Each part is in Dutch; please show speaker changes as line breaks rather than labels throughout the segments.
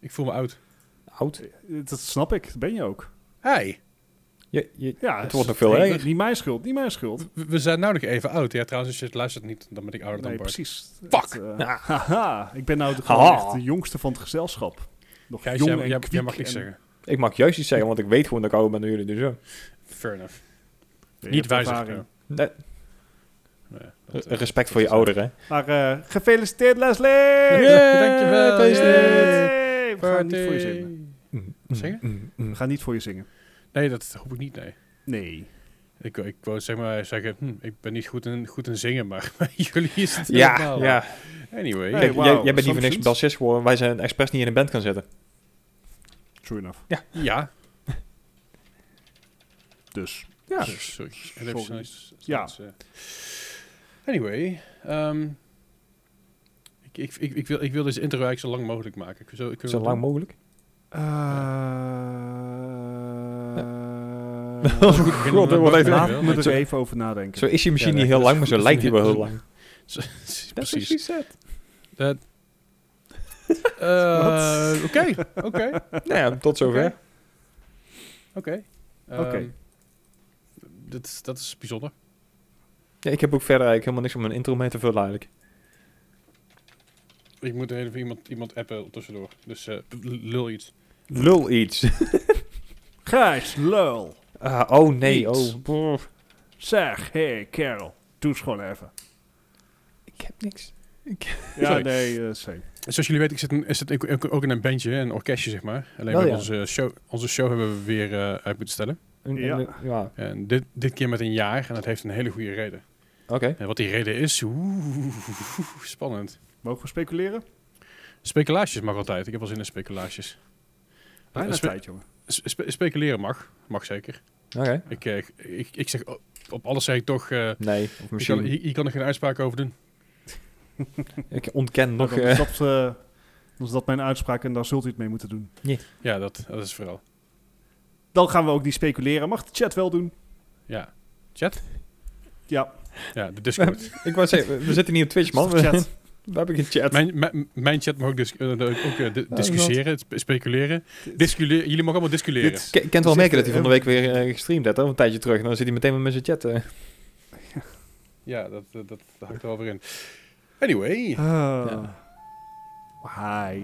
Ik voel me oud.
Oud.
Dat snap ik, dat ben je ook.
Hey,
Je, je,
Ja,
het wordt nog veel
Nee,
Nee,
erger.
niet mijn schuld, niet mijn schuld.
we, we zijn nou nog even oud. Ja, trouwens, als je het luistert niet, dan ben ik ouder
Nee,
dan Bart.
precies.
Fuck.
Het, eh,
Ja.
haha, ik ben nou de, gewoon
Haha.
echt de jongste van het gezelschap. Nog
Gijs,
jong
jij,
en
jij- jij
kwiek
mag niks
en-
zeggen.
Ik mag juist iets zeggen, want ik weet gewoon dat ik ouder ben dan jullie. Dus ja.
Fair enough.
Je
niet
hebt
wijzig.
ervaring.
Nee,
Nee, dat, eh,
respect voor je ouder, hè.
Maar eh, gefeliciteerd, Leslie!
Yeah, dankjewel, gefeliciteerd.
Yay! We gaan niet voor je zingen.
Mm,
Zeg
We gaan niet voor je zingen.
Nee, dat hoop ik niet, nee.
Nee.
Ik, ik wou zeg maar zeggen, hm, ik ben niet goed in, goed in zingen, maar bij jullie is het
Ja,
helemaal.
ja.
Anyway.
Hey,
Kijk,
wauw,
jij, jij bent niet voor niks
assumptions.
bassist geworden. Wij zijn expres niet in een band gaan zitten.
True enough.
Ja.
Dus.
Ja.
Dus, sorry. En heb je zoiets-
Ja.
zoiets, eh. Anyway. ehm, ik, ik, ik, ik, wil, ik wil deze intro eigenlijk zo lang mogelijk maken. Ik, zo, ik,
Zo lang mogelijk.
Eh,
God,
beginnen
dat
met-
wordt even
met-
af.
Daar moet ik even over nadenken.
Zo is je misschien
Ja,
niet
nee,
heel
dat
lang, maar
is
zo
goed.
lijkt hij wel heel
Dat
lang.
Precies.
het.
Dat- Eh, Oké, oké,
Nou ja, tot zover.
oké.
Oké.
Ehm, Dat is- dat is bijzonder.
Ja, ik heb ook verder eigenlijk helemaal niks om mijn intro mee te vullen eigenlijk.
Ik moet er even iemand, iemand appen tussendoor. Dus eh, lul iets.
Lul iets.
Gijs, lul.
Ah, oh nee,
Iets.
oh. brr.
Zeg, hey, Carol. Doe eens gewoon even.
Ik heb niks.
Ja,
Sorry.
nee, eh, same.
Zoals jullie weten, ik zit, in, ik zit ook- ook- ook in een bandje, een orkestje zeg maar. Alleen
Oh,
we hebben
ja.
onze, show, onze show hebben we weer eh, uit moeten stellen.
En- en-
Ja.
ja.
En dit, dit keer met een jaar en dat heeft een hele goede reden.
Oké.
En wat die reden is, oeh, spannend.
Mogen we speculeren?
Speculaties mag altijd. Ik heb wel zin in speculaties. Eh,
Bijna
spe-
tijd, jongen.
Spe- spe- speculeren mag. Mag zeker.
Oké.
Ik, eh, ik, ik zeg, op alles zeg ik toch, eh,
Nee, of
je, kan,
misschien...
je, je kan er geen uitspraak over doen.
Ik ontken nog...
Nou, dan, is
eh,
dat, eh, dan is dat mijn uitspraak en daar zult u het mee moeten doen.
Ja, dat, dat is vooral.
Dan gaan we ook niet speculeren. Mag de chat wel doen?
Ja. Chat?
Ja,
Ja, de Discord.
ik wou zeggen, we- we zitten niet op Twitch, man.
man, chat.
We hebben geen chat.
mijn, mijn, mijn chat mag ook, dis- eh, ook eh, di- discussiëren, spe- speculeren. Disculeren. Jullie mogen allemaal disculeren.
Dit-
Ik kan het wel
dit-
merken dat hij van de week weer eh, gestreamd had, hè, een tijdje terug. En dan zit hij meteen weer met zijn chat. eh.
Ja, dat, dat, dat hangt er wel weer in. Anyway.
Ah.
Ja.
Hi.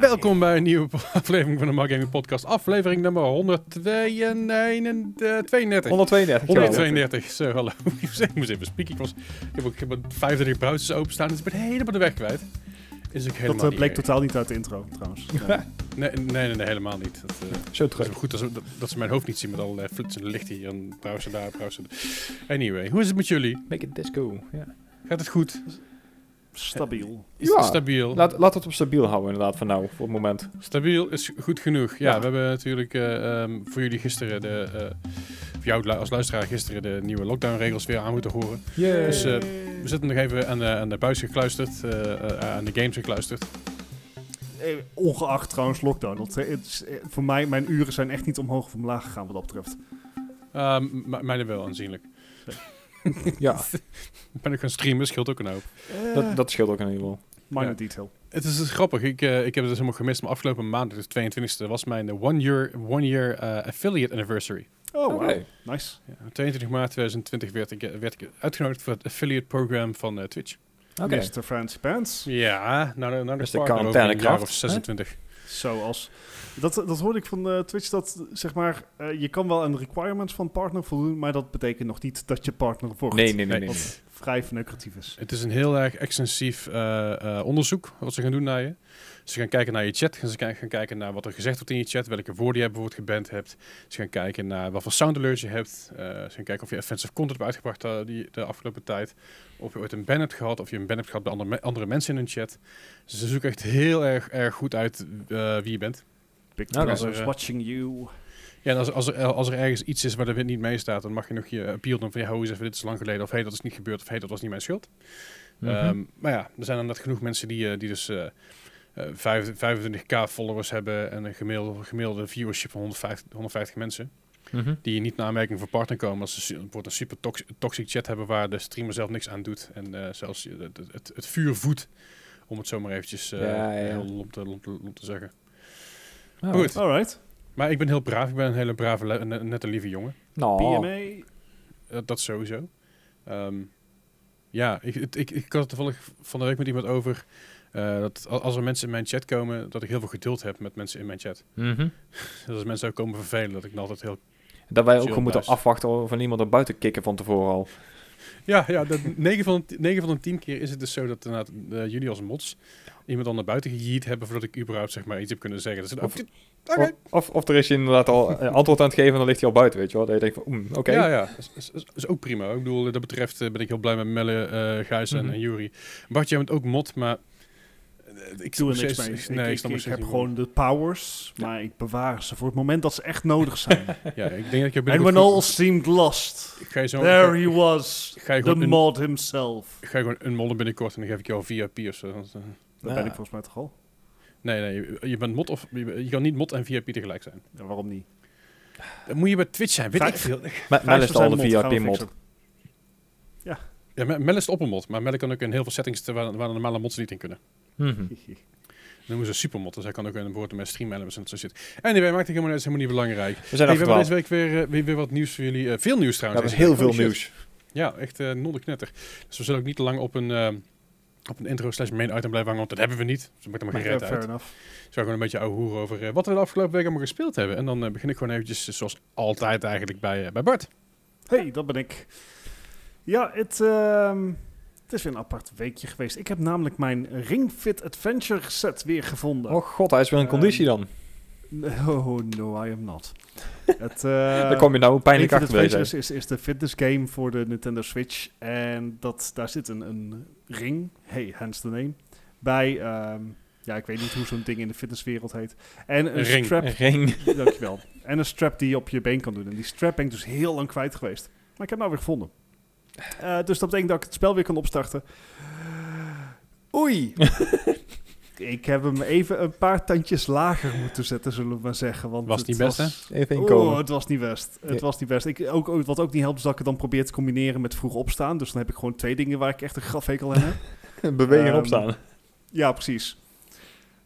Welkom bij een nieuwe aflevering van de Mark Gaming Podcast. Aflevering nummer 132.
132.
132, zo, hallo. eh, ik moest even spieken. Ik, was, ik heb ook ik heb een 35 browsers openstaan, dus ik ben helemaal de weg kwijt. Is ook helemaal
Dat eh,
niet
bleek
erg.
totaal niet uit de intro, trouwens. Nee.
Nee, nee, nee, nee, helemaal niet. Dat, eh,
Zo
dat is
terug.
ook goed dat ze, dat, dat ze mijn hoofd niet zien met allerlei flitsende lichten hier. En browser daar, browser daar. Anyway, hoe is het met jullie?
Make it disco. Ja.
Gaat het goed?
Stabiel.
Is
Ja.
het stabiel?
Laat, laat het op stabiel houden inderdaad van nou, voor het moment.
Stabiel is goed genoeg. Ja,
Ja.
we hebben natuurlijk eh, ehm, voor jullie gisteren, de, eh, voor jou lu- als luisteraar gisteren, de nieuwe lockdownregels weer aan moeten horen. Dus, eh, We zitten nog even aan de, aan de buis gekluisterd, eh, eh, aan de games gekluisterd.
Eh, Ongeacht trouwens lockdown. Dat, eh, het is, eh, voor mij, mijn uren zijn echt niet omhoog of omlaag gegaan wat dat betreft.
Ehm, m- mij wel aanzienlijk.
ja,
Ben ik gaan streamen, scheelt ook een hoop.
dat, dat scheelt ook in ieder geval.
Minor
Eh, ja.
detail.
Het is dus grappig, ik, eh, ik heb het dus helemaal gemist, maar afgelopen maandag, de 22e, was mijn eh, one year, one year eh, affiliate anniversary.
Oh, wow.
Oké.
Nice.
Ja, op 22 maart 2020 werd ik, eh, werd ik uitgenodigd voor het affiliate program van eh, Twitch.
Oké.
Mr. Fancy Pants.
Ja, nou, nou de
Dus de
partner over een jaar
quarantainekracht,
of 26.
Zoals. Dat, dat hoorde ik van eh, Twitch dat zeg maar. eh, je kan wel aan de requirements van partner voldoen. Maar dat betekent nog niet dat je partner wordt.
Nee, nee, nee. nee, nee.
Wat vrij verneukeratief is.
Het is een heel erg extensief eh, eh, onderzoek wat ze gaan doen naar je. Ze gaan kijken naar je chat, gaan ze ki- gaan kijken naar wat er gezegd wordt in je chat, welke woorden je bijvoorbeeld geband hebt. Ze gaan kijken naar wat voor sound alerts je hebt. Eh, ze gaan kijken of je offensive content hebt uitgebracht eh, die, de afgelopen tijd. Of je ooit een ban hebt gehad, of je een ban hebt gehad bij andere, me- andere mensen in hun chat. Dus ze zoeken echt heel erg, erg goed uit eh, wie je bent.
Big
Oké.
Brother is
Eh,
watching you.
Ja, en als, als, er, als er ergens iets is waar de wind niet mee staat, dan mag je nog je appeal doen van ja, hoe is even, dit is lang geleden, of hé, dat is niet gebeurd, of hé, dat was niet mijn schuld.
Mhm.
Ehm, maar ja, er zijn inderdaad genoeg mensen die, eh, die dus eh, eh, vijf- 25k followers hebben en een gemiddelde, gemiddelde viewership van 150, 150 mensen.
Mhm.
die je niet naar aanmerking voor partner komen. Als ze su- bijvoorbeeld een super tox- toxic chat hebben waar de streamer zelf niks aan doet. En eh, zelfs je- het, het- het, het vuur voedt, om het zo maar eventjes eh,
Ja, ja.
heel lomp te, lomp, lomp te zeggen.
Nou,
Maar goed,
Alright.
maar ik ben heel braaf. Ik ben een hele brave, le- ne- nette, lieve jongen.
Nou,
PMA.
Eh, dat sowieso. Ehm, ja, ik, het- ik, ik had het toevallig van de week met iemand over... eh, dat a- als er mensen in mijn chat komen, dat ik heel veel geduld heb met mensen in mijn chat.
mhm.
Dus als mensen ook komen vervelen, dat ik dan altijd heel
Dat wij ook
Chill
gewoon moeten
thuis.
afwachten van iemand er buiten kicken van tevoren al.
Ja, ja dat 9, van de, 9 van de 10 keer is het dus zo dat inderdaad, eh, jullie als mods iemand dan naar buiten gejiet hebben voordat ik überhaupt zeg maar, iets heb kunnen zeggen. Dus, oh,
Of-
dit- oké.
Of, of, of er is je inderdaad al eh, antwoord aan het geven en dan ligt hij al buiten, weet je wel. Dat je denkt van, oem, oké.
Ja, ja, dat is, is- is- is ook prima. Ik bedoel, eh, dat betreft eh, ben ik heel blij met Melle, eh Gijs en,
Mhm.
en Jury. Bart, jij bent ook mod, maar eh, ik
Ik doe
nog
er niks
steeds-
mee.
ik-
Ik,
Nee, ik,
ik,
snap nog
ik
steeds
heb
niet
gewoon de powers, maar ik bewaar ze voor het moment dat ze echt nodig zijn.
waarom. Ja, ik denk dat je
And when all seemed lost,
Ik ga je zo...
there
ik
he was,
ga, je
the
gewoon
mod himself.
een, ga je gewoon een modder binnenkort en dan geef ik jou VIP of zo. want, eh,
Dat
Ja.
ben ik volgens mij toch al?
nee, nee, je, je bent mod of... Je, je kan niet mod en VIP tegelijk zijn.
Ja, waarom niet?
Dan moet je bij Twitch zijn, weet
Ga-
ik veel.
Maar Mel is al de
50% mod, gaan we
VIP-mod.
fixen.
Ja, Me- Mel is de oppermod, maar Mel kan ook in heel veel settings te- waar, waar de normale mods niet in kunnen.
Mm-hmm.
Dat noemen ze supermod, dus hij kan ook in woord met stream elements en dat soort shit. Anyway, maakt het helemaal niet, is helemaal niet belangrijk.
We
Hey,
zijn
we
afgedwaald.
hebben deze week weer, eh, weer, weer wat nieuws voor jullie. Eh, veel nieuws
Dat
trouwens.
is
deze
heel
week.
veel
Holy shit.
nieuws.
Ja, echt eh non de knetter. Dus we zullen ook niet te lang op een, eh, op een intro slash main item blijven hangen, want dat hebben we niet. Dus dat maakt er maar
Maar,
geen
eh,
reet
fair
uit.
enough.
Dus we gaan gewoon een beetje ouwe hoeren over eh, wat we de afgelopen week allemaal gespeeld hebben. En dan eh, begin ik gewoon eventjes, eh, zoals altijd eigenlijk, bij, eh, bij Bart.
Hey, dat ben ik. Ja, het, ehm, het is weer een apart weekje geweest. Ik heb namelijk mijn Ring Fit Adventure set weer gevonden.
Oh god, hij is weer in
Ehm,
conditie dan.
Oh, no, I am not. het, eh,
Daar kom je nou pijnlijk
Ring Fit
achter bij
Adventure is, is, is de fitness game voor de Nintendo Switch. En dat, daar zit een, een ring, hey, hence the name, bij... ehm, ja, ik weet niet hoe zo'n ding in de fitnesswereld heet. En een
Een ring.
strap
zijn. Ring.
Dankjewel. En een strap die je op je been kan doen. En die strap ben ik dus heel lang kwijt geweest. Maar ik heb hem nou weer gevonden. Eh, dus dat betekent dat ik het spel weer kan opstarten. Oei! ik heb hem even een paar tandjes lager moeten zetten, zullen we maar zeggen. Want
Was
het
niet best,
Even
Oh,
inkomen.
het was niet best. Het
Nee.
was niet best. Ik, ook, ook- wat ook niet helpt, is dat ik het dan probeer te combineren met vroeg opstaan. Dus dan heb ik gewoon twee dingen waar ik echt een grafhekel aan heb.
Bewegen en
Ehm,
opstaan.
Ja, precies.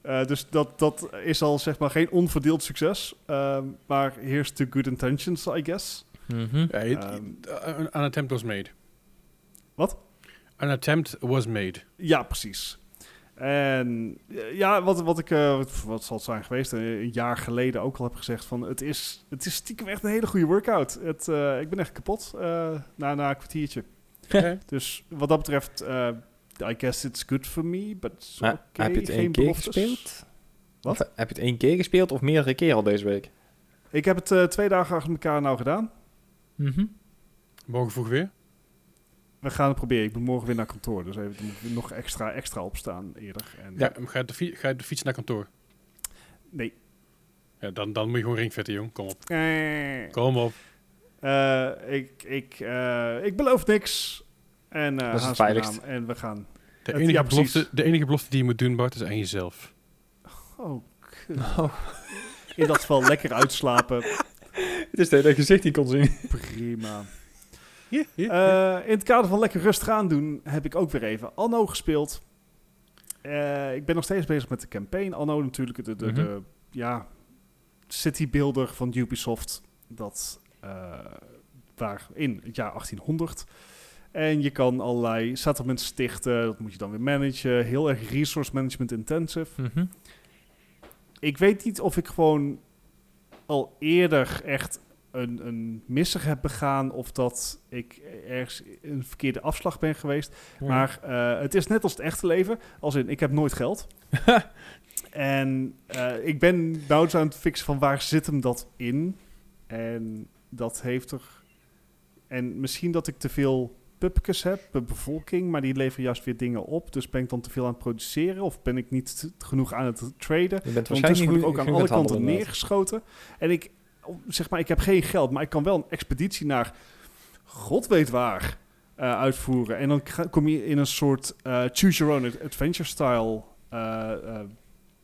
Eh, dus dat, dat is al zeg maar geen onverdeeld succes. Ehm, maar here's to good intentions, I guess.
Ja, het-
Ehm.
an an eh, attempt was made.
Wat?
An attempt was made.
Ja, precies. En eh, ja, wat, wat ik, eh, wat, wat zal het zijn geweest, eh, een jaar geleden ook al heb gezegd van... Het is, het is stiekem echt een hele goede workout. Het, eh, ik ben echt kapot eh, na, na een kwartiertje.
Oké.
Dus wat dat betreft, eh, I guess it's good for me, but it's
Maar
okay.
heb je het één
Geen
keer
beloftes.
gespeeld?
Wat?
Of, heb je het één keer gespeeld of meerdere keer al deze week?
Ik heb het eh, twee dagen achter elkaar nou gedaan.
Morgen vroeg weer.
We gaan het proberen. Ik ben morgen weer naar kantoor. Dus even dan moet ik nog extra, extra opstaan eerder. En
Ja. Ga, je op de fi- ga je op de fiets naar kantoor?
Nee.
Ja, dan, dan moet je gewoon ringvetten, jong. Kom op.
Eh,
Kom op.
eh, ik, ik, eh, ik beloof niks. En,
Dat
eh,
is het
haast
veiligst.
me aan En we gaan.
De
Het-
enige,
ja, precies.
belofte, de enige belofte die je moet doen, Bart, is aan jezelf.
Oh, kut. In dat geval lekker uitslapen.
Het is dat je gezicht niet kon zien.
Prima.
Eh,
Eh, in het kader van lekker rustig aan doen heb ik ook weer even Anno gespeeld. Eh, ik ben nog steeds bezig met de campaign. Anno natuurlijk, de, de, de,
Mhm.
ja, city builder van Ubisoft. Dat eh, waar in het jaar 1800. En je kan allerlei settlements stichten. Dat moet je dan weer managen. Heel erg resource management intensive. Ik weet niet of ik gewoon al eerder echt een, een misser heb begaan of dat ik ergens een verkeerde afslag ben geweest. Maar eh, het is net als het echte leven, als in ik heb nooit geld. en eh, ik ben nou eens aan het fixen van waar zit hem dat in? En dat heeft er... En misschien dat ik te veel pupkes heb, be- bevolking, maar die leveren juist weer dingen op. Dus ben ik dan te veel aan het produceren of ben ik niet genoeg aan het traden?
je bent
Ondertussen
waarschijnlijk
word
niet
ik ook aan alle kanten neergeschoten. En ik, zeg maar, ik heb geen geld, maar ik kan wel een expeditie naar god weet waar eh, uitvoeren. En dan ga- kom je in een soort eh, choose your own adventure style eh, eh,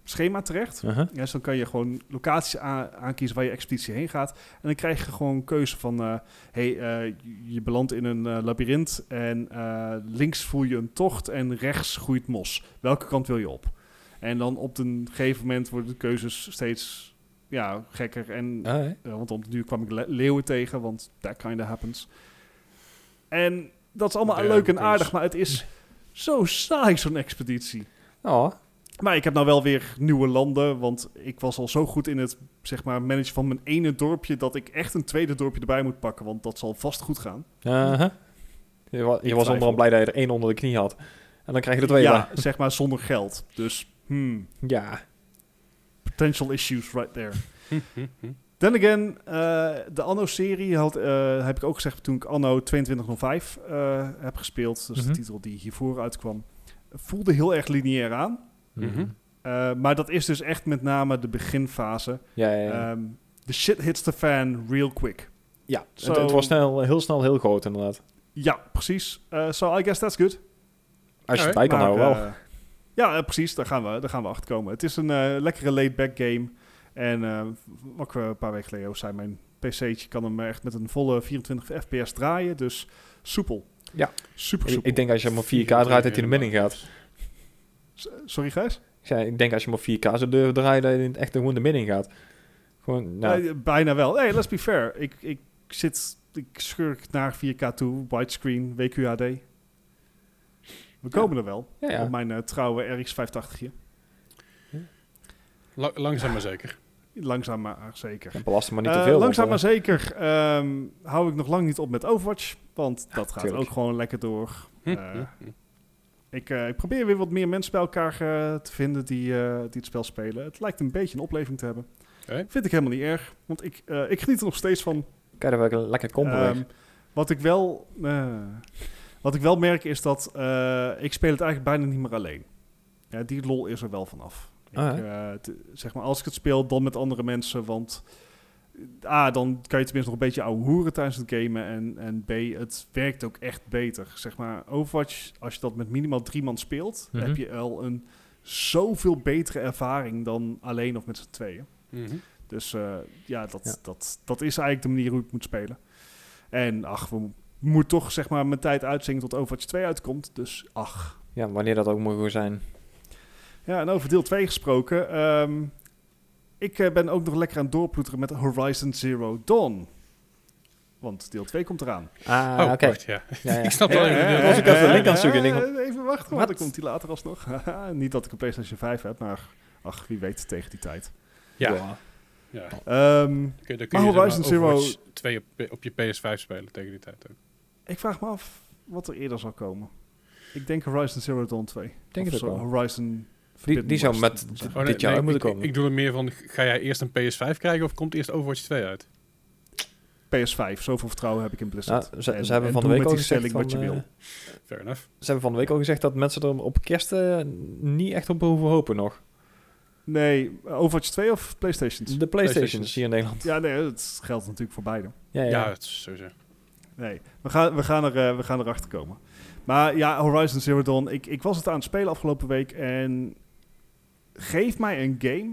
schema terecht.
Uh-huh.
Ja, dus dan kan je gewoon locaties a- aankiezen waar je expeditie heen gaat. En dan krijg je gewoon keuze van... eh, hey, eh, je belandt in een eh, labyrint en eh, links voel je een tocht en rechts groeit mos. Welke kant wil je op? En dan op een gegeven moment worden de keuzes steeds ja, gekker. En,
Ah, hè?
eh, want op de duur kwam ik le- leeuwen tegen, want that kind happens. En dat is allemaal
Ja,
leuk en
precies.
aardig, maar het is zo saai zo'n expeditie.
Oh,
Maar ik heb nou wel weer nieuwe landen, want ik was al zo goed in het zeg maar, managen van mijn ene dorpje dat ik echt een tweede dorpje erbij moet pakken, want dat zal vast goed gaan.
uh-huh. Je, wa- je
Ik
was
twijfel.
onderal blij dat je er één onder de knie had. En dan krijg je er twee
ja, zeg maar zonder geld. Dus hmm,
bij. Ja.
potential issues right there.
Hm?
Then again, eh, de Anno-serie had, eh, heb ik ook gezegd toen ik Anno 2205 eh, heb gespeeld. Dus
Mhm.
de titel die hiervoor uitkwam. Voelde heel erg lineair aan.
Mhm.
Eh, maar dat is dus echt met name de beginfase.
Ja, ja, ja.
Ehm the shit hits the fan real quick.
ja. het-
zo-
Het, was snel, heel snel heel groot inderdaad.
Ja, precies. Eh, so I guess that's good.
Als
Alright,
je het bij kan
Maar,
houden wel.
eh, ja, eh, precies. Daar gaan, we, daar gaan we achter komen. Het is een eh, lekkere laid-back game. En eh, wat ik eh, een paar weken geleden ook zei, mijn PC'tje kan hem echt met een volle 24 FPS draaien. Dus soepel.
Ja.
Super
Ik,
soepel.
ik denk als je hem op 4K draait, dat hij de min in gaat.
S- Sorry, Gijs?
Ik, zei, ik denk als je hem op 4K zou durven draaien, dat je in het echt gewoon de min in gaat. Gewoon, nou,
Eh, bijna wel. Hey, let's be fair. Ik, ik zit, ik schurk naar 4K toe, widescreen, WQHD. We komen er wel.
ja, ja.
Op mijn eh, trouwe RX 580
La- langzaam maar zeker.
Langzaam maar zeker.
En belast hem maar niet
Eh,
te veel.
langzaam maar
want,
zeker ehm, hou ik nog lang niet op met Overwatch. Want dat gaat
tuurlijk.
ook gewoon lekker door.
Hm,
Eh,
hm, hm.
Ik, eh, ik probeer weer wat meer mensen bij elkaar eh, te vinden die, eh, die het spel spelen. Het lijkt een beetje een opleving te hebben.
Oké.
Vind ik helemaal niet erg. Want ik, eh, ik geniet er nog steeds van.
eh, Kijk, dat wel een lekker combo
Ehm,
weg.
wat ik wel... eh, wat ik wel merk is dat eh, ik speel het eigenlijk bijna niet meer alleen. Ja, die lol is er wel vanaf.
Ah,
ik, eh, t- zeg maar, als ik het speel, dan met andere mensen. Want eh, A, dan kan je tenminste nog een beetje ouwe hoeren tijdens het gamen. En, en B, het werkt ook echt beter. Zeg maar, Overwatch, als je dat met minimaal drie man speelt...
Mhm.
heb je al een zoveel betere ervaring dan alleen of met z'n tweeën.
Mhm.
Dus eh, ja, dat,
Ja.
Dat, dat is eigenlijk de manier hoe ik het moet spelen. En ach, we mo- moet toch zeg maar mijn tijd uitzingen tot Overwatch 2 uitkomt. Dus ach.
Ja, wanneer dat ook mogen zijn.
Ja, en over deel 2 gesproken. ehm, ik eh, ben ook nog lekker aan het doorploeteren met Horizon Zero Dawn. Want deel 2 komt eraan.
Ah,
oh,
oké.
wacht, ja.
Ja, ja.
Ik snap wel
Eh,
even de-
dat was
eh,
Oh, ik even de link aan het zoeken.
eh,
Ik denk,
Even wachten, want
wat?
dan komt die later alsnog. Haha, Niet dat ik een PlayStation 5 heb, maar ach, wie weet tegen die tijd.
Ja.
Ja.
Ja.
Oh.
Ehm,
Dan kun je, dan kun
Maar
je zeg
Horizon Zero-
Overwatch 2 op, op je PS5 spelen tegen die tijd ook.
ik vraag me af wat er eerder zal komen. Ik denk Horizon Zero Dawn 2.
Ik denk
Of
het
zo,
ook wel.
Horizon
Die, die zou met
Forbidden West.
Oh, nee,
dit jaar
nee,
uit moeten
ik-
komen.
Ik, doe er meer van, ga jij eerst een PS5 krijgen of komt eerst Overwatch 2 uit?
PS5, zoveel vertrouwen heb ik in
Ja,
Blizzard.
Nou, ze, ze
En-
hebben
en
van de
doe
week
met
ook
die
gezegd
stelling
van,
wat je
eh,
wil.
Fair enough.
ze hebben van de week ook gezegd dat mensen er op kerst eh, niet echt op hoeven hopen nog.
Nee, Overwatch 2 of PlayStations?
De Playstations
Playstations.
hier in Nederland.
Ja, nee, dat geldt natuurlijk voor beide.
Ja, ja.
Ja,
ja.
het is sowieso.
Nee, we gaan, we gaan, er, eh, we gaan erachter komen. Maar ja, Horizon Zero Dawn, ik, ik was het aan het spelen afgelopen week en geef mij een game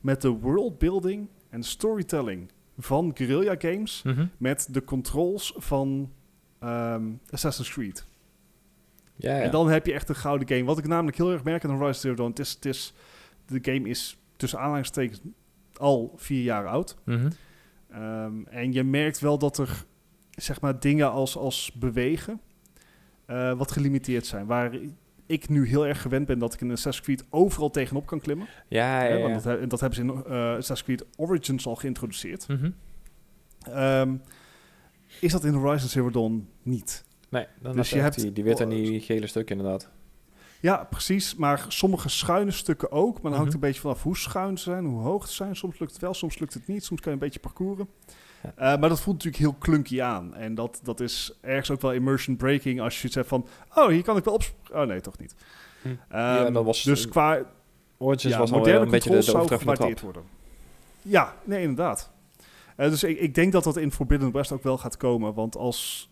met de worldbuilding en storytelling van Guerrilla Games
Mhm.
met de controls van ehm, Assassin's Creed.
ja,
En
ja.
dan heb je echt een gouden game. Wat ik namelijk heel erg merk aan Horizon Zero Dawn, het is, het is, de game is tussen aanhalingstekens al vier jaar oud.
Mhm.
Ehm, en je merkt wel dat er zeg maar, dingen als, als bewegen eh, wat gelimiteerd zijn. Waar ik nu heel erg gewend ben dat ik in Assassin's Creed overal tegenop kan klimmen.
ja, ja,
Hè,
ja.
want dat, he- en dat hebben ze in eh, Assassin's Creed Origins al geïntroduceerd.
Mhm.
Ehm, is dat in Horizon Zero Dawn niet?
Nee, dan
Dus
is
je
echt
hebt-
die, die witte en die gele stuk inderdaad.
Ja, precies. Maar sommige schuine stukken ook. Maar dan hangt het een beetje vanaf hoe schuin ze zijn, hoe hoog ze zijn. Soms lukt het wel, soms lukt het niet. Soms kan je een beetje parcouren.
Ja.
Eh, maar dat voelt natuurlijk heel clunky aan. En dat, dat is ergens ook wel immersion breaking als je iets hebt van... Oh, hier kan ik wel op... Oh nee, toch niet.
Hm.
Ehm,
Ja, dat was- eh,
dus qua
Origins
ja,
was alweer
moderne
een beetje de,
controls
de
zou
overtreffende
gewaardeerd
trap.
worden. Ja, nee, inderdaad. Eh, dus ik, ik denk dat dat in Forbidden West ook wel gaat komen. Want als...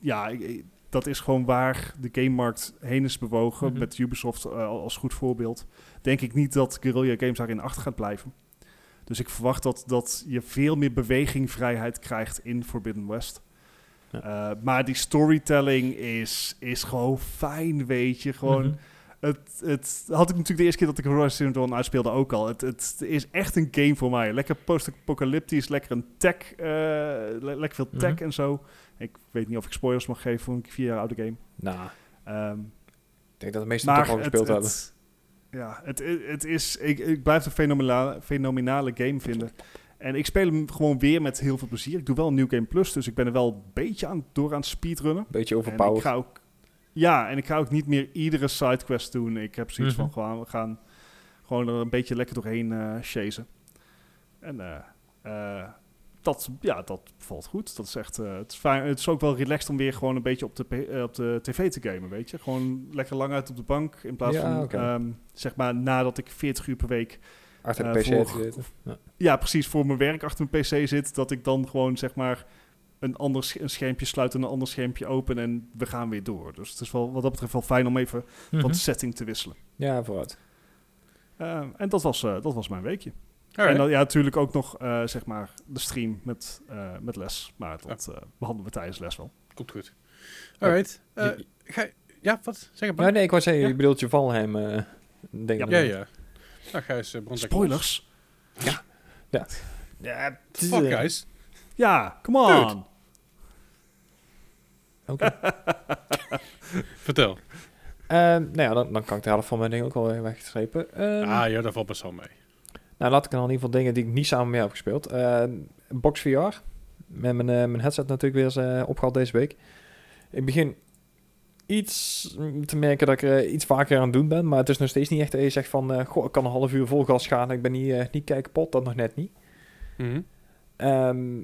Ja, ik- ik- dat is gewoon waar de gamemarkt heen is bewogen.
Mhm.
Met Ubisoft eh, als goed voorbeeld. Denk ik niet dat Guerrilla Games daarin achter gaat blijven. Dus ik verwacht dat, dat je veel meer bewegingvrijheid krijgt in Forbidden West.
Ja.
Eh, maar die storytelling is, is gewoon fijn, weet je. Gewoon,
Mhm.
het, het had ik natuurlijk de eerste keer dat ik Horizon Zero Dawn uitspeelde ook al. Het, het is echt een game voor mij. Lekker post-apocalyptisch, lekker een tech, eh, le- lekker veel tech
Mhm.
en zo. Ik weet niet of ik spoilers mag geven voor een vier jaar oude game.
Nou,
Ehm,
ik denk dat de meesten
maar
toch al
het-
gespeeld hebben.
het- Ja, het, het, het is, ik, ik blijf het een fenomenale, fenomenale game vinden. En ik speel hem gewoon weer met heel veel plezier. Ik doe wel een New Game Plus, dus ik ben er wel een beetje aan, door aan het speedrunnen.
Beetje
En
overpowered.
ik ga ook, ja, en ik ga ook niet meer iedere sidequest doen. Ik heb zoiets
Mhm.
van, gewoon, we gaan gewoon er een beetje lekker doorheen eh chasen. En eh, eh, dat, ja, dat valt goed. Dat is echt, eh, het, is fijn. het is ook wel relaxed om weer gewoon een beetje op de, p- eh, op de tv te gamen, weet je. Gewoon lekker lang uit op de bank, in plaats
Ja,
van,
oké.
ehm, zeg maar, nadat ik 40 uur per week,
Achter de
eh,
PC
voor-
gezeten. Ja.
ja, precies, voor mijn werk achter mijn pc zit, dat ik dan gewoon, zeg maar, een ander sch- een schermpje sluit en een ander schermpje open en we gaan weer door. Dus het is wel wat dat betreft wel fijn om even
Mhm.
wat setting te wisselen.
ja, vooruit.
Ehm, en dat was, eh, dat was mijn weekje. En
Alright.
dan, ja, natuurlijk ook nog eh, zeg maar de stream met, eh, met les. Maar dat eh, behandelen we tijdens les wel.
Komt goed. Alright. Eh,
Je-
ga- ja, wat? Zeg het
Ja,
maar.
nee, ik was zeggen,
Ja.
je bedoelt je Valheim. eh denk ik.
Ja, ja. Nou, Gijs, uh, brand
Spoilers?
Ja,
Fuck, Gijs.
Ja, come on!
Oké.
Vertel.
Ehm, nou ja, dan, dan kan ik de helft van mijn ding ook alweer wegstrepen. Ehm,
Ah, ja, daar valt best wel mee.
Nou, laat ik dan in ieder geval dingen die ik niet samen mee heb gespeeld. Eh, Box VR. Met mijn, eh, mijn headset natuurlijk weer eens eh, opgehaald deze week. Ik begin iets mm, te merken dat ik er eh, iets vaker aan het doen ben. Maar het is nog steeds niet echt dat je zegt van... eh, goh, ik kan een half uur vol gas gaan. Ik ben niet, eh, niet kei kapot. Dat nog net niet.
Mhm.
Ehm,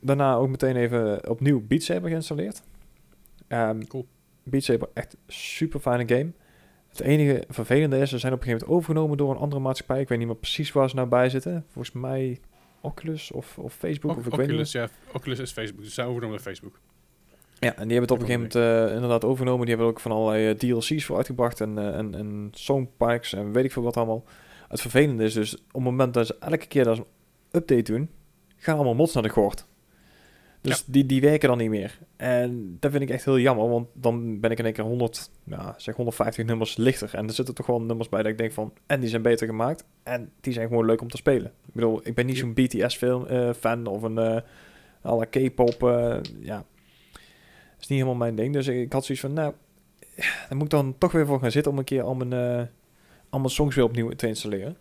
daarna ook meteen even opnieuw Beat Saber geïnstalleerd. Ehm
Cool.
Beat Saber, echt super fijne game. Het enige vervelende is, ze zijn op een gegeven moment overgenomen door een andere maatschappij. Ik weet niet meer precies waar ze nou bij zitten. Volgens mij Oculus of, of Facebook.
Oc-
of ik weet niet
Oculus, ja. Oculus is Facebook. Dus zij overgenomen door Facebook.
meer. Ja, en die hebben het op een gegeven moment eh, inderdaad overgenomen. Die hebben er ook van allerlei eh, DLC's voor uitgebracht. En, eh, en, en songpacks en weet ik veel wat allemaal. Het vervelende is dus, op het moment dat ze elke keer dat ze een update doen... gaan allemaal mods naar de gort. Dus die, die werken dan niet meer. En dat vind ik echt heel jammer, want dan ben ik in één keer 100, nou, zeg 150 nummers lichter. En er zitten toch wel nummers bij dat ik denk van, en die zijn beter gemaakt, en die zijn gewoon leuk om te spelen. Ik bedoel, ik ben niet zo'n BTS-fan of een eh à la K-pop, eh, ja. Dat is niet helemaal mijn ding. Dus ik, ik had zoiets van, nou, daar moet ik dan toch weer voor gaan zitten om een keer al mijn, eh, al mijn songs weer opnieuw te installeren.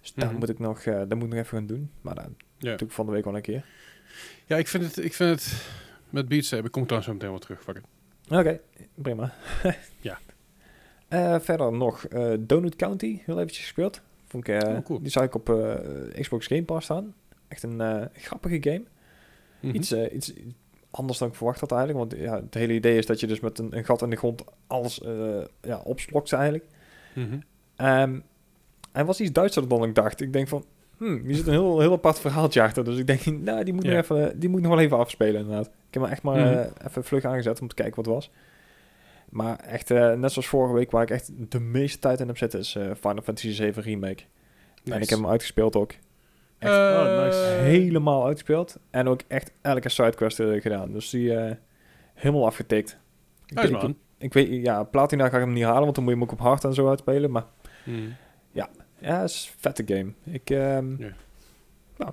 Dus daar
Mhm.
moet ik nog, eh dat moet ik nog even gaan doen. Maar dat
Ja.
doe ik van de week wel een keer.
Ja, ik vind het, ik vind het met Beats hebben. Ik kom trouwens zo meteen wel terug. Fuck it.
Oké, prima.
Ja.
Eh, verder nog eh, Donut County, heel eventjes gespeeld. Vond ik, eh,
Oh, cool.
Die zag ik op eh, Xbox Game Pass staan. Echt een eh, grappige game.
Mhm.
Iets, eh, iets anders dan ik verwacht had eigenlijk. Want ja, het hele idee is dat je dus met een, een gat in de grond alles eh, ja, opslokt eigenlijk.
Mhm.
Ehm, hij was iets Duitser dan ik dacht. Ik denk van, hmm, hier zit een heel, heel apart verhaaltje achter. Dus ik denk, nou, die moet,
Ja.
nog even, eh, die moet nog wel even afspelen inderdaad. Ik heb hem echt maar
Mhm.
eh, even vlug aangezet om te kijken wat het was. Maar echt, eh, net zoals vorige week, waar ik echt de meeste tijd in heb zitten, is eh, Final Fantasy VII Remake. En ik heb hem uitgespeeld ook. echt-
Oh, nice.
Eh,
Helemaal uitgespeeld. En ook echt elke sidequest eh, gedaan. Dus die eh, helemaal afgetikt. Ik,
Nice
ik,
man.
ik weet, ja, Platina ga ik hem niet halen, want dan moet je hem ook op hard en zo uitspelen. Maar
Mhm.
ja, het is een vette game. Ik, ehm,
Ja.
nou,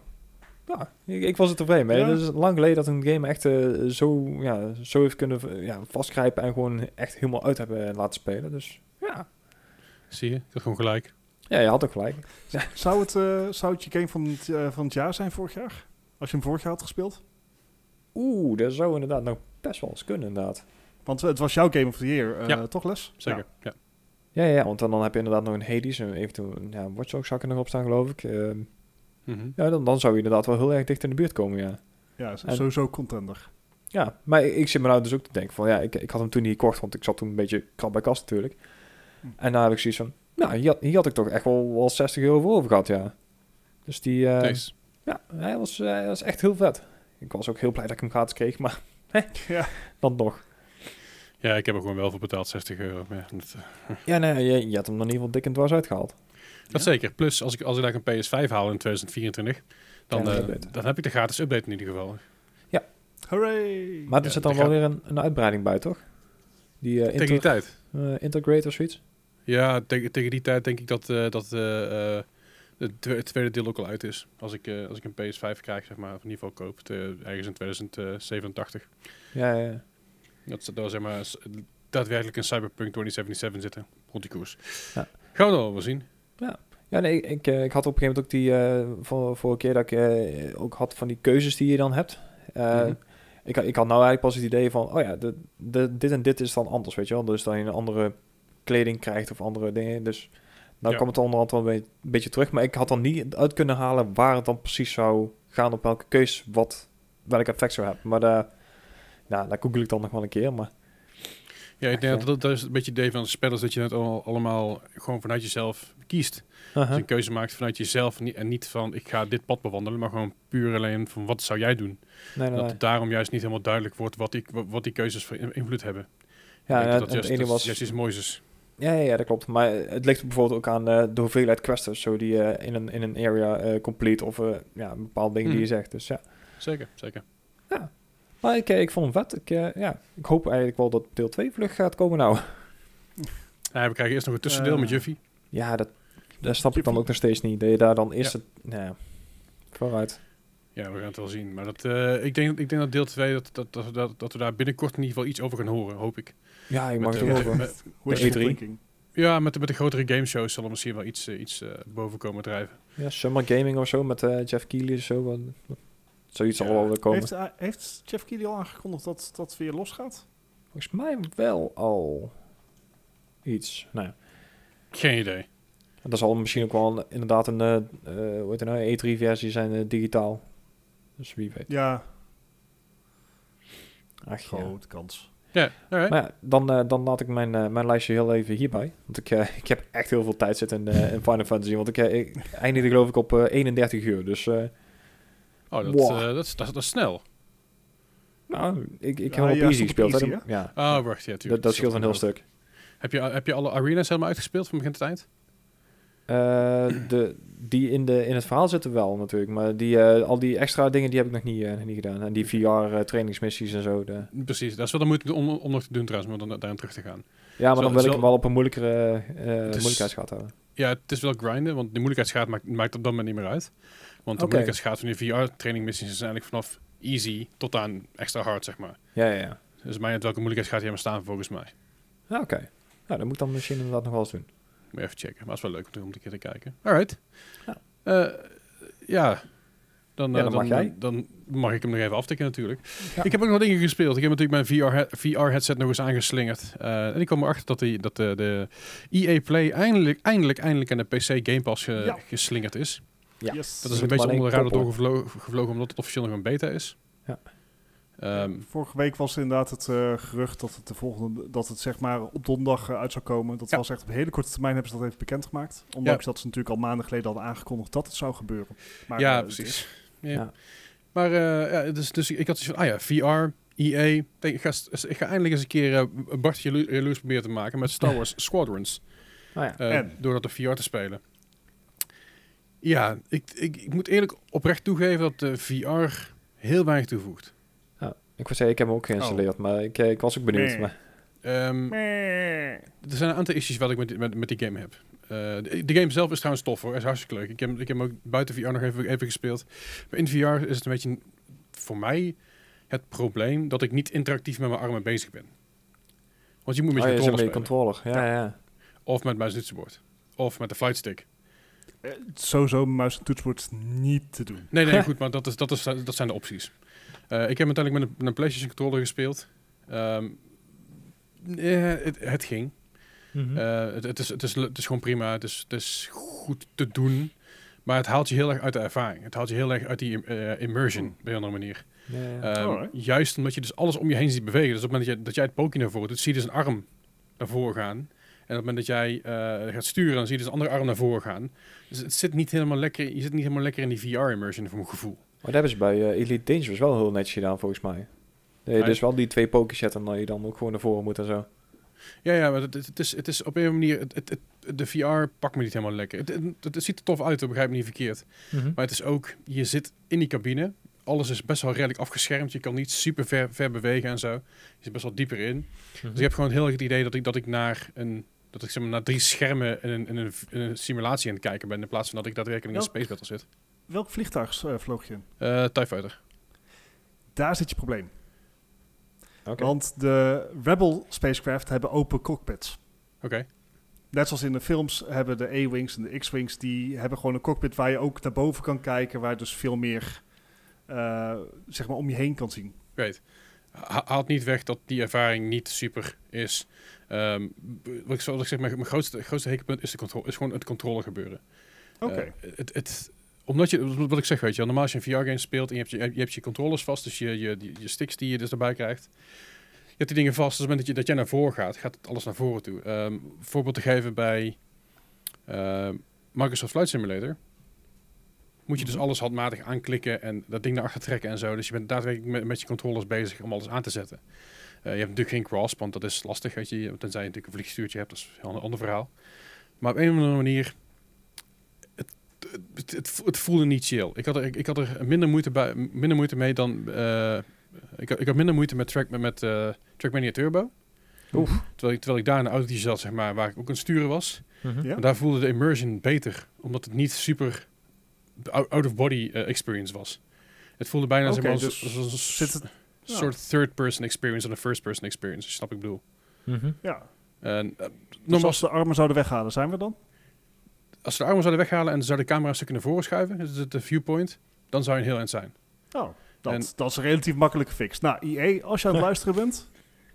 ja, ik, ik was er tevreden mee.
Ja.
Het is lang geleden dat een game echt eh, zo, ja, zo heeft kunnen eh, ja, vastgrijpen en gewoon echt helemaal uit hebben laten spelen. Dus ja,
Zie je? Ik had gewoon gelijk.
ja je had ook gelijk.
Zou het, eh, zou het je game van het, eh, van het jaar zijn vorig jaar? Als je hem vorig jaar had gespeeld?
Oeh, dat zou inderdaad nog best wel eens kunnen inderdaad.
Want het was jouw Game of the Year, eh,
Ja.
toch Les?
Zeker. Ja.
Ja, ja, want dan, dan heb je inderdaad nog een Hades en eventueel ja, Watch Dogs zou ik er nog op staan geloof ik. Ehm,
Mhm.
ja, dan, dan zou je inderdaad wel heel erg dicht in de buurt komen, ja.
Ja, ja
En-
sowieso contender.
Ja, maar ik, ik zit me nou dus ook te denken van ja, ik, ik had hem toen niet gekocht, want ik zat toen een beetje krap bij kast natuurlijk.
Hm.
En daar heb ik zoiets van, nou, hier, had- hier had ik toch echt wel, wel 60 euro voor over gehad, ja. Dus die, eh,
Nice.
ja, hij was, eh, hij was echt heel vet. Ik was ook heel blij dat ik hem gratis kreeg, maar
Ja.
dan nog.
Ja, ik heb er gewoon wel voor betaald, 60 euro. Maar ja, dat,
Ja, nee, je, je had hem dan in ieder geval dik en dwars uitgehaald.
dat zeker. Plus, als ik, als ik daar een PS5 haal in 2024, dan,
Ja,
eh,
update.
dan heb ik de gratis update in ieder geval.
Hooray!
Maar
Ja,
er zit dan
die
wel
gaat-
weer een, een uitbreiding bij, toch? Die eh,
Tegen die
inter,
tijd.
eh, Intergrade of zoiets?
Ja, tegen tegen die tijd denk ik dat, eh, dat eh, eh, het twe- het tweede deel ook al uit is. Als ik, eh, als ik een PS5 krijg, zeg maar, of in ieder geval koop, te- ergens in 2087.
Ja, ja, ja.
Dat ze daar zeg maar s- daadwerkelijk een Cyberpunk 2077 zitten, rond die koers.
Ja.
Gaan we dan wel zien.
ja nee, ik, ik, eh, ik had op een gegeven moment ook die... eh voor, vorige keer dat ik eh, ook had van die keuzes die je dan hebt. Eh,
Mhm.
ik, had- ik had nou eigenlijk pas het idee van... Oh ja, de, de, dit en dit is dan anders, weet je wel. Dus dat je een andere kleding krijgt of andere dingen. Dus nou
Ja.
kwam het onderhand wel een be- een beetje terug. Maar ik had dan niet uit kunnen halen waar het dan precies zou gaan... op welke keus wat, welk effect zou hebben. Maar daar, nou, daar google ik dan nog wel een keer, maar...
Ja, ik denk
Echt,
dat, dat, dat is een beetje het idee van spellers, dat je het al, allemaal gewoon vanuit jezelf kiest.
Aha.
Dus een keuze maakt vanuit jezelf ni- en niet van ik ga dit pad bewandelen, maar gewoon puur alleen van wat zou jij doen.
Nee,
En
nee,
dat
nee.
het daarom juist niet helemaal duidelijk wordt wat die, wa- wat die keuzes voor in- invloed hebben. ik
Ja,
denk
en-
dat dat
en het
juist,
ene
dat
was...
juist iets moois is.
Ja, ja, ja, dat klopt. Maar eh, het ligt bijvoorbeeld ook aan eh, de hoeveelheid quests of zo die je in, een, in een area eh, complete of eh, ja, een bepaalde dingen die
Hmm.
je zegt. Dus ja.
Zeker, zeker.
Maar ik, eh, ik vond hem vet. Ik, eh, ja, ik hoop eigenlijk wel dat deel 2 vlug gaat komen nou.
Nou, we krijgen eerst nog een tussendeel
Eh.
met Juffy.
Ja, dat, dat snap ik dan ook nog steeds niet. Dat je daar dan eerst
Ja.
het... Nee, vooruit.
Ja, we gaan het wel zien. Maar dat, eh, ik, denk, ik denk dat deel 2, dat, dat, dat, dat, dat we daar binnenkort in ieder geval iets over gaan horen, hoop ik.
Ja, ik mag
Met,
het
eh,
ook wel.
met-
Wishful
E3.
thinking.
ja, met, de- met de grotere gameshows zal er misschien wel iets, eh, iets eh, boven komen drijven.
Ja, Summer Gaming of zo met eh, Jeff Keighley of zo. wat- wat- Zoiets
Ja.
zal wel weer komen.
Heeft, eh, heeft Jeff Keighley al aangekondigd dat dat weer losgaat?
Volgens mij wel al iets. Nou ja.
Geen idee.
En Dat zal misschien ook wel een- inderdaad een eh, eh, hoe heet het nou, E3-versie zijn eh, digitaal. Dus wie weet.
Ja,
Ach, ja.
grote kans.
Ja, alright.
Maar ja, dan, eh, dan laat ik mijn, eh, mijn lijstje heel even hierbij. Want ik, eh, ik heb echt heel veel tijd zitten in, eh, in Final Fantasy. Want ik, eh, ik eindigde geloof ik op eh, 31 uur. Dus eh,
Oh, dat,
Wow.
eh, dat, is- dat, is- dat is snel.
nou, ik, ik
Ja,
heb wel
je
op
hebt
easy
op
gespeeld. hè.
easy, hè?
ja,
Ah, wacht, ja, tuurlijk.
dat, dat scheelt een heel
ook.
stuk.
Heb je, heb je alle arenas helemaal uitgespeeld van begin tot eind?
Eh, de, die in, de, in het verhaal zitten wel natuurlijk. Maar die, eh, al die extra dingen die heb ik nog niet, eh, niet gedaan. En die VR-trainingsmissies en zo. De,
Precies, dat is wel de moeite om, om nog te doen trouwens, maar dan daarin terug te gaan.
Ja,
Zo-
maar dan wil
zo-
ik hem wel op een moeilijkere eh
is-
moeilijkheidsgraad hebben.
Ja, het is wel grinden, want de moeilijkheidsgraad maakt, maakt op dat moment niet meer uit. Want de
Oké.
moeilijkheidsgraad van die VR-training missies is eigenlijk vanaf easy tot aan extra hard, zeg maar.
Ja, ja, ja.
Dus mij uit welke moeilijkheidsgraad je maar staan, volgens mij.
Ah, Oké. Nou, dat moet ik dan misschien inderdaad nog wel eens doen.
Moet je even checken, maar het is wel leuk om te- om een keer te kijken. Alright.
Ja.
Eh, ja. Dan,
Ja,
eh,
dan mag jij.
dan mag ik hem nog even aftikken natuurlijk.
Ja.
Ik heb ook nog dingen gespeeld. Ik heb natuurlijk mijn VR, he- VR headset nog eens aangeslingerd. Eh, en ik kwam erachter dat, die, dat de, de EA Play eindelijk, eindelijk, eindelijk aan de PC Game Pass ge-
Ja.
geslingerd is.
Ja.
Yes.
Dat is
moet
een
maar
beetje
alleen
onder de radar
koppelen.
doorgevlogen gevlogen, omdat het officieel nog een beta is.
Ja.
Ehm,
Vorige week was inderdaad het eh, gerucht dat het, de volgende, dat het zeg maar op donderdag eh, uit zou komen. Dat
Ja.
was echt op hele korte termijn hebben ze dat even bekendgemaakt. Ondanks dat ze natuurlijk al maanden geleden hadden aangekondigd dat het zou gebeuren. Maar, eh,
ja,
het is-
precies. Ja.
Ja.
Maar eh, ja, dus, dus ik had zoiets van, ah ja, VR, EA. Ik denk, Ik ga, s- ik ga eindelijk eens een keer eh Bart jalo- jaloers proberen te maken met Star Wars Squadrons.
Nou ja.
eh,
En?
Door dat op VR te spelen. Ja, ik, ik, ik moet eerlijk oprecht toegeven dat de VR heel weinig toevoegt.
Ja. Ik wou zeggen, ik heb hem ook
Oh.
geïnstalleerd, maar ik, eh, ik was ook benieuwd.
Nee.
Maar,
Ehm,
Meh.
Er zijn een aantal issues wat ik met, die- met, met die game heb. Eh, de, de game zelf is trouwens tof hoor, is hartstikke leuk. Ik heb, ik heb hem ook buiten VR nog even, even gespeeld. Maar in VR is het een beetje een- voor mij het probleem dat ik niet interactief met mijn armen bezig ben. Want je moet met
oh,
je
ja, zo
controller
met je
spelen.
controller. Ja, ja. ja.
of met muis en toetsenbord. Of met de flightstick.
Eh, sowieso muis en toetsenbord is niet te doen.
Nee, nee, goed, maar dat, is, dat, is, dat zijn de opties. Eh, ik heb uiteindelijk met een, met een PlayStation controller gespeeld. Ehm, eh, het, het ging.
Mhm. Hm?
Eh, het, het, is, het, is, het is gewoon prima. Het is, het is goed te doen. Maar het haalt je heel erg uit de ervaring. Het haalt je heel erg uit die eh, immersion, op een andere manier.
ja, ja.
Ehm,
Alright.
Juist omdat je dus alles om je heen ziet bewegen. Dus op het moment dat, jij dat jij het pookje naar voren doet, zie je dus een arm naar voren gaan. En op het moment dat jij eh, gaat sturen, dan zie je dus een andere arm naar voren gaan. Dus het zit niet helemaal lekker, je zit niet helemaal lekker in die VR-immersion, voor mijn gevoel.
Maar dat hebben ze bij eh, Elite Dangerous wel heel netjes gedaan, volgens mij. Nee, dus wel die twee pokies zetten dat je dan ook gewoon naar voren moet en zo.
Ja, ja, maar het, het- het is, het is op een manier... Het, het, het- de VR pakt me niet helemaal lekker. Het, het, het ziet er tof uit, dat begrijp me niet verkeerd.
Mhm,
Maar het is ook... Je zit in die cabine. Alles is best wel redelijk afgeschermd. Je kan niet super ver, ver bewegen en zo. Je zit best wel dieper in. Dus ik heb gewoon heel erg het idee dat ik, dat ik naar een... Dat ik zeg maar naar drie schermen in een, in, een, in een simulatie aan het kijken ben. In plaats van dat ik daadwerkelijk in een
Ja.
Space Battle zit.
Welk vliegtuig eh, vloog je in?
Eh TIE Fighter.
Daar zit je probleem.
Oké.
Want de Rebel spacecraft hebben open cockpits.
Oké.
Net zoals in de films hebben de A-Wings en de X-Wings, die hebben gewoon een cockpit waar je ook naar boven kan kijken, waar je dus veel meer eh, zeg maar om je heen kan zien.
Great. Ha- Haalt niet weg dat die ervaring niet super is. Ehm, b- wat ik, zoals ik zeg, mijn, mijn grootste, grootste hekelpunt is, de controle, is gewoon het controle gebeuren.
Oké.
Eh, het, het, omdat je, wat ik zeg, weet je, wel, normaal als je een VR-game speelt en je hebt je, je hebt je controllers vast, dus je, je, je sticks die je dus erbij krijgt. Je hebt die dingen vast, dus op het moment dat, je, dat jij naar voren gaat, gaat het alles naar voren toe. Ehm voorbeeld te geven bij ehm, Microsoft Flight Simulator. Moet je dus
Mhm.
alles handmatig aanklikken en dat ding naar achter trekken en zo. Dus je bent daadwerkelijk met, met je controllers bezig om alles aan te zetten. Eh, je hebt natuurlijk geen grasp, want dat is lastig. Weet je, tenzij je natuurlijk een vliegstuurtje hebt, dat is een heel ander- ander verhaal. Maar op een of andere manier het, het, vo- het voelde niet chill. Ik had er, ik, ik had er minder, moeite bij, minder moeite mee dan. eh, ik, had- ik had minder moeite met, track, met eh, Trackmania Turbo.
Oef.
Terwijl ik, terwijl ik daar in een autootje zat, zeg maar, waar ik ook aan het sturen was.
Ja.
mhm,
Maar daar voelde de immersion beter, omdat het niet super out-of-body eh, experience was. Het voelde bijna zeg
Oké,
maar, als,
dus
als- als een
Zit het, ja.
soort third-person experience dan een first-person experience. Snap ik bedoel.
mhm.
ja.
En, eh,
Dus
nogmaals,
als de armen zouden weghalen, zijn we dan?
als ze de armen zouden weghalen en ze zouden de camera een stukje naar voren schuiven, dus het de viewpoint, dan zou je een heel eind zijn.
Nou, dat,
En-
dat is een relatief makkelijke fix. Nou, IE, als je aan het luisteren bent,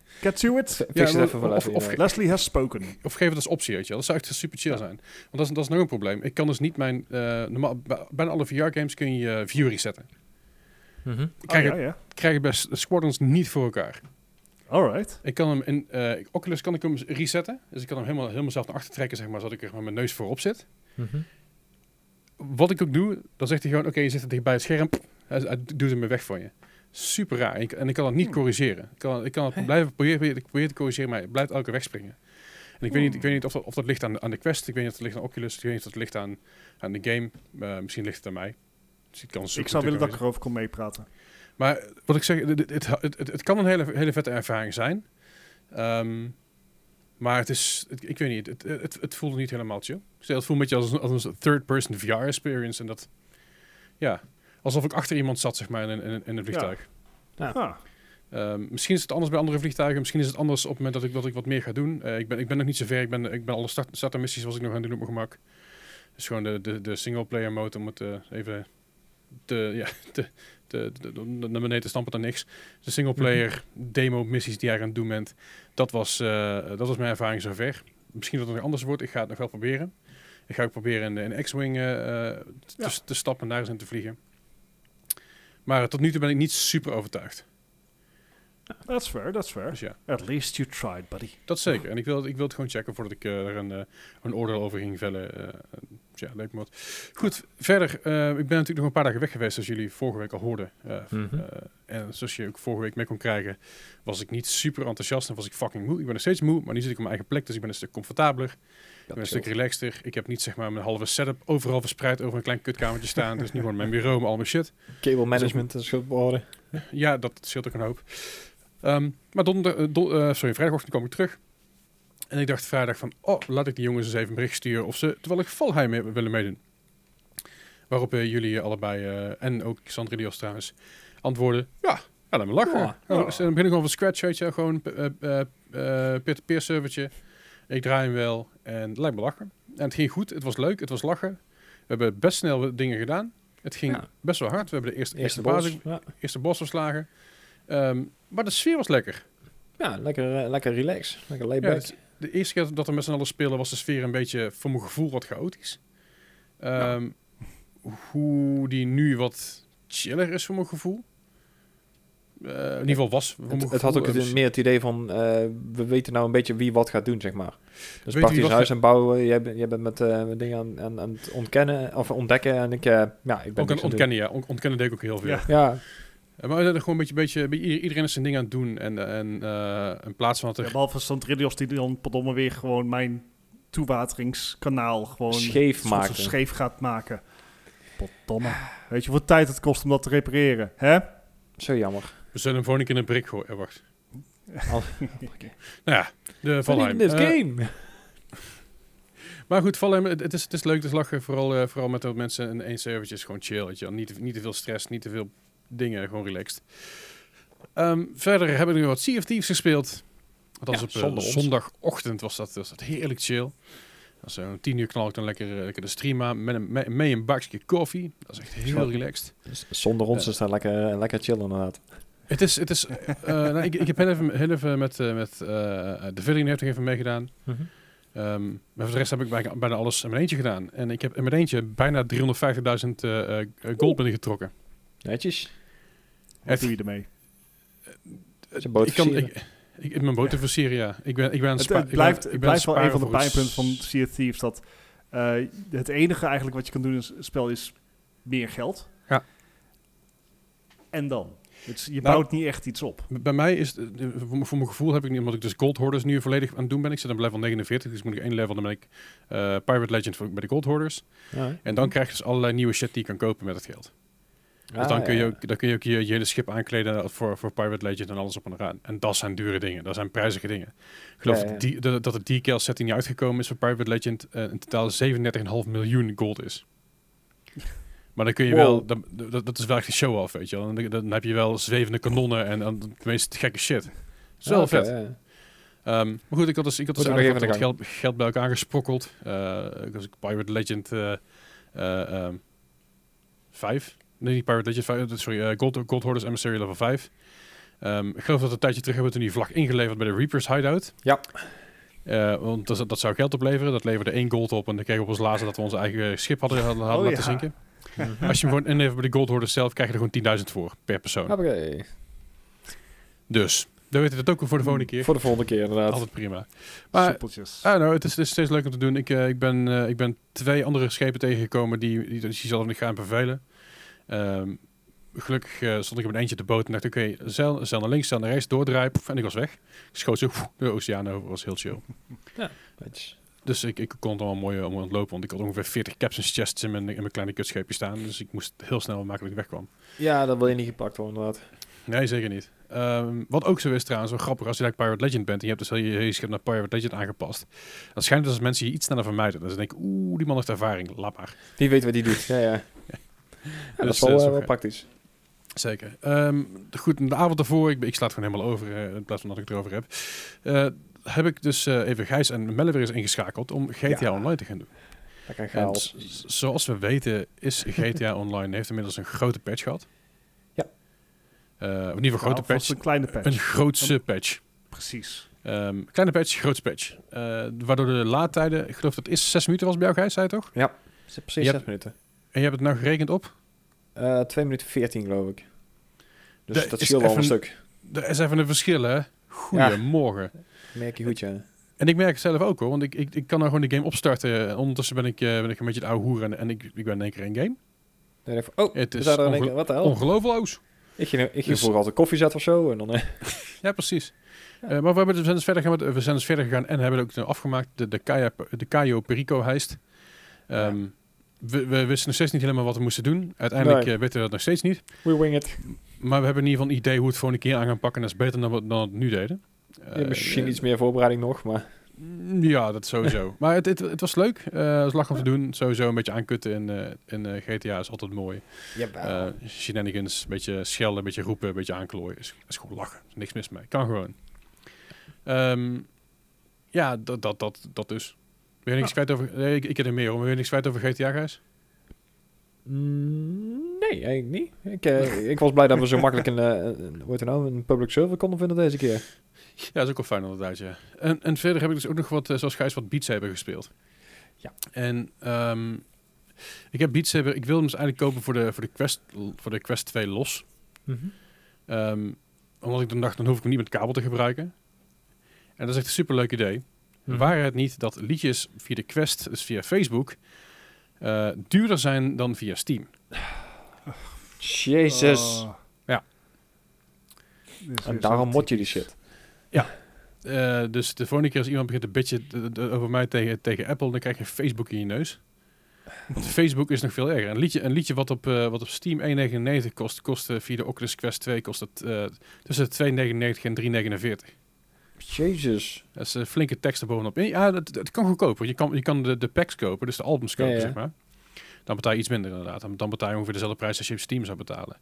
get to it.
Fix het
maar-
even voor
of-
even,
of-
ja.
Leslie has spoken.
Of geef het als optie, weet je wel. Dat zou echt super chill zijn. Want dat is, dat is nog een probleem. Ik kan dus niet mijn... eh, normaal, bij- bijna alle VR-games kun je je view resetten. Ik krijg,
Oh, ja,
het,
ja.
krijg het bij S- Squadrons niet voor elkaar.
Alright.
Ik kan hem in eh, Oculus kan ik hem resetten. Dus ik kan hem helemaal, helemaal zelf naar achter trekken, zeg maar, zodat ik er met mijn neus voorop zit. Wat ik ook doe, dan zegt hij gewoon, oké, je zit er dicht bij het scherm. Hij, hij doet hem weer weg van je. Super raar. En ik, en ik kan dat niet
Hmm.
corrigeren. Ik kan, ik kan het blijven proberen, ik probeer te corrigeren, maar het blijft elke keer wegspringen. En ik weet niet, ik weet niet of, dat, of dat ligt aan, aan de Quest. Ik weet niet of dat ligt aan Oculus. Ik weet niet of dat ligt aan, aan de game. Eh, misschien ligt het aan mij. Dus ik, kan zo
Ik zou
goed
willen dat ik
kunnen
erover kon meepraten.
wezen. Maar wat ik zeg, het, het, het, het- het kan een hele, hele vette ervaring zijn. Ehm, maar het is, het- ik weet niet, het, het, het voelde niet helemaal chill. Ik zei, Het voelde een beetje als een, als een third-person VR experience. En dat, ja, alsof ik achter iemand zat, zeg maar, in, een- in, een- in een vliegtuig.
Ja.
Ah,
Ehm, misschien is het anders bij andere vliegtuigen. Misschien is het anders op het moment dat ik, dat ik wat meer ga doen. Eh, ik, ben, ik ben nog niet zo ver. Ik ben, ik ben alle start, startermissies was ik nog aan het doen op mijn gemak. Dus gewoon de, de, de single-player mode om het eh, even te, ja, te, te, te- om naar beneden te stampen dan niks. De single-player demo-missies die jij aan het doen bent. Dat was, eh, dat was mijn ervaring zover. Misschien dat het nog anders wordt. Ik ga het nog wel proberen. Ik ga ook proberen in, de- in X-Wing eh, eh, te,
Ja.
te stappen en daar eens in te vliegen. Maar tot nu toe ben ik niet super overtuigd.
that's fair, that's fair.
Dus ja.
At least you tried, buddy.
Dat zeker. En ik wil, ik wil het gewoon checken voordat ik eh, er een, eh, een oordeel over ging vellen. Eh, eh, ja, leuk man. Goed, verder. eh, ik ben natuurlijk nog een paar dagen weg geweest, zoals jullie vorige week al hoorden. Eh,
Mhm.
eh, en zoals je ook vorige week mee kon krijgen, was ik niet super enthousiast en was ik fucking moe. Ik ben nog steeds moe, maar nu zit ik op mijn eigen plek, dus ik ben een stuk comfortabeler. Ik ben een stuk relaxter. Ik heb niet zeg maar mijn halve setup overal verspreid over een klein kutkamertje staan. Dus nu gewoon mijn bureau, met al mijn shit.
Cable management en schildwoorden.
Ja, dat scheelt ook een hoop. Ehm, maar donder, eh, don- eh, sorry, vrijdagochtend kwam ik terug. En ik dacht vrijdag van, oh, laat ik die jongens eens even een bericht sturen of ze terwijl ik Valheim mee- willen meedoen. Waarop eh, jullie allebei, eh, en ook Sandra Dios trouwens, antwoorden, ja, ja laat me lachen.
Ja.
Oh, dus Dan begin ik gewoon van scratch, weet je, gewoon eh, eh, eh, peer-to-peer servertje. Ik draai hem wel en het lijkt me lachen. En het ging goed, het was leuk, het was lachen. We hebben best snel wat dingen gedaan. Het ging
Ja.
best wel hard. We hebben de eerste,
Eerste
eerste,
bos.
basis,
Ja,
eerste bos verslagen. Ehm, maar de sfeer was lekker.
ja lekker, eh, lekker relax. Lekker
Ja,
layback.
het- de eerste keer dat we met z'n allen spelen was de sfeer een beetje, voor mijn gevoel, wat chaotisch. Ehm, Hoe die nu wat chiller is voor mijn gevoel. Eh, in ieder geval was. Voor mijn
het, het
gevoel.
had ook
Eh,
het- meer het idee van, eh, we weten nou een beetje wie wat gaat doen, zeg maar. Dus
wie
praktisch
wat
huis en bouwen, jij, bent- jij bent met eh, met dingen aan, aan, aan het ontkennen, of ontdekken. En ik, eh, ja, ik ben
Ook
niks aan
aan
het doen.
ontkennen, ja. On- Ontkennen deed ik ook heel veel.
Ja.
Ja,
Eh, Maar dat is gewoon een beetje, beetje ieder- iedereen is zijn ding aan het doen. En, eh, en eh, in plaats van dat er
Ja, behalve Santrilios die dan verdomme weer gewoon mijn toewateringskanaal gewoon
Scheef
soort van
maken.
scheef gaat maken. Potdomme. Weet je hoeveel tijd het kost om dat te repareren? Hè?
Zo jammer.
We zullen hem gewoon een keer in een brik gooien. Eh, wacht.
Al-
Nou ja, de Valheim.
Niet in dit
Eh,
game.
maar goed, Valheim, het, het is, het is leuk, het is lachen. Vooral, eh, vooral met dat mensen in één servertje is gewoon chill. Weet je. wel. Niet, te- niet te veel stress, niet te veel dingen, gewoon relaxed. Ehm, verder hebben we nu wat Sea of Thieves gespeeld. Dat was
Ja,
op eh,
zonder ons.
zondagochtend, was dat, was dat heerlijk chill. Als om tien uur knal ik dan lekker, eh, lekker de stream aan met een, me- mee een bakje koffie. Dat is echt heel
Zo.
relaxed.
Z- Zonder ons
eh.
is dat lekker, lekker chillen inderdaad.
Het is, het is, eh, nou, ik, ik heb heel even, heel even met, eh, met eh, de Villing heeft er even meegedaan.
Mhm.
Ehm, maar voor de rest heb ik bijna, bijna alles in mijn eentje gedaan. En ik heb in mijn eentje bijna 350.000 eh, eh, gold binnengetrokken.
Netjes.
Wat doe je ermee?
Is een boot
ik kan,
versieren.
ik, ik, in mijn boot te versieren, ja. Ik ben, ik ben aan
Het,
spa-
het
ik ben-
blijft,
ik
het
ben
blijft wel een
sparen
van de
voor een
pijnpunten van
s-
Sea of Thieves dat eh, het enige eigenlijk wat je kan doen in het spel is meer geld.
Ja.
En dan? Dus je
Nou-
bouwt niet echt iets op.
Bij mij is, het- eh, voor, mijn- voor mijn gevoel heb ik niet, omdat ik dus gold hoarders nu volledig aan het doen ben. Ik zit op level 49, dus moet ik één level, dan ben ik eh, Pirate Legend voor, bij de gold hoarders.
Ja.
En
Mhm.
dan krijg je dus allerlei nieuwe shit die je kan kopen met het geld. Dus
Ah,
dan, kun je
ja.
ook, dan kun je ook je, je hele schip aankleden voor, voor Pirate Legend en alles op en eraan. En dat zijn dure dingen, dat zijn prijzige dingen. Ik geloof
Ja, ja.
dat die- dat, dat de decal set die niet uitgekomen is voor Pirate Legend eh, in totaal 37,5 miljoen gold is. Maar dan kun je
Wow.
wel, dan- dat, dat is wel echt een show-off, weet je wel. Dan, dan heb je wel zwevende kanonnen en, en de meest gekke shit. Dat is wel
Ah, oké,
vet.
ja.
Ehm, maar goed, ik had dus, ik had dus
Moeten
aardig wat,
we nog even
wat
aan de
geld, geld bij elkaar gesprokkeld. Eh, ik was Pirate Legend eh eh, ehm, 5. Nee, niet Pirate Legend 5. eh, Sorry, eh, Gold, Gold Hoarders Emissary level 5. Ehm, ik geloof dat we een tijdje terug hebben we toen die vlag ingeleverd bij de Reapers Hideout.
Ja.
Eh, want dat, dat zou geld opleveren. Dat leverde één gold op. En dan kregen we op ons laatste dat we ons eigen schip hadden, hadden
Oh,
laten
ja.
zinken.
Mhm.
Als je hem gewoon inlevert bij de Gold Hoarders zelf, krijg je er gewoon 10.000 voor per persoon.
Hoppakee.
Dus, dan weten we het ook voor de volgende keer.
Mm. Voor de volgende keer inderdaad.
Altijd prima. Maar
Soepeltjes.
Ah, nou, het is, het is steeds leuk om te doen. Ik, eh, ik, ben, eh, ik ben twee andere schepen tegengekomen die, die, die zelf niet gaan vervelen. Ehm, gelukkig eh, stond ik op een eentje op de boot en dacht, oké, zeil, zeil naar links, zeil naar rechts, doordraai. poef, en ik was weg. Ik schoot zo poef, de oceaan over, was heel chill.
Netjes.
Dus ik, ik kon het allemaal mooi, eh, mooi ontlopen, want ik had ongeveer 40 caps en chests in mijn, in mijn kleine kutscheepje staan. Dus ik moest heel snel en makkelijk wegkwam.
Ja, dat wil je niet gepakt worden inderdaad.
Nee, zeker niet. Ehm, wat ook zo is trouwens, wel grappig, als je like Pirate Legend bent en je hebt dus heel je, heel je schip naar Pirate Legend aangepast, dan schijnt het dus dat mensen je iets sneller vermijden. Dus dan denk ik, oeh, die man heeft ervaring, laat maar.
Die weet wat die doet. Ja, ja. Ja, dat
Dus,
is wel,
eh,
eh,
zo
wel
ga-
praktisch.
Zeker. Ehm, goed, de avond daarvoor, ik, ben- ik sla het gewoon helemaal over, eh, in plaats van dat ik het erover heb, Eh, heb ik dus eh, even Gijs en Melle weer eens ingeschakeld om GTA
Ja.
Online te gaan doen.
Dat kan
En
chaos.
z- z- zoals we weten is GTA Online, heeft inmiddels een grote patch gehad.
Ja.
Eh, of in ieder geval een grote
Nou, vast
patch,
Een kleine patch.
een grootse patch.
Precies.
Ehm, kleine patch, grote patch. Eh, waardoor de laadtijden, ik geloof dat is 6 minuten was bij jou, Gijs, zei je toch?
Het is precies
je
6
hebt-
minuten.
En je hebt het nou gerekend op?
Eh 2 minuten 14 geloof ik. Dus
Dat
dat
is
scheelt al
even-
een stuk.
Er is even een verschil, hè? Goedemorgen.
Merk je goed, ja.
En ik merk het zelf ook hoor, want ik, ik, ik kan nou gewoon de game opstarten. En Ondertussen ben ik, eh, ben ik een beetje het oude hoer en, en ik, ik ben in één keer in game.
Dan denk ik van, oh,
Het
we
is
zouden in één
ongel-
keer, wat de hel?
Ongeloofloos.
Ik ging, ik ging
Dus-
vroeger altijd koffie zetten of zo. En dan, eh,
Ja, precies. Eh,
Ja.
maar we, hebben, we zijn dus verder gegaan, met- we zijn dus verder gegaan en hebben ook eh, afgemaakt de, de, Kaya, de Cayo Perico heist. Ehm, we, we wisten nog steeds niet helemaal wat we moesten doen. Uiteindelijk
Nee.
eh, weten we dat nog steeds niet.
we wing it.
Maar we hebben in ieder geval een idee hoe we het voor een keer aan gaan pakken. En dat is beter dan we dan we het nu deden.
Ja, misschien
Eh,
iets meer voorbereiding nog, maar...
Mm, Ja, dat sowieso. maar het, het, het was leuk. Eh het was lach om te doen. Sowieso een beetje aankutten in, eh, in eh, GTA is altijd mooi. Eh shenanigans, een beetje schelden, een beetje roepen, een beetje aanklooien. Is, is gewoon lachen. Is niks mis mee. Kan gewoon. Ehm, ja, dat, dat, dat, dat dus. Wil je niks kwijt over... Nee, ik, ik heb er meer om. Wil je niks kwijt over GTA, Gijs?
Mm, nee, eigenlijk niet. Ik, eh, ik was blij dat we zo makkelijk een, eh, een, hoe heet het nou, een public server konden vinden deze keer.
Ja, dat is ook wel fijn inderdaad, ja. En, en verder heb ik dus ook nog wat, eh, zoals Gijs, wat Beat Saber gespeeld.
Ja.
En ehm, ik heb Beat Saber... Ik wilde hem dus eigenlijk kopen voor de, voor de, Quest, voor de Quest 2 los. Ehm, omdat ik dan dacht, dan hoef ik hem niet met kabel te gebruiken. En dat is echt een superleuk idee.
Mhm.
Waren het niet dat liedjes via de Quest, dus via Facebook, eh, duurder zijn dan via Steam.
Jezus.
Oh.
Ja.
Dus
En
weer
daarom
zo
mot je die
typisch.
shit.
Eh, dus de volgende keer als iemand begint te bitchen eh, eh, over mij tegen, tegen Apple, dan krijg je Facebook in je neus. Want Facebook is nog veel erger. Een liedje, een liedje wat, op, eh, wat op Steam 1,99 kost, kost eh, via de Oculus Quest 2 kost het eh, tussen de 2,99 en 3,49.
Jezus.
Dat is eh, flinke tekst erbovenop. Ja, dat, dat kan goedkoper. Je kan, je kan de, de packs kopen, dus de albums
Ja,
kopen,
ja.
zeg maar. Dan betaal je iets minder inderdaad. Dan, dan betaal je ongeveer dezelfde prijs als je op Steam zou betalen.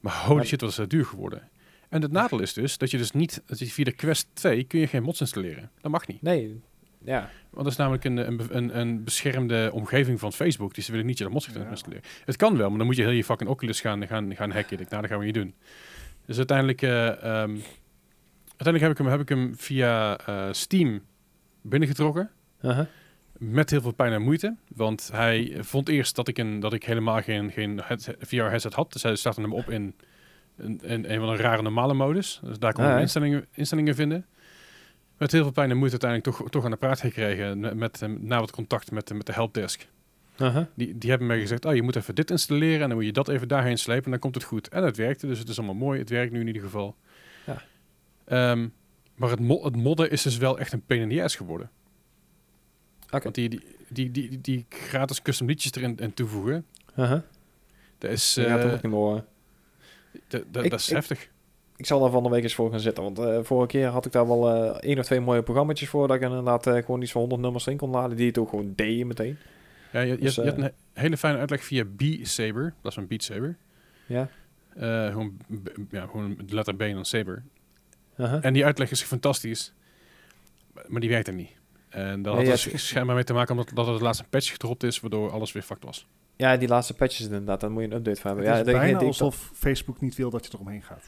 Maar holy
Maar-
shit, wat is dat duur geworden. En het nadeel is dus dat je dus niet, dat je via de Quest 2 kun je geen mods installeren. Dat mag niet.
Nee. Ja.
Want dat is namelijk een, een, be- een, een beschermde omgeving van Facebook. Dus ze willen niet je dat mods gaat
Ja.
installeren. Het kan wel, maar dan moet je heel je fucking Oculus gaan, gaan, gaan hacken. Ik, denk, nou, dat gaan we niet doen. Dus uiteindelijk, eh, ehm, uiteindelijk heb, ik hem, heb ik hem via eh, Steam binnengetrokken.
Uh-huh.
Met heel veel pijn en moeite. Want hij vond eerst dat ik, een, dat ik helemaal geen, geen VR-headset had. Dus hij startte hem op in, in, in een van de rare normale modus. Dus daar kon
Ah,
hij
hè?
instellingen, instellingen vinden. Met heel veel pijn en moeite uiteindelijk toch, toch aan de praat gekregen. Met, met, eh, na wat contact met, de- met de helpdesk.
Uh-huh.
Die, die hebben mij gezegd, oh, je moet even dit installeren en dan moet je dat even daarheen slepen en dan komt het goed. En het werkte, dus het is allemaal mooi. Het werkt nu in ieder geval.
Ja.
Ehm, maar het, mo- het modden is dus wel echt een pain in the ass geworden.
Oké.
Want die, die, die, die, die, die gratis custom liedjes erin en toevoegen,
Uh-huh.
dat is,
Je
eh,
gaat hem ook niet meer horen.
dat- dat-
Ik-
dat is
ik-
heftig.
Ik zal daar van de week eens voor gaan zitten. Want eh, vorige keer had ik daar wel eh, één of twee mooie programma's voor. Dat ik inderdaad eh, gewoon iets van 100 nummers in kon laden. Die het ook gewoon deed meteen.
Ja, je, je,
dus,
had- je had
eh,
een he- hele fijne uitleg via B-Saber. Dat is een Beat Saber.
Ja.
Eh, gewoon, b- ja, gewoon de letter B en dan Saber.
Uh-huh.
En die uitleg is fantastisch, maar die werkte niet. En dat had
Nee,
er
ja,
sch- schijnbaar mee te maken omdat dat het laatste patch gedropt is, waardoor alles weer fucked was.
Ja, die laatste patches inderdaad. Daar moet je een update van
Het
hebben.
is
ja, dat-
bijna
dat-
alsof Facebook niet wil dat je eromheen gaat.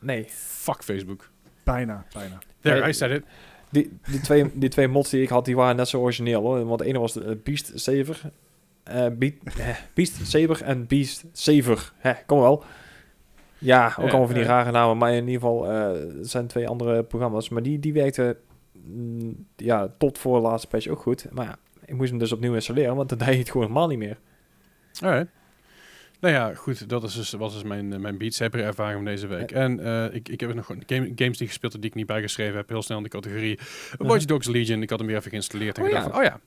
Nee.
Fuck Facebook.
Bijna, bijna.
There,
Nee.
I said it.
Die, die, twee, die twee mods die ik had, die waren net zo origineel hoor. Want de ene was de, eh, Beast Saver. eh Beat, eh, Beast Saber en Beast Saver. Hè, kom wel. Ja, ook
Ja,
allemaal van die
ja.
rare namen. Maar in ieder geval, eh, het zijn twee andere programma's. Maar die, die werkten mm, ja, tot voor de laatste patch ook goed. Maar ja, ik moest hem dus opnieuw installeren, want dan deed je het gewoon helemaal niet meer.
Alright. Nou ja, goed, dat is dus, was dus mijn, eh, mijn Beat Saber ervaring van deze week. En eh, ik, ik heb nog gewoon game, games die gespeeld heb die ik niet bijgeschreven heb. Heel snel in de categorie Watch Dogs Legion. Ik had hem weer even geïnstalleerd en
Oh
gedacht
ja.
van, oh ja,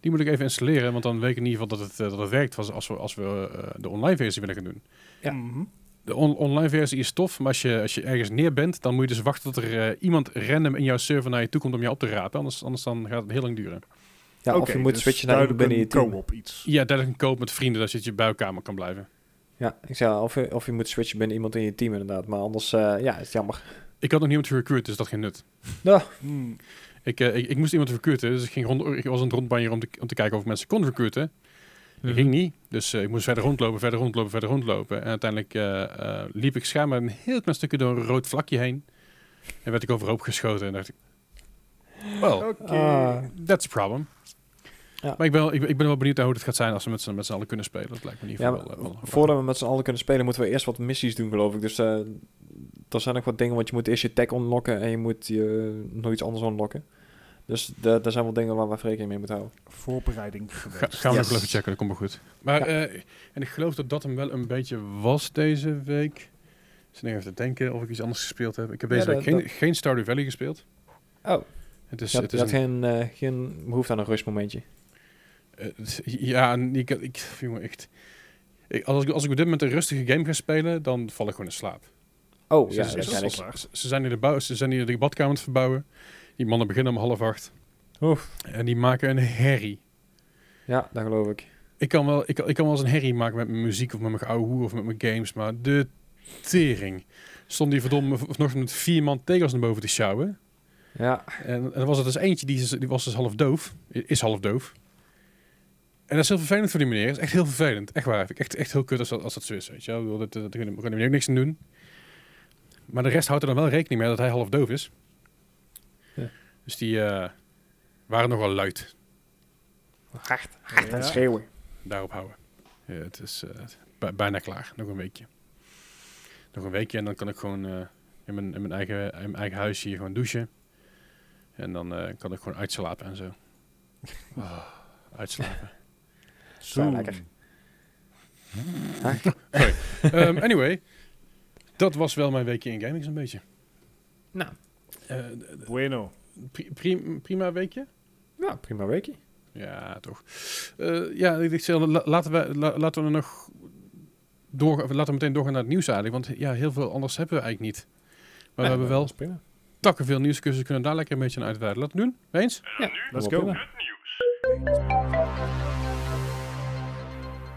die moet ik even installeren. Want dan weet ik in ieder geval dat het, eh, dat het werkt als, als we, als we eh, de online versie willen gaan doen.
Ja.
Mhm.
De on- online versie is tof, maar als je, als je ergens neer bent, dan moet je dus wachten tot er eh, iemand random in jouw server naar je toe komt om je op te rapen. Anders, anders dan gaat het heel lang duren.
Ja, of
Oké,
je moet
dus
switchen naar iemand
duidelijk
binnen je team.
een co-op iets.
Ja, dat is een koop met vrienden, dat je je bij elkaar maar kan blijven.
Ja, ik zei, al, of, je, of je moet switchen binnen iemand in je team inderdaad. Maar anders, eh, ja, is het jammer.
Ik had nog niemand gerecruit, dus dat geen nut.
Hmm.
Ik, eh, ik, ik moest iemand recruiten, dus ik, ging rond, ik was aan het rondbanjeren om te, om te kijken of ik mensen kon recruiten. Dat ging niet, dus eh, ik moest verder rondlopen, verder rondlopen, verder rondlopen. En uiteindelijk eh, eh, liep ik schaam een heel klein stukje door een rood vlakje heen. En werd ik overhoop geschoten en dacht ik, well,
Oké.
Ah.
That's a problem.
Ja.
Maar ik ben, wel, ik, ben- ik ben wel benieuwd naar hoe het gaat zijn als we met z'n, met z'n allen kunnen spelen. Dat lijkt me in ieder
Ja,
geval
maar
wel, wel-
voordat we met z'n allen kunnen spelen, moeten we eerst wat missies doen, geloof ik. Dus eh er zijn nog wat dingen, want je moet eerst je tag unlocken en je moet je, nog iets anders unlocken. Dus da- daar zijn wel dingen waar we even rekening mee moeten houden.
Voorbereiding
Ga-
geweest.
gaan we nog
Yes.
wel even checken, dat komt wel goed. Maar, eh, en ik geloof dat dat hem wel een beetje was deze week. Dus nu even te denken of ik iets anders gespeeld heb. Ik heb
Ja,
deze week
dat-
geen,
dat-
geen Stardew Valley gespeeld.
Oh,
Het is,
je had,
Dus het
je
is
had
een-
geen, eh, geen behoefte aan een rustmomentje.
eh, het- ja, en ik, ik, jongen, echt. Ik, als, ik, als ik op dit moment een rustige game ga spelen, dan val ik gewoon in slaap.
Oh,
Ze-
ja,
ze-
dat
ze-
ken
wel
ik.
waar.
Ze- Ze zijn, in de bouw, ze zijn hier de badkamer aan het verbouwen. Die mannen beginnen om half acht.
Oef.
En die maken een herrie.
Ja, dat geloof ik.
Ik kan wel, ik, kan- ik kan wel eens een herrie maken met mijn muziek of met mijn ouwe hoer of met mijn games, maar de tering. Stond die verdomme v- vanochtend met vier man tegels naar boven te sjouwen.
Ja,
En, en er was er dus eentje, die, is- die was dus half doof. I- Is half doof. En dat is heel vervelend voor die meneer. Dat is echt heel vervelend. Echt waar. Vind ik echt, echt heel kut als dat, als dat zo is, weet je wel. Ik bedoel, dat- dat- Daar kunnen we kunnen we ook niks aan doen. Maar de rest houdt er dan wel rekening mee dat hij half doof is.
Ja.
Dus die eh, waren nogal luid.
hard,
hard
hard
aan
en
het
schreeuwen.
daarop houden. Ja, het is eh, bij- bijna klaar. Nog een weekje. Nog een weekje en dan kan ik gewoon eh, in, mijn, in, mijn eigen, in mijn eigen huis hier gewoon douchen. En dan eh, kan ik gewoon uitslapen en zo. Ah, uitslapen.
Zo.
Ja, lekker.
Ehm, anyway, dat was wel mijn weekje in gaming zo'n beetje.
Nou,
Eh,
Bueno.
pri- pri- prima weekje?
ja, prima weekje.
Ja, toch. Eh, ja, ik ik zeg, la- laten, we, la- laten we er nog door, of laten we meteen doorgaan naar het nieuws eigenlijk. Want ja, heel veel anders hebben we eigenlijk niet. Maar we hebben wel
Dat is prima.
takken veel nieuwskussen. We kunnen daar lekker een beetje aan uitweiden. Laten we het doen. Eens?
Let's
Wel
go.
prima.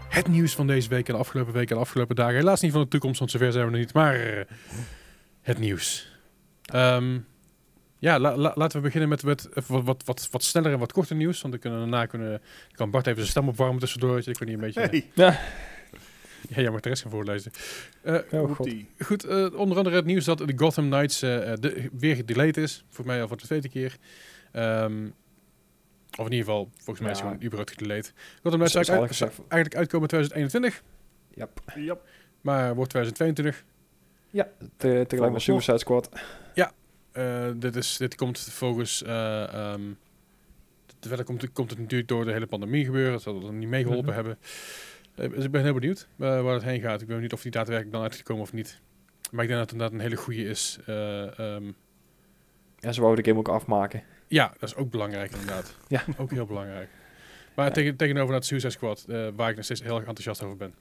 Het nieuws van deze week en de afgelopen week en de afgelopen dagen. Helaas niet van de toekomst, want zover zijn we nog niet. Maar eh, het nieuws. Ehm, ja, la- la- laten we beginnen met, met eh, wat, wat, wat, wat sneller en wat korter nieuws. Want dan kunnen we daarna kunnen, kan Bart even zijn stem opwarmen tussendoor. weet je. Ik kan hier een beetje...
Hey.
Ja, jij mag de rest gaan voorlezen. Eh,
Oh, god.
Hoeptie.
goed, eh, onder andere het nieuws dat de Gotham Knights eh, eh, de- weer gedelayed is. Voor mij al voor de tweede keer. Ehm, of in ieder geval, volgens mij is het
Ja.
gewoon überhaupt gedelayed. Gotham
Dat
Knights
is
zou eigenlijk,
eigenlijk gezegd.
eigenlijk uitkomen in 2021,
Ja,
Yep.
maar wordt 2022.
te- tegelijk met
Volgens nog.
Suicide Squad.
Eh, dit, is, dit komt volgens... eh ehm, dit- verder komt, komt het natuurlijk door de hele pandemie gebeuren. Dat zal er niet mee geholpen
Mhm.
hebben. Eh, dus ik ben heel benieuwd eh, waar het heen gaat. Ik ben niet of die daadwerkelijk dan uitgekomen of niet. Maar ik denk dat het inderdaad een hele goede is. Eh, ehm,
En ze wouden de game ook afmaken.
ja, dat is ook belangrijk inderdaad.
Ja.
Ook heel belangrijk. Maar tegen, tegenover dat Suicide Squad, eh, waar ik nog steeds heel erg enthousiast over ben.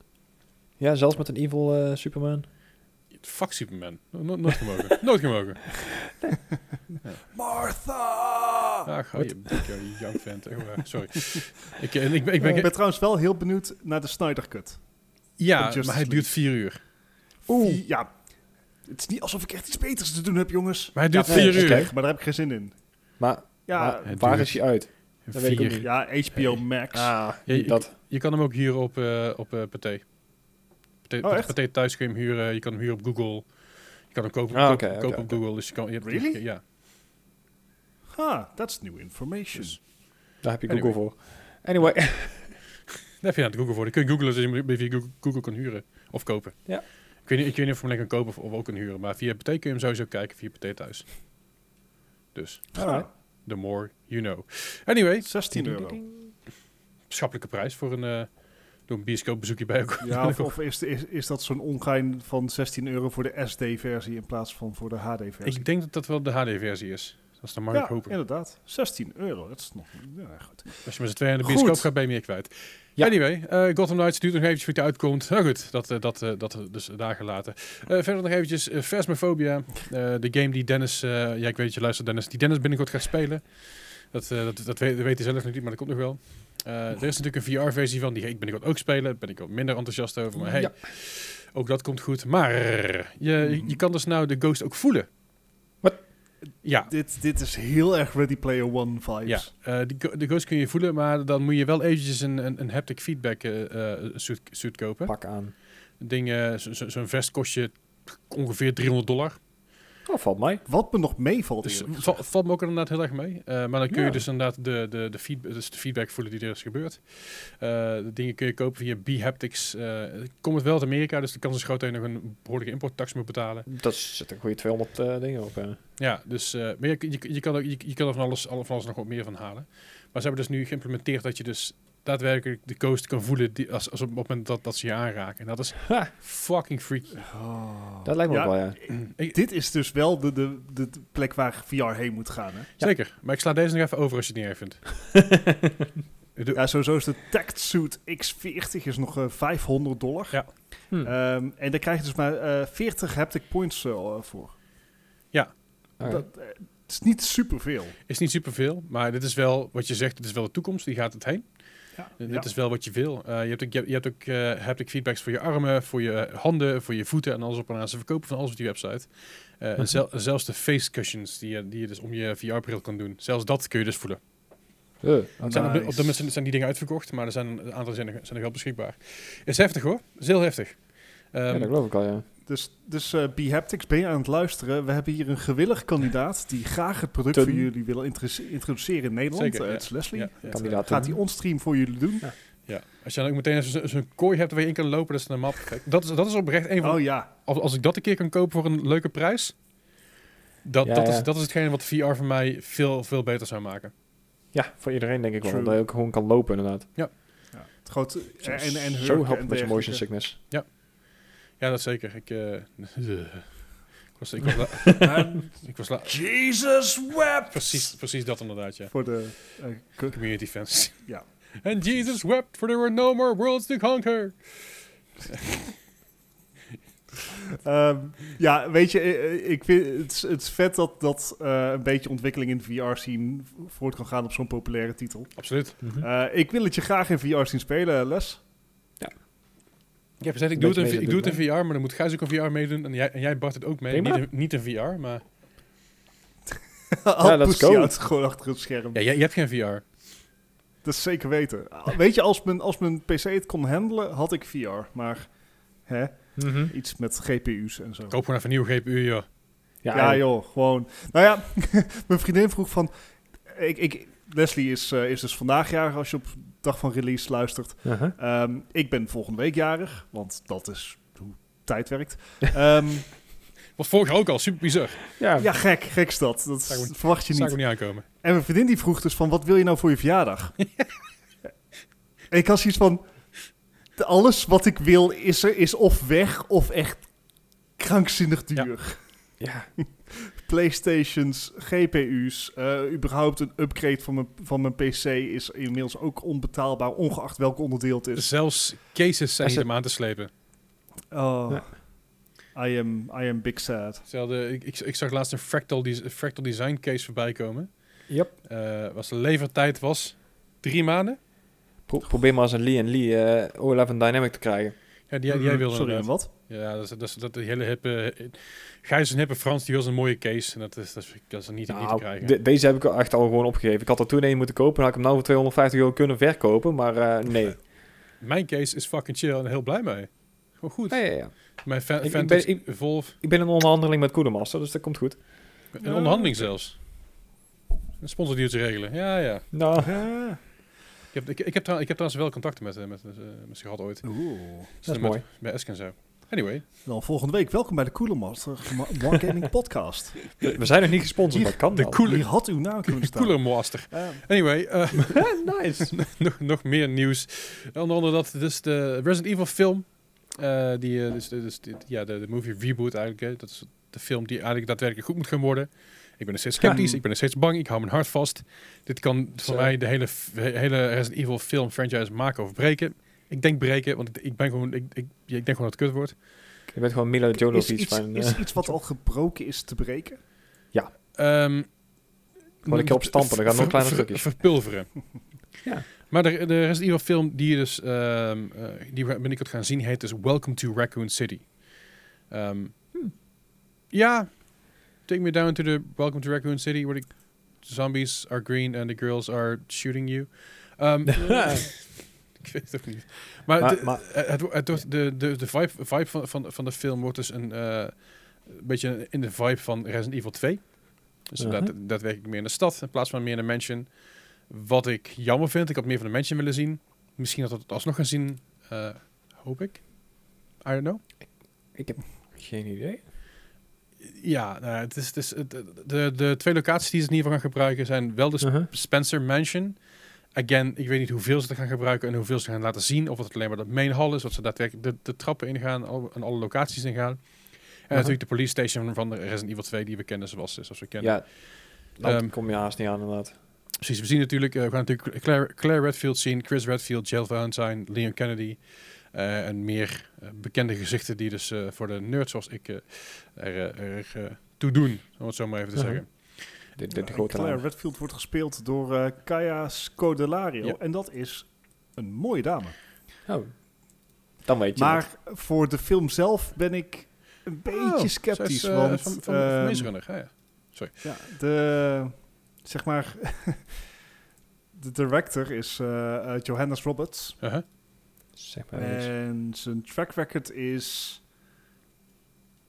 Ja, zelfs met een evil eh, Superman.
Fuck Superman. No- nooit gemogen. nooit gemogen.
Oh.
Martha!
Ah, ga je dikke young vent. Echt waar. eh, Sorry. ik, eh, ik, ben- ik ben...
Ik ben trouwens wel heel benieuwd naar de Snyder Cut.
ja,
Justice
maar hij duurt
League.
vier uur.
Oeh.
Vie- Ja. Het is niet alsof ik echt iets beters te doen heb, jongens.
Maar hij duurt
nee,
vier
dat is
uur.
oké.
Maar daar heb ik geen zin in.
Maar,
Ja,
maar
het
waar
duurt-
is hij uit? Dat weet ik ook
Vier.
niet.
ja HBO Max.
Ah,
Ja, je-
dat.
Je kan hem ook hier op, eh op eh Pathé. Pathé,
Oh, echt?
Pathé thuis kun je hem huren. Je kan hem huren op Google. Je kan hem kopen,
Ah,
kopen-
oké, oké,
kopen op
oké.
Google. Dus je kan, je hebt-
Really?
Ja.
Ha, that's new information.
Dus-
Daar heb je
Anyway.
Google voor. Anyway,
Daar heb je aan het Google voor. Dan kun je googlen dus je hem via Google, Google kan huren. Of kopen.
Ja.
Ik weet, niet, ik weet niet of je hem lekker kan kopen of, of ook kan huren. Maar via Pathé kun je hem sowieso kijken via Pathé thuis. Dus,
Ah,
Alright.
the more you know. Anyway,
16 euro.
schappelijke prijs voor een, eh door een bioscoopbezoekje bij elkaar.
Ja, of, of is, is, is dat zo'n ongein van 16 euro voor de SD-versie in plaats van voor de HD-versie?
Ik denk dat dat wel de HD-versie is. Dat is dan Mark
ja,
Hopen.
inderdaad. 16 euro. Dat is nog... Ja, goed.
Als je met z'n tweeën naar de
Goed.
bioscoop gaat, ben je meer kwijt.
Ja.
Anyway, eh, Gotham Knights duurt nog eventjes voordat het uitkomt. Nou goed, dat, eh, dat, eh, dat eh, dus daar gelaten. Eh, verder nog eventjes eh, Phasmophobia. Eh, de game die Dennis... eh, ja, ik weet dat je luistert, Dennis. Die Dennis binnenkort gaat spelen. Dat, eh, dat, dat weet, dat weet hij zelf nog niet, maar dat komt nog wel. Eh, er is natuurlijk een VR-versie van. Die ga ik binnenkort ook spelen. Daar ben ik wat minder enthousiast over. Maar hey,
Ja.
ook dat komt goed. Maar je, je kan dus nou de ghost ook voelen.
Hmm. Wat?
Ja,
Dit, dit is heel erg Ready Player One vibes.
ja, eh, die go- de ghost kun je voelen, maar dan moet je wel eventjes een, een, een haptic feedback eh, eh, suit, suit kopen.
pak aan.
Een ding, eh, zo- zo- zo'n vest kost je ongeveer 300 dollar.
Oh, valt mij.
Wat me nog meevalt
Dus
is...
val- valt me ook inderdaad heel erg mee. Eh, maar dan kun je
Ja.
dus inderdaad de, de, de, feedback, dus de feedback voelen die er is gebeurd. Eh, de dingen kun je kopen via B-Haptics. Eh, komt het wel uit Amerika, dus de kans is groot dat je nog een behoorlijke importtax moet betalen.
Dat zit een goede 200 eh, dingen op. eh.
Ja, dus eh, maar je, je, je, kan er, je, je kan er van alles, alle- van alles nog wat meer van halen. Maar ze hebben dus nu geïmplementeerd dat je dus daadwerkelijk de coast kan voelen die, als, als op het moment dat, dat ze je aanraken. En dat is
Ha,
fucking freaky.
Oh.
dat lijkt me
Ja,
ook wel, ja.
Ik-
Dit is dus wel de, de, de de plek waar VR heen moet gaan. Hè?
Zeker. Maar ik sla deze nog even over als je het niet erg vindt. Ik doe-
Ja, sowieso is de Tactsuit X40 is nog eh, 500 dollar.
Hm.
Ehm, en daar krijg je dus maar eh, 40 haptic points eh,
Oh,
voor.
Oké.
Dat eh, het is niet superveel.
Is niet superveel, maar dit is wel wat je zegt. Dit is wel de toekomst. Die gaat het heen.
Ja.
En Dit is wel wat je wil. Eh, je hebt ook, je, hebt- je hebt ook eh, haptic feedbacks voor je armen, voor je handen, voor je voeten en alles op en aan. Ze verkopen van alles op die website. Eh, en
Mhm.
zel- zelfs de face cushions die je, die je dus om je VR-bril kan doen. Zelfs dat kun je dus voelen.
Eh,
Zijn op, de-
Nice.
op de moment zijn- zijn die dingen uitverkocht, maar er zijn een aantal zijn, er- zijn er wel beschikbaar. Is heftig hoor. Is heel heftig. Ehm,
ja, dat geloof ik al, ja.
Dus, dus eh B-Haptics, ben je aan het luisteren? We hebben hier een gewillig kandidaat die graag het product
Ten.
voor jullie wil introduce- introduceren in Nederland.
Zeker,
Eh,
ja.
Het is Leslie.
ja, ja.
Kandidaat.
Gaat hij onstream voor jullie doen?
Ja. Als je dan ook meteen even zo- zo'n kooi hebt waar je in kan lopen, dat is een map. Kijk, Dat is, dat is oprecht een van
Oh ja,
als, als ik dat een keer kan kopen voor een leuke prijs. Dat,
Ja,
dat,
ja.
Is, dat is hetgeen wat VR voor mij veel, veel beter zou maken.
Ja, voor iedereen denk ik wel.
True.
Dat je ook gewoon kan lopen, inderdaad.
het grote... En, en, en
Zo
hurken
helpt
en
het met je
dergelijke.
motion sickness.
Ja, dat zeker. Ik, eh, ik wil was, ik was, la- ik was la-
Jesus Web!
precies, precies dat inderdaad, ja.
Voor de... eh, co-
Community fans.
Ja.
And Jesus wept, for there were no more worlds to conquer.
Ehm, ja, weet je, eh, ik vind, het, is, het is vet dat, dat eh, een beetje ontwikkeling in VR zien voort kan gaan op zo'n populaire titel.
Absoluut.
Eh, ik wil het je graag in VR zien spelen, Les.
Ik heb gezegd, ik doe,
Beetje
het in,
mee
ik doe het in
zitten,
VR, maar dan moet Gijs ook een VR meedoen. En jij, en jij Bart het ook mee. Niet
Prima.
in, niet in VR, maar...
Al
let's
pussy
go.
out, gewoon achter het scherm.
Ja, jij, jij hebt geen VR.
Dat is zeker weten. Ah, Weet je, als mijn, als mijn PC het kon handelen, had ik VR. Maar hè, iets met GPU's en zo.
Koop gewoon even een nieuwe GPU, joh.
Ja,
Ja, joh, gewoon. Nou ja, mijn vriendin vroeg van. Ik, ik, Leslie is, eh, is dus vandaag jarig als je op dag van release luistert.
Uh-huh.
Ehm, ik ben volgende week jarig, want dat is hoe tijd werkt. Ehm,
Was vorig jaar ook al, super bizar.
ja.
ja, gek, gek is dat. Dat
Oh. Zou ik-
verwacht je
Zou ik
niet.
ook niet aankomen.
En mijn vriendin die vroeg dus van, wat wil je nou voor je verjaardag? en ik had zoiets van, "De- alles wat ik wil is er, is of weg of echt krankzinnig
Ja.
duur.
Ja.
Playstations, GPU's, eh, überhaupt een upgrade van mijn, van mijn PC is inmiddels ook onbetaalbaar, ongeacht welk onderdeel het
Dus-
is.
Zelfs cases zijn niet
Als het-
om aan te slepen.
Oh, I, am, I am big sad.
Hetzelfde, ik, ik, ik zag laatst een fractal, des- fractal design case voorbij komen.
Yep.
Eh, was de levertijd was drie maanden.
Pro- probeer maar eens een Lee en Lee eh, O11 Dynamic te krijgen.
Ja, die, die jij wilde
Mm-hmm. Mm, Sorry, en
inderdaad.
wat?
Ja, dat is, dat is dat die hele hippe... Gijs is een hippe Frans, die wil een mooie case. En dat is, dat is, dat is niet,
Nou,
niet te krijgen.
de- deze heb ik echt al gewoon opgegeven. Ik had er toen een moeten kopen en had ik hem nou voor 250 euro kunnen verkopen, maar eh, nee.
Mijn case is fucking chill en heel blij mee. Gewoon goed.
Ja, ja, ja.
Mijn fa-
Ik- ik
Vantage
ben- ik-
Evolve.
Ik ben in onderhandeling met Koedemaster, dus dat komt goed.
Een onderhandeling zelfs. Een sponsordeal te regelen. Ja, ja.
Nou,
Ah.
Ik heb, ik, ik heb, trouw- ik heb trouwens wel contacten met, eh, met, eh, met ze gehad ooit.
Oeh.
Met-
mooi.
Bij Esk en zo. Anyway.
Dan volgende week, welkom bij de Cooler Master Ma- One Gaming Podcast.
we zijn nog niet gesponsord, maar kan
de
dat?
Cooler-
Hier had uw naam kunnen staan.
Cooler master.
Eh,
Anyway. eh,
Nice.
nog, nog meer nieuws. Onder andere dat dus de Resident Evil film. eh, die, eh, dus, dus, die- ja, de, de movie reboot eigenlijk. Hè. Dat is de film die eigenlijk daadwerkelijk goed moet gaan worden. Ik ben nog steeds sceptisch.
Ja.
Ik ben nog steeds bang. Ik hou mijn hart vast. Dit kan voor
Zo.
mij de hele, f- hele Resident Evil film franchise maken of breken. Ik denk breken, want ik, ik ben gewoon, ik, ik, ja, ik denk gewoon dat het kut wordt.
Je bent gewoon Milo
is,
Jovovich
iets,
van...
is
eh,
iets wat al gebroken is te breken?
Ehm,
Gewoon een keer op stampen, dan gaan nog kleinere stukjes.
Verpulveren.
Ja.
Maar de, de Resident Evil film die, je dus, ehm, eh, die we binnenkort gaan zien heet dus Welcome to Raccoon City. Ehm, Ja, take me down to the Welcome to Raccoon City where the zombies are green and the girls are shooting you. Ehm, ik weet het ook niet.
Ah,
Maar,
Maar-
de,
maar-
eh, het, wo- het wordt- de, de, de vibe, vibe van, van, van de film wordt dus een eh, beetje in de vibe van Resident Evil 2. Dus
Aha.
dat, dat werk ik meer in de stad in plaats van meer in de mansion. Wat ik jammer vind, ik had meer van de mansion willen zien. Misschien had we het alsnog gaan zien, eh, hoop ik. I don't know.
Ik heb geen idee.
Ja, nou ja, het is, het is, het- de, de twee locaties die ze in ieder geval gaan gebruiken zijn
Dus-
wel de Sp-
Uh-huh.
Spencer Mansion. Again, ik weet niet hoeveel ze er gaan gebruiken en hoeveel ze gaan laten zien. Of het alleen maar dat main hall is, wat ze daadwerkelijk de, de trappen ingaan al- en alle locaties ingaan. En natuurlijk de police station van de Resident Evil 2 die we kennen zoals, eh, zoals we kennen.
Ja, dan
Ehm,
kom je haast niet aan inderdaad.
Precies, we zien natuurlijk, eh, we gaan natuurlijk Claire, Claire Redfield zien, Chris Redfield, Jill Valentine, Leon Kennedy eh, en meer eh, bekende gezichten die dus eh, voor de nerds zoals ik eh, er, eh, er, eh, toe doen, om het zo maar even te
Mhm.
zeggen.
De, de, de
Eh,
grote
Claire
naam.
Redfield wordt gespeeld door eh Kaya Scodelario.
Ja.
En dat is een mooie dame.
Oh. Dan weet je het.
Maar voor de film zelf ben ik een
Oh,
beetje sceptisch.
Zij is, eh,
want
van, van,
ehm,
van Maze Runner, ja, ja.
ja, de, zeg maar, de director is eh, eh, Johannes Roberts.
Uh-huh.
Zeg maar
eh,
niks.
En zijn track record is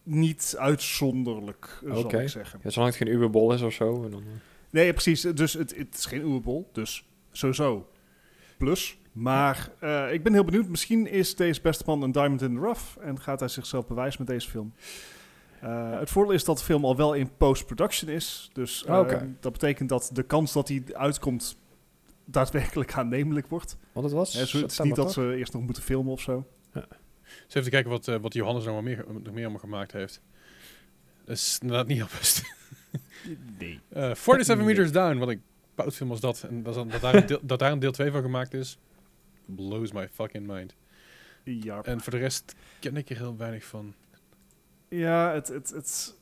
niet uitzonderlijk, eh, zal
Oké.
ik zeggen.
Ja, zolang het geen Uberbol is of zo. En dan, eh,
Nee, precies. Dus het, het is geen Uwerbol, dus sowieso. Plus. Maar eh, ik ben heel benieuwd. Misschien is deze beste man een diamond in the rough en gaat hij zichzelf bewijzen met deze film. Eh, het voordeel is dat de film al wel in post-production is. Dus eh,
Ah, Oké.
dat betekent dat de kans dat hij uitkomt daadwerkelijk aannemelijk wordt.
Want het was
Hè, zo- het is
september,
niet dat
toch?
ze eerst nog moeten filmen of zo.
nou Eens even te kijken wat, eh, wat Johannes nog, wel meer, nog meer allemaal gemaakt heeft. Dat is inderdaad niet heel best.
Nee.
Eh 47 Meters Down, wat een poutfilm als dat. En dat, is dan- dat, daar een deel, dat daar een deel 2 van gemaakt is, blows my fucking mind.
Ja,
En voor de rest ken ik er heel weinig van.
ja het, het, het...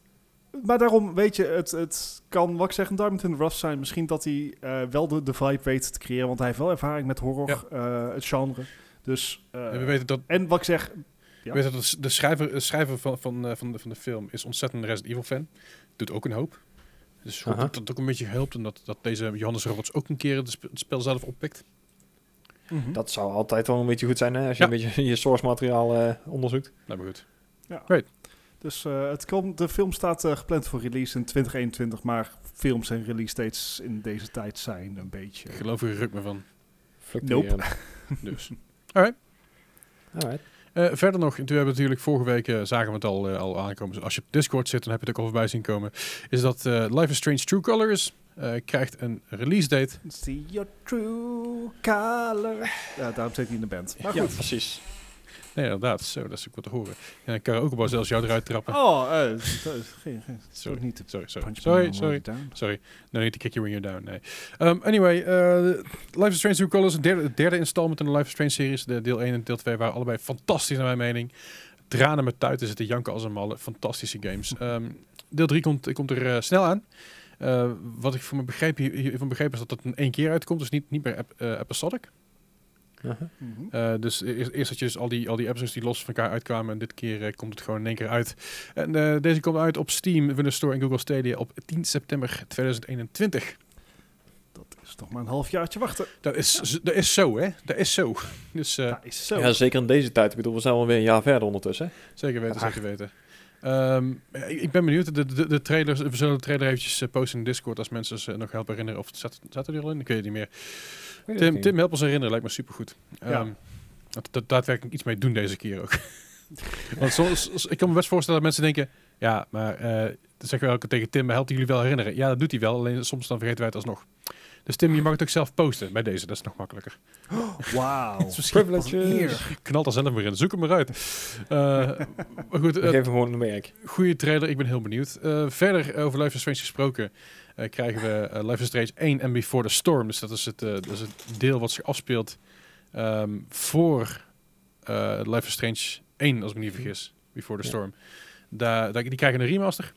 Maar daarom, weet je, het, het kan, wat ik zeg, een Diamond in the Rough zijn. Misschien dat hij eh, wel de, de vibe weet te creëren, want hij heeft wel ervaring met horror,
Ja.
eh, het genre. Dus, eh,
en we weten dat,
en wat ik zeg, Ja.
we weten dat de schrijver, de schrijver van, van, eh, van, de, van de film is ontzettend een Resident Evil fan. Doet ook een hoop. Dus ik hoop
Aha.
dat dat ook een beetje helpt. En dat, dat deze Johannes Roberts ook een keer het sp- het spel zelf oppikt.
hm?
Dat zou altijd wel een beetje goed zijn hè, als je
Ja.
een beetje je source materiaal eh, onderzoekt.
Nou, maar goed.
Ja.
Great.
Dus eh, het kan, de film staat eh, gepland voor release in 2021, maar films en release dates in deze tijd zijn een beetje...
Ik geloof er ruk me van.
Fluctuerend.
Dus.
eh, Alright.
Eh, verder nog, toen hebben we natuurlijk vorige week, eh, zagen we het al, eh, al aankomen. Dus als je op Discord zit, dan heb je het ook al voorbij zien komen. Is dat eh, Life is Strange True Colors eh, krijgt een release date.
See your true color. Ja, daarom zit hij in de band. Maar
Ja,
goed.
precies.
Nee, inderdaad. Zo, dat is ook wat te horen. En ik kan ook wel zelfs jou eruit trappen.
Oh, eh, dat is- dat is geen, geen, dat is ook
Sorry.
niet te
Sorry, sorry.
punch
Sorry,
me
sorry.
down.
Sorry, no need to kick you when you're down. Nee. Ehm, anyway, eh, Life is Strange True Colors, het derde, het derde installment in de Life is Strange series. De deel 1 en deel 2 waren allebei fantastisch naar mijn mening. Tranen met tuiten zitten janken als een malle. Fantastische games. Ehm, deel 3 komt, komt er eh, snel aan. Eh, wat ik van me begreep, hier- hiervan begreep is dat het in één keer uitkomt, dus niet, niet meer ep- eh, episodic.
Aha.
Mhm.
Eh, dus eerst, eerst had je dus al die, al die episodes die los van elkaar uitkwamen. En dit keer eh, komt het gewoon in één keer uit. En eh, deze komt uit op Steam, Windows Store en Google Stadia op 10 september 2021.
Dat is toch maar een halfjaartje wachten.
Dat is, z- dat is zo, hè? Dat is zo. Dus eh,
Dat is zo.
Ja, zeker in deze tijd. Ik bedoel, we zijn alweer een jaar verder ondertussen. hè.
zeker weten,
Ach.
zeker weten. Ehm, ja, ik, ik ben benieuwd. De, de, de trailers, we zullen de trailer eventjes eh, posten in Discord als mensen ze nog helpen herinneren. Of zat, zat er die al in? Ik weet het niet meer.
Ik weet het
Tim,
niet.
Tim, help ons herinneren. Lijkt me supergoed. Ehm Dat dat daadwerkelijk iets mee doen deze keer ook. Want soms, soms- ik kan me best voorstellen dat mensen denken... Ja, maar eh dan zeggen we elke keer tegen Tim, helpt hij jullie wel herinneren? Ja, dat doet hij wel. Alleen soms dan vergeten wij het alsnog. Dus Tim, je mag het ook zelf posten bij deze. Dat is nog makkelijker.
Wauw.
is misschien
Privileges.
pas een eer. Knalt er zelf maar in. Zoek hem maar uit. Eh, maar goed,
We
eh,
geven gewoon een merk.
goede trailer. Ik ben heel benieuwd. Eh, verder over Life is Strange gesproken eh, krijgen we eh, Life is Strange 1 en Before the Storm. Dus dat is het, eh, dat is het deel wat zich afspeelt ehm, voor eh, Life is Strange 1, als ik me niet vergis. Before the
Ja.
Storm. Daar, daar- die krijgen een remaster.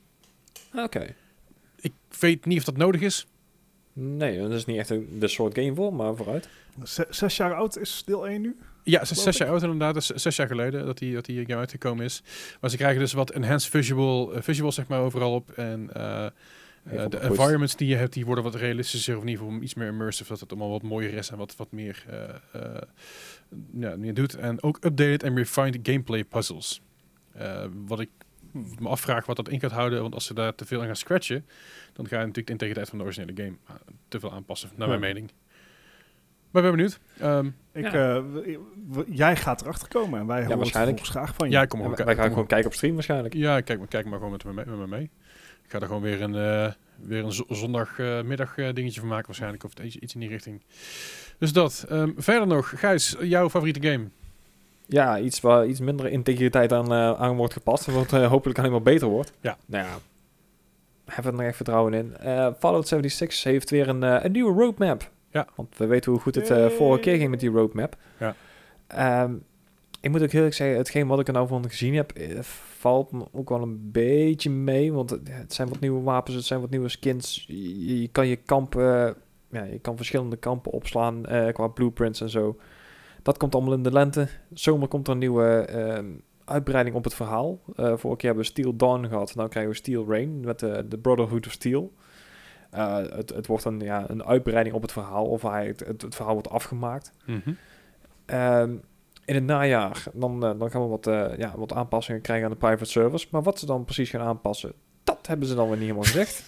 Oké.
Ik weet niet of dat nodig is.
Nee, dat is niet echt een- de soort game voor, maar vooruit.
Z- zes jaar oud is deel 1 nu.
Ja, ze is
geloof
zes
ik.
jaar oud inderdaad. Dat is zes jaar geleden dat die, dat die game uitgekomen is. Maar ze krijgen dus wat enhanced visual, eh, visuals zeg maar overal op. En eh, eh,
Even
de
opgepoetst.
environments die je hebt, die worden wat realistischer. Of in ieder geval iets meer immersive. Dat het allemaal wat mooier is en wat, wat meer, eh eh, ja, meer doet. En ook updated en refined gameplay puzzles. Eh, wat ik me afvraag wat dat in gaat houden. Want als ze daar te veel aan gaan scratchen, dan ga je natuurlijk de integriteit van de originele game eh, te veel aanpassen. Naar mijn
Ja.
mening. Maar ik ben benieuwd. Ehm,
Ik, eh, w- w- jij gaat erachter komen en wij horen het
waarschijnlijk.
volgens graag van je.
ja, ik kom
En
ook.
wij gaan gewoon kijken op stream waarschijnlijk.
Ja, kijk maar, kijk maar gewoon met me, mee, met me mee. Ik ga er gewoon weer een, eh, weer een zondagmiddag eh, dingetje van maken waarschijnlijk. Of iets, iets in die richting. Dus dat. Ehm, verder nog, Gijs, jouw favoriete game?
Ja, iets waar iets minder integriteit aan, eh, aan wordt gepast. En wat eh, hopelijk alleen maar beter wordt.
Ja.
Nou ja, hebben we er nog echt vertrouwen in. Eh, Fallout 76 heeft weer een, eh, een nieuwe roadmap.
Ja.
Want we weten hoe goed het eh,
Yay.
vorige keer ging met die roadmap.
Ja.
Ehm, ik moet ook heel eerlijk zeggen, hetgeen wat ik er nou van gezien heb, eh, valt me ook wel een beetje mee. Want het- het zijn wat nieuwe wapens, het zijn wat nieuwe skins. Je, je kan je kamp, eh, ja, je kan verschillende kampen opslaan eh, qua blueprints en zo. Dat komt allemaal in de lente. Zomer komt er een nieuwe ehm, uitbreiding op het verhaal. Eh vorige keer hebben we Steel Dawn gehad. Nu krijgen we Steel Rain met de, de Brotherhood of Steel. Eh, het, het wordt een, ja, een uitbreiding op het verhaal. Of hij, het, het, het verhaal wordt afgemaakt. Ehm, in het najaar dan, eh, dan gaan we wat, eh, ja, wat aanpassingen krijgen aan de private servers. Maar wat ze dan precies gaan aanpassen, dat hebben ze dan weer niet helemaal gezegd.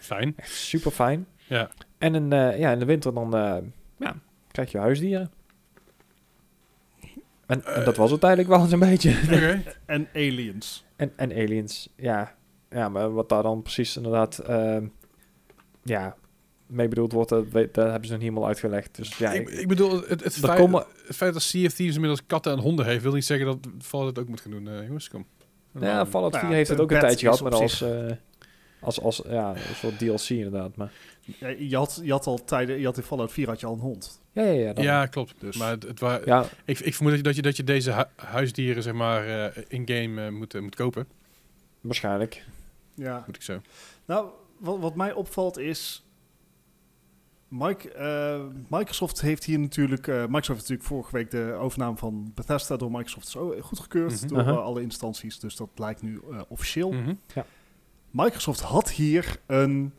Fijn.
Echt super fijn.
Ja.
En in, eh, ja, in de winter dan eh, ja, krijg je huisdieren. En, en dat was het eigenlijk wel eens een beetje.
Oké.
En aliens.
En, en aliens, ja. Ja, maar wat daar dan precies inderdaad ehm, ja, mee bedoeld wordt, dat, weet- dat hebben ze nog niet helemaal uitgelegd. Dus ja,
ik,
ik,
ik bedoel, het, het,
Er
feit,
komen-
het feit dat CFT's inmiddels katten en honden heeft, wil niet zeggen dat Fallout het ook moet gaan doen. eh, jongens, kom. En
ja,
dan-
Fallout
nou
4
ja,
heeft het
een
ook een
bed
tijdje gehad,
is
maar
op
als, eh, als, als ja, een soort DLC inderdaad. Maar,
Ja, je, had, je had al tijden, je had in Fallout 4 had je al een hond.
ja, ja, ja. dan-
ja, klopt.
Dus-
Maar het, het wa-
ja,
ik, ik vermoed dat je, dat je, dat je deze hu- huisdieren zeg maar, eh, in-game eh, moet, eh, moet kopen.
waarschijnlijk.
Ja.
Moet ik zo.
Nou, wat, wat mij opvalt is. Mike, eh, Microsoft heeft hier natuurlijk. eh, Microsoft heeft natuurlijk vorige week de overname van Bethesda door Microsoft zo goedgekeurd
Mhm.
door
Aha.
eh, alle instanties. Dus dat blijkt nu eh, officieel.
Mhm.
Microsoft had hier een,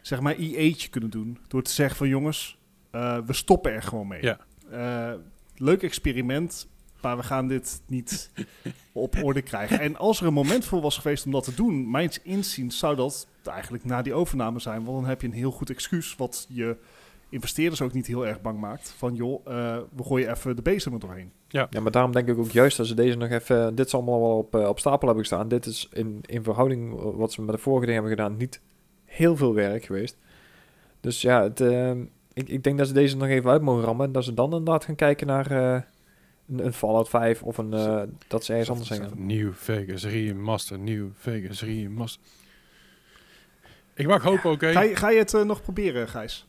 zeg maar, IE'tje kunnen doen. Door te zeggen van jongens, eh, we stoppen er gewoon mee.
Ja.
Eh, leuk experiment, maar we gaan dit niet op orde krijgen. En als er een moment voor was geweest om dat te doen, mijns inziens zou dat eigenlijk na die overname zijn. Want dan heb je een heel goed excuus wat je investeerders ook niet heel erg bang maakt. Van joh, eh, we gooien even de bezem er doorheen.
Ja, maar daarom denk ik ook juist dat ze deze nog even... Dit is allemaal wel op, eh, op stapel hebben gestaan. Dit is in, in verhouding eh, wat ze met de vorige dingen hebben gedaan... niet heel veel werk geweest. Dus ja, het, eh, ik, ik denk dat ze deze nog even uit mogen rammen... en dat ze dan inderdaad gaan kijken naar eh, een, een Fallout 5... of een, eh, dat ze ergens anders heen gaan.
Nieuw Vegas Remaster, Nieuw Vegas Remaster. Ik mag hopen, oké.
Ga, je, ga je het eh, nog proberen, Gijs?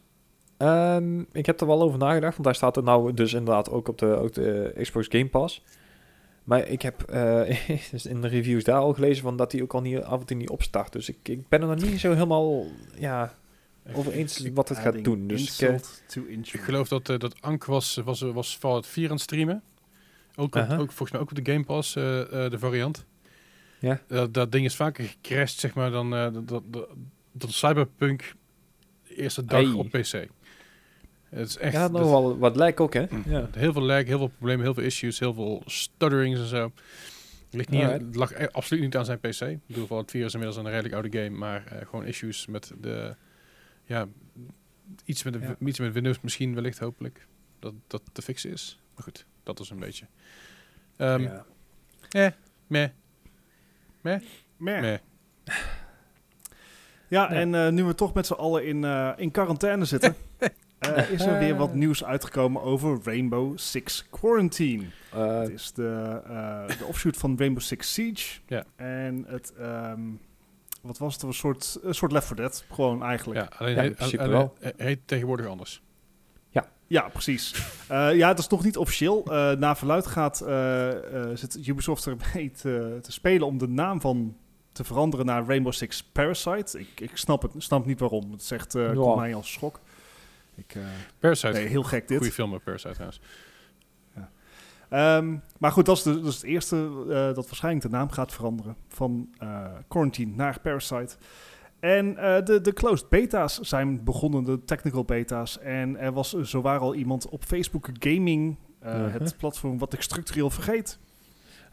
Ehm, ik heb er wel over nagedacht, want daar staat er nou dus inderdaad ook op de, ook de eh, Xbox Game Pass. Maar ik heb eh, dus in de reviews daar al gelezen van dat die ook al niet, af en toe niet opstart. Dus ik, ik ben er nog niet zo helemaal ja, over eens wat het gaat
Adding
doen. Dus ik, eh,
insult to
Ik
injury.
geloof dat, eh, dat Ank was, was, eh, was Fallout 4 aan het streamen. Ook, op-
Aha.
ook volgens mij ook op de Game Pass, eh, eh, de variant.
Ja.
Dat, dat ding is vaker gecrashed, zeg maar, dan, eh, dat, dat, dat, dan Cyberpunk eerste dag
Hey.
op PC. Het is echt
ja, nou, nog
dat-
dus-
wel wat lijk ook, hè?
Mm.
Ja. Eh,
heel veel lag, heel veel problemen, heel veel issues, heel veel stutterings en zo. Ligt niet aan-
Alright.
lag e- absoluut niet aan zijn PC. Ik bedoel, Fallout 4 is inmiddels een redelijk oude game, maar eh, gewoon issues met de... Ja, iets met, de,
Ja.
iets met Windows misschien wellicht, hopelijk. Dat dat te fixen is. Maar goed, dat is een beetje... Ehm
Ja.
Meh.
Merk.
Meh.
Ja,
Ja.
en eh, nu we toch met z'n allen in, eh, in quarantaine zitten, eh, is er weer wat nieuws uitgekomen over Rainbow Six Quarantine.
Eh,
Het is de, eh, de offshoot van Rainbow Six Siege.
Ja.
En het, ehm, wat was het, een soort, een soort Left 4 Dead, gewoon eigenlijk.
Ja, alleen
Ja, in
heet,
principe
alleen-
wel.
he- heet tegenwoordig anders.
Ja, precies. Eh, ja, het is nog niet officieel. Eh na verluid gaat, eh, eh, zit Ubisoft ermee te, te spelen om de naam van te veranderen naar Rainbow Six Parasite. Ik, ik snap het snap niet waarom. Het zegt eh
Ja.
komt mij als schok. Ik, eh,
Parasite.
nee, heel gek dit.
Goeie film met Parasite trouwens.
Ehm, maar goed, dat is, de, dat is het eerste eh, dat waarschijnlijk de naam gaat veranderen. Van eh, Quarantine naar Parasite. En eh, de, de closed beta's zijn begonnen, de technical beta's. En er was eh, zowaar al iemand op Facebook Gaming, eh,
Mhm.
het platform wat ik structureel vergeet,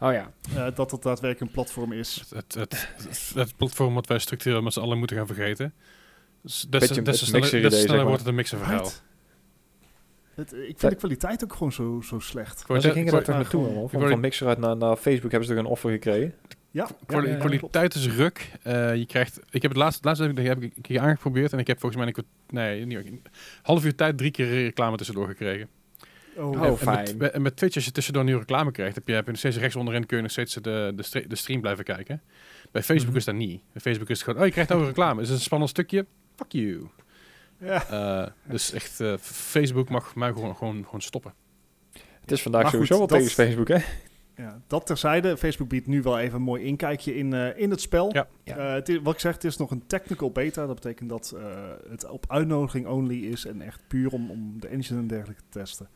oh ja,
eh, dat het daadwerkelijk een platform is.
Het, het, het, het, het platform wat wij structureel met z'n allen moeten gaan vergeten. Dus Des
Beetje
te-
een-
des te
een
sneller
mixer
des te
idee,
sneller
zeg
wordt het een mixer verhaal.
Right? Het, ik vind
Dat-
de kwaliteit ook gewoon zo, zo slecht.
maar ze gingen daar toch
maar
naartoe,
gewoon-
hoor.
ik
Van,
word-
van Mixer uit naar, naar Facebook hebben ze toch een offer gekregen.
Ja,
Kwali-
ja, ja, klopt.
kwaliteit is ruk. Eh, je krijgt, ik heb het laatste, het laatste heb ik, heb ik een keer aangeprobeerd en ik heb volgens mij een, kwart- nee, niet, een half uur tijd drie keer reclame tussendoor gekregen.
Oh,
Oh,
en, en,
fijn.
met, en met Twitch, als je tussendoor nu reclame krijgt, heb je, heb je nog steeds rechts onderin kun je nog steeds de, de, stre- de stream blijven kijken. Bij Facebook
Mhm.
is dat niet. Bij Facebook is het gewoon, oh je krijgt ook reclame. Is het een spannend stukje? Fuck you.
Ja.
Eh, dus echt, eh, Facebook mag mij gewoon, gewoon, gewoon stoppen.
Het is vandaag
Maar goed,
sowieso wel
dat-
tegen Facebook, hè?
Ja, dat terzijde. Facebook biedt nu wel even een mooi inkijkje in, eh, in het spel.
Ja.
Ja.
Eh, het is- wat ik zeg, het is nog een technical beta. Dat betekent dat eh, het op uitnodiging only is en echt puur om, om de engine en dergelijke te testen.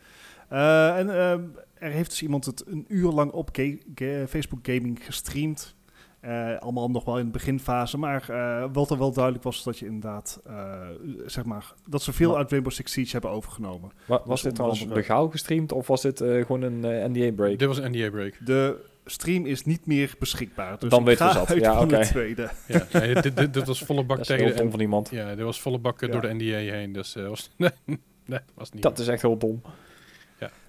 Eh, en ehm, er heeft dus iemand het een uur lang op ga- ga- Facebook Gaming gestreamd. Eh, allemaal nog wel in de beginfase, maar eh, wat er wel duidelijk was, is dat je inderdaad, eh, zeg maar, dat ze veel
Maar-
uit Rainbow Six Siege hebben overgenomen.
Wa- Was
Dus
dit
onder
trouwens
andere-
legaal gestreamd of was dit eh, gewoon een eh, NDA-break?
Dit was een NDA-break.
De stream is niet meer beschikbaar, dus
Dan
ik
weten we
ga
zat.
uit
Ja,
van
oké.
de tweede.
Ja, nee, dit, dit, dit was volle bak
Dat is heel
tegen de,
dom van iemand.
Ja, dit was volle bak eh,
Ja.
door de NDA heen. Dus eh, was, nee, nee, was niet.
Dat is echt heel dom.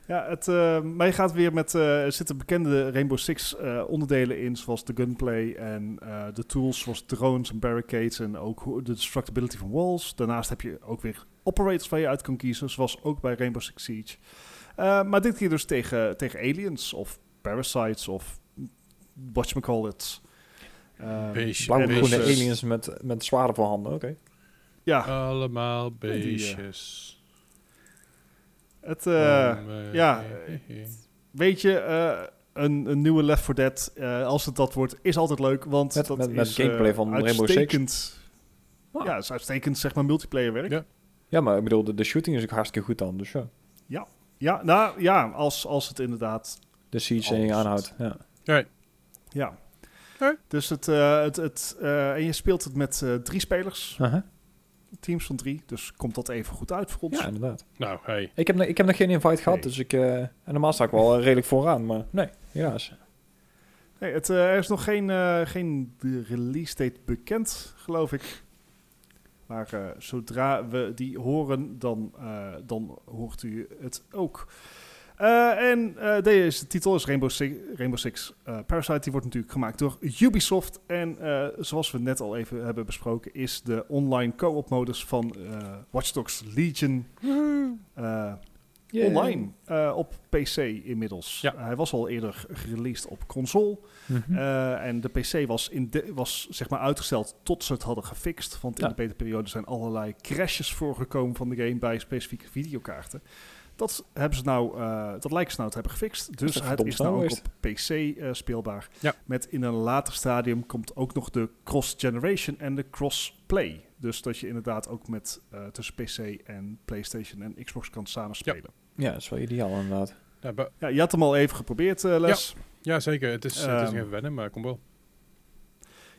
Ja, het, eh, maar je gaat weer met... eh, er zitten bekende Rainbow Six eh, onderdelen in, zoals de gunplay en eh, de tools zoals drones en barricades en ook hoe- de destructibility van walls. Daarnaast heb je ook weer operators waar je uit kan kiezen, zoals ook bij Rainbow Six Siege. Eh, maar dit keer dus tegen, tegen aliens of parasites of whatchamacallits. Eh,
Beestje,
Blauw-groene
beestjes.
aliens met, met zwaarden voor handen, oké.
ja,
Allemaal
eh,
beestjes.
het, eh,
Om, eh,
ja,
eh, eh, eh.
weet je, eh, een, een nieuwe Left 4 Dead, eh, als het dat wordt, is altijd leuk. Want
Met-
dat
met- met
is eh,
gameplay van Rainbow Six.
uitstekend.
Ah.
Ja, het is uitstekend, zeg maar, multiplayer werk.
Ja.
Ja,
Ja, maar ik bedoel, de, de shooting is ook hartstikke goed dan, dus ja.
nou ja, als, als het inderdaad,
De siege
Oh,
en je
shit.
aanhoudt, ja.
ja.
Ja.
Dus het, eh, het, het eh, en je speelt het met eh, drie spelers,
Aha.
teams van drie. Dus komt dat even goed uit voor ons.
Ja, inderdaad.
Nou, hey.
Ik heb, nog- ik heb nog geen invite gehad,
Nee.
dus ik... eh, en normaal sta ik wel eh, redelijk vooraan, maar nee, helaas.
Nee, het, eh, er is nog geen, eh, geen de release date bekend, geloof ik. Maar eh, zodra we die horen, dan, eh, dan hoort u het ook. Eh, en eh, deze titel is Rainbow Six. Rainbow Six eh, Parasite. Die wordt natuurlijk gemaakt door Ubisoft. En eh, zoals we net al even hebben besproken, is de online co-op modus van eh Watch Dogs Legion eh, online eh, op PC inmiddels.
Ja.
hij was al eerder gereleased op console.
Mhm.
Eh, en de PC was, in de, was zeg maar uitgesteld tot ze het hadden gefixt. Want in
Ja.
de beta-periode zijn allerlei crashes voorgekomen van de game bij specifieke videokaarten. Dat, hebben ze nou, eh, dat lijken ze nou te hebben gefixt. Dus
toch
het
verdomd
is nou ook
snel
op PC eh, speelbaar.
Ja.
Met in een later stadium komt ook nog de cross-generation en de cross-play. Dus dat je inderdaad ook met, eh, tussen PC en PlayStation en Xbox kan samenspelen.
Ja, dat is wel ideaal inderdaad.
Nou, bu-
Ja, je had hem al even geprobeerd, eh, Les.
ja, zeker. Het is, het is
Ehm.
nog even wennen, maar kom wel.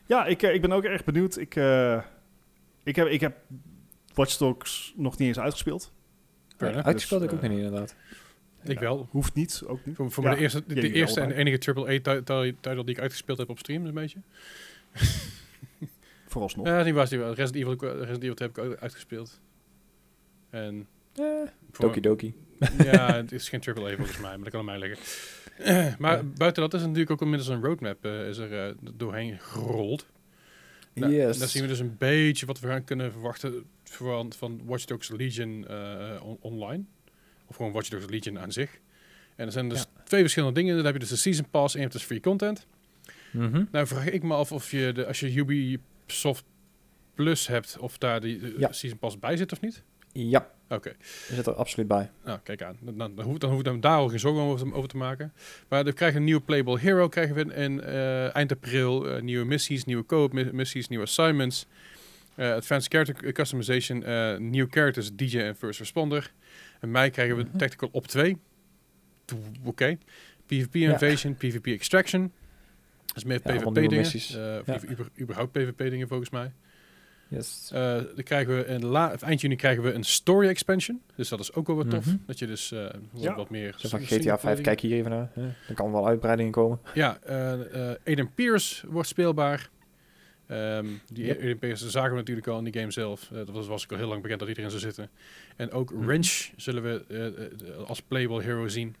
Ja, ik, eh, ik ben ook erg benieuwd. Ik, eh, ik, heb, ik heb Watch Dogs nog niet eens uitgespeeld.
Fair enough.
Uitgespeeld
Dus,
ik ook
eh,
niet, inderdaad.
Ik wel.
Hoeft niet, ook niet.
Voor, voor
Ja,
mijn eerste, de,
jullie
de
wel,
eerste en
maar-
enige AAA-titel die ik uitgespeeld heb op stream, een beetje.
Eh,
Vooralsnog.
Ja, die was die wel. Resident Evil, Resident Evil heb ik ook uitgespeeld. En... voor-
Doki Doki.
Ja, het is geen AAA volgens mij, maar dat kan aan mij liggen. maar buiten dat is er natuurlijk ook inmiddels een roadmap eh, is er eh, doorheen gerold. Nou, en Dan zien we dus een beetje wat we gaan kunnen verwachten van, van Watch Dogs Legion eh, on- online. Of gewoon Watch Dogs Legion aan zich. En er zijn dus twee verschillende dingen. Dan heb je dus de Season Pass en je hebt dus free content.
Mhm.
Nou vraag ik me af of je, de, als je Ubisoft Plus hebt, of daar die eh,
Ja.
Season Pass bij zit of niet?
Ja,
Oké,
er zit er absoluut bij.
nou kijk aan. Dan, dan, dan hoef dan hoef ik hem daar al geen zorgen over, te- over te maken. Maar dan krijgen we een nieuwe Playable Hero, krijgen we in eh, eind april eh, nieuwe missies, nieuwe co-op mi- missies, nieuwe assignments. eh, advanced character customization, eh nieuwe characters, DJ en first responder. In mei krijgen we
Mhm.
Tactical op 2. Toe, Oké. PvP
Ja.
invasion, PvP extraction. Dat is meer
Ja, allemaal
PvP
nieuwe
dingen.
missies.
eh, of
Ja.
liever über- überhaupt PvP dingen volgens mij.
Yes.
Eh, dan krijgen we een la- of eind juni krijgen we een story expansion. Dus dat is ook wel wat tof.
Mhm.
Dat je dus eh, wat,
Ja.
wat meer...
Zo van
single
GTA 5,
player-
kijk hier even naar. hè. Dan kan wel uitbreidingen komen.
Ja, eh eh Aiden Pierce wordt speelbaar. Ehm, die
Yep.
Aiden Pierce zagen we natuurlijk al in die game zelf. Eh, dat was, was ik al heel lang bekend dat iedereen zou zitten. En ook
Mhm.
Wrench zullen we eh, eh, de- als playable hero zien.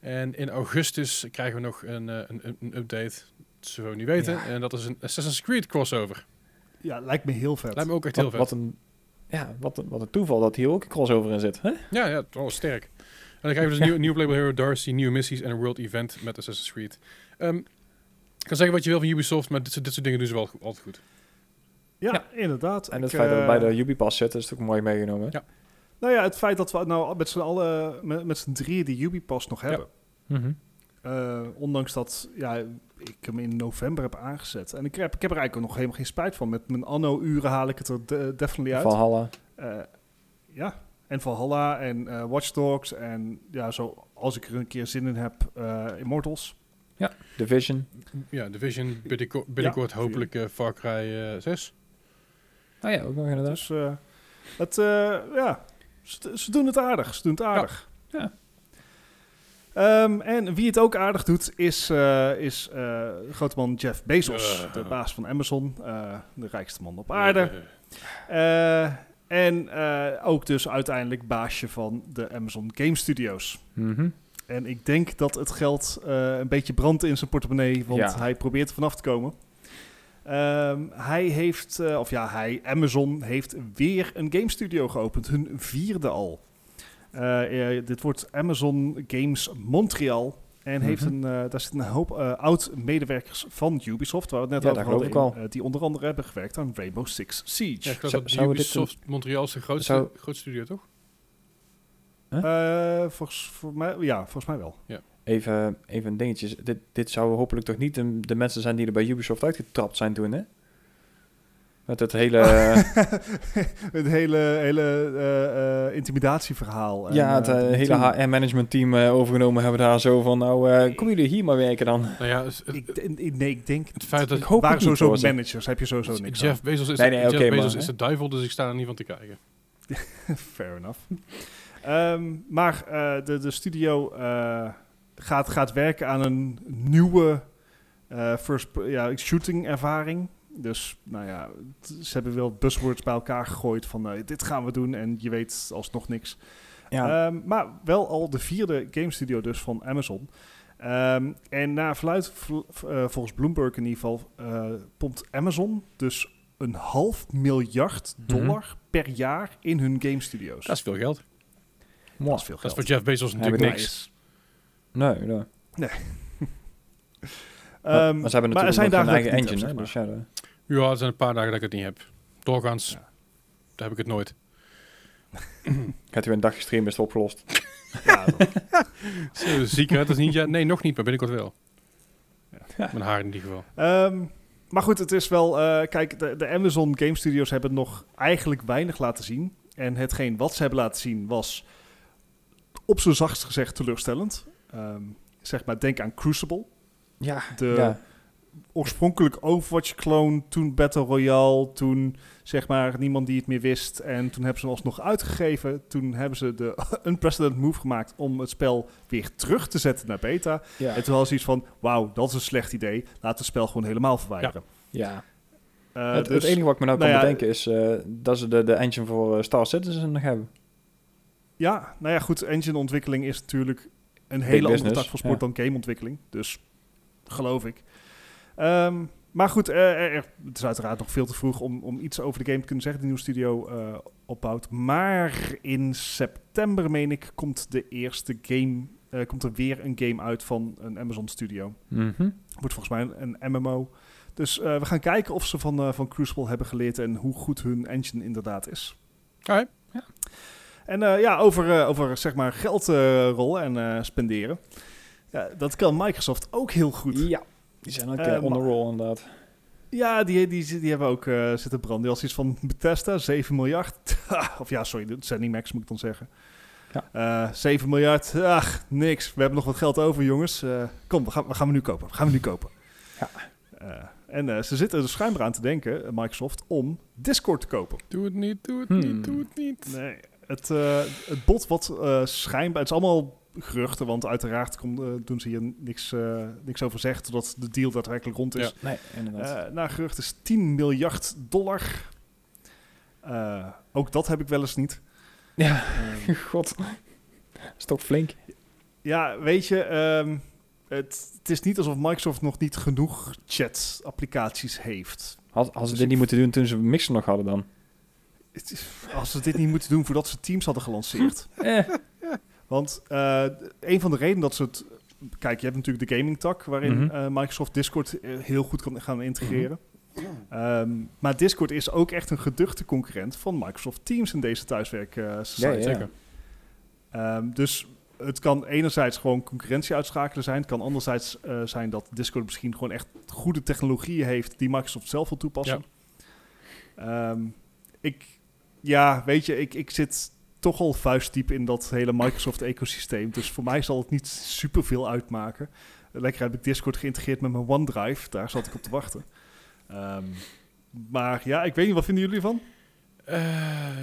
En in augustus krijgen we nog een, eh, een, een- een update. Zullen we niet weten.
Ja.
En dat is een Assassin's Creed crossover.
Ja, lijkt me heel vet.
Lijkt me ook echt heel
Wat,
vet.
wat, een, ja, wat, een, wat een toeval dat hier ook een crossover in zit. Hè?
Ja, ja, het was sterk. En dan krijgen we dus nieuw, nieuw Playable Hero Darcy, nieuwe missies en een world event met Assassin's Creed. Ehm, ik kan zeggen wat je wil van Ubisoft, maar dit, soort- dit soort dingen doen ze wel go- altijd goed.
ja,
Ja.
inderdaad.
En
Ik,
het feit dat
eh,
het bij de Ubipass zit, is natuurlijk mooi meegenomen. hè?
Ja.
Nou ja, het feit dat we nou met z'n allen, met, met z'n drieën die Ubipass nog hebben.
Mhm.
Eh, ondanks dat ja, ik hem in november heb aangezet. En ik heb, ik heb er eigenlijk ook nog helemaal geen spijt van. Met mijn anno-uren haal ik het er de- definitely uit.
Valhalla.
Eh, ja, en Valhalla en eh Watch Dogs en ja, zo als ik er een keer zin in heb, eh, Immortals.
Division.
Ja, Division, binnenko- binnenkort hopelijk eh, Far Cry eh, 6.
Nou ja, ook nog inderdaad.
Dus eh, het, eh, ja, ze, ze doen het aardig. Ze doen het aardig.
Ja.
Ehm, en wie het ook aardig doet, is, eh is eh grote man Jeff Bezos,
Eh.
de baas van Amazon, eh, de rijkste man op aarde.
Eh,
Eh, en eh, ook dus uiteindelijk baasje van de Amazon Game Studios.
Mhm.
En ik denk dat het geld eh, een beetje brandt in zijn portemonnee, want
Ja.
hij probeert er vanaf te komen. Ehm, hij heeft, eh, of ja, hij, Amazon heeft weer een game studio geopend, hun vierde al. Eh, eh, dit wordt Amazon Games Montreal. En heeft
Mhm.
een, eh, daar zit een hoop eh, oud-medewerkers van Ubisoft, waar we het net
Ja,
over
daar geloof
hadden,
ik
in, eh, die onder andere hebben gewerkt aan Rainbow Six Siege.
Ja, ik geloof
Zou-
dat
zou dit
Ubisoft Montreal is de grootste,
zou-
grootste studio, toch?
Eh, volgens, voor mij, ja, volgens mij wel.
Even, even dingetjes. Dit, dit zou hopelijk toch niet de, de mensen zijn die er bij Ubisoft uitgetrapt zijn toen, hè? Met het hele... eh,
het hele, hele eh, eh, intimidatieverhaal. en,
ja, het
eh,
eh, hele
toen-
HR-management team eh, overgenomen hebben daar zo van... Nou, eh kom jullie hier maar werken dan.
Nou ja, het, het-
Ik, ik- nee, ik denk...
het feit dat
Ik hoop
Waar
het niet,
sowieso
hoor, zeg.
managers heb je sowieso niks
Jeff Bezos is,
Nee, nee,
Jeff
oké, maar,
Bezos is
hè.
de duivel, dus ik sta er niet van te kijken.
aan. Fair enough. Ehm, maar eh, de, de studio eh, gaat, gaat werken aan een nieuwe eh, first, ja, shooting ervaring. Dus nou ja, t- ze hebben wel buzzwords bij elkaar gegooid van eh, dit gaan we doen en je weet alsnog niks.
Ja,
Ehm, maar wel al de vierde game studio dus van Amazon. Ehm, en naar verluid, vl- v- eh, volgens Bloomberg in ieder geval, eh, pompt Amazon dus een half miljard dollar per jaar in hun game studios.
Mhm. Dat is veel geld.
mooi.
veel
Dat is voor Jeff Bezos natuurlijk
bedoel-
niks.
Nee, nee.
Ehm,
maar ze hebben
maar er
natuurlijk
zijn
nog
dagen
hun eigen
dat het niet
engine, hè?
hebt,
Dus
zeg
ja, de-
Ja, er zijn een paar dagen dat ik het niet heb. Doorgaans
Ja.
daar heb ik het nooit.
gaat u weer een dag gestreamd, is het opgelost.
maar. Ja, dat-
Zo Eh, Ziek, hè? Dat is niet... Ja, nee, nog niet, maar binnenkort wel.
Ja.
Mijn haar in ieder geval.
Ehm, maar goed, het is wel... eh, kijk, de, de Amazon Game Studios hebben nog eigenlijk weinig laten zien. En hetgeen wat ze hebben laten zien was op zijn zachtst gezegd teleurstellend. Ehm, zeg maar, denk aan Crucible.
Ja,
De
ja.
oorspronkelijk Overwatch-kloon, toen Battle Royale, toen zeg maar niemand die het meer wist. En toen hebben ze hem alsnog uitgegeven. Toen hebben ze de unprecedented move gemaakt om het spel weer terug te zetten naar beta.
Ja.
En toen hadden ze iets van, wauw, dat is een slecht idee. Laat het spel gewoon helemaal verwijderen.
ja.
Eh,
het,
dus-
het enige wat ik me nou,
nou
kan
ja,
bedenken is eh, dat ze de, de engine voor eh, Star Citizen nog hebben.
Ja, nou ja, goed. Engine-ontwikkeling is natuurlijk een hele andere
business,
tak van sport dan gameontwikkeling. Dus geloof ik. Ehm, maar goed, eh, er- er- het is uiteraard nog veel te vroeg om, om iets over de game te kunnen zeggen. Die nieuwe studio eh, opbouwt. Maar in september, meen ik, komt de eerste game. eh, komt er weer een game uit van een Amazon studio.
Mhm.
Wordt volgens mij een, een MMO. Dus eh, we gaan kijken of ze van, eh, van Crucible hebben geleerd en hoe goed hun engine inderdaad is.
Alright.
En eh, ja, over, eh, over zeg maar geld eh, rollen en eh, spenderen. Ja, dat kan Microsoft ook heel goed.
Ja, die zijn ook
Eh,
eh, on the
maar-
roll inderdaad.
Ja, die, die, die hebben ook eh, zitten branden. Als iets van Bethesda, 7 miljard. of ja, sorry, dat zijn niet Max, moet ik dan zeggen.
Ja.
Eh, 7 miljard, ach, niks. We hebben nog wat geld over, jongens. Eh, kom, we gaan, we gaan we nu kopen. We gaan we nu kopen.
Ja.
Eh, en eh, ze zitten er schijnbaar aan te denken, eh, Microsoft, om Discord te kopen.
Doe het niet, doe het
Hmm.
niet, doe het niet.
Nee, het, eh, het bot wat eh, schijnbaar... Het is allemaal geruchten, want uiteraard komt, eh, doen ze hier niks, eh, niks over zeggen... totdat de deal daadwerkelijk rond is.
Nee, inderdaad.
Eh nou, gerucht is 10 miljard dollar. Eh, ook dat heb ik wel eens niet.
ja,
Ehm,
Eh, god. Dat is toch flink.
ja, weet je... ehm, het, het is niet alsof Microsoft nog niet genoeg chat-applicaties heeft.
Had, hadden ze dit niet moeten doen toen ze Mixer nog hadden dan?
Het is- als ze dit niet moeten doen voordat ze Teams hadden gelanceerd.
Eh,
Want eh, een van de redenen dat ze het... Kijk, je hebt natuurlijk de gaming tak... waarin
Mhm.
eh, Microsoft Discord eh, heel goed kan gaan integreren.
Mhm.
Ehm, maar Discord is ook echt een geduchte concurrent... van Microsoft Teams in deze thuiswerksite.
ja, ja.
zeker.
Ehm, dus het kan enerzijds gewoon concurrentie uitschakelen zijn. Het kan anderzijds eh, zijn dat Discord misschien gewoon echt goede technologieën heeft die Microsoft zelf wil toepassen. Ehm, ik, ja, weet je, ik, ik zit toch al vuistdiep in dat hele Microsoft-ecosysteem. Dus voor mij zal het niet superveel uitmaken. Lekker heb ik Discord geïntegreerd met mijn OneDrive. Daar zat ik op te wachten. Ehm, maar ja, ik weet niet, wat vinden jullie ervan?
Eh,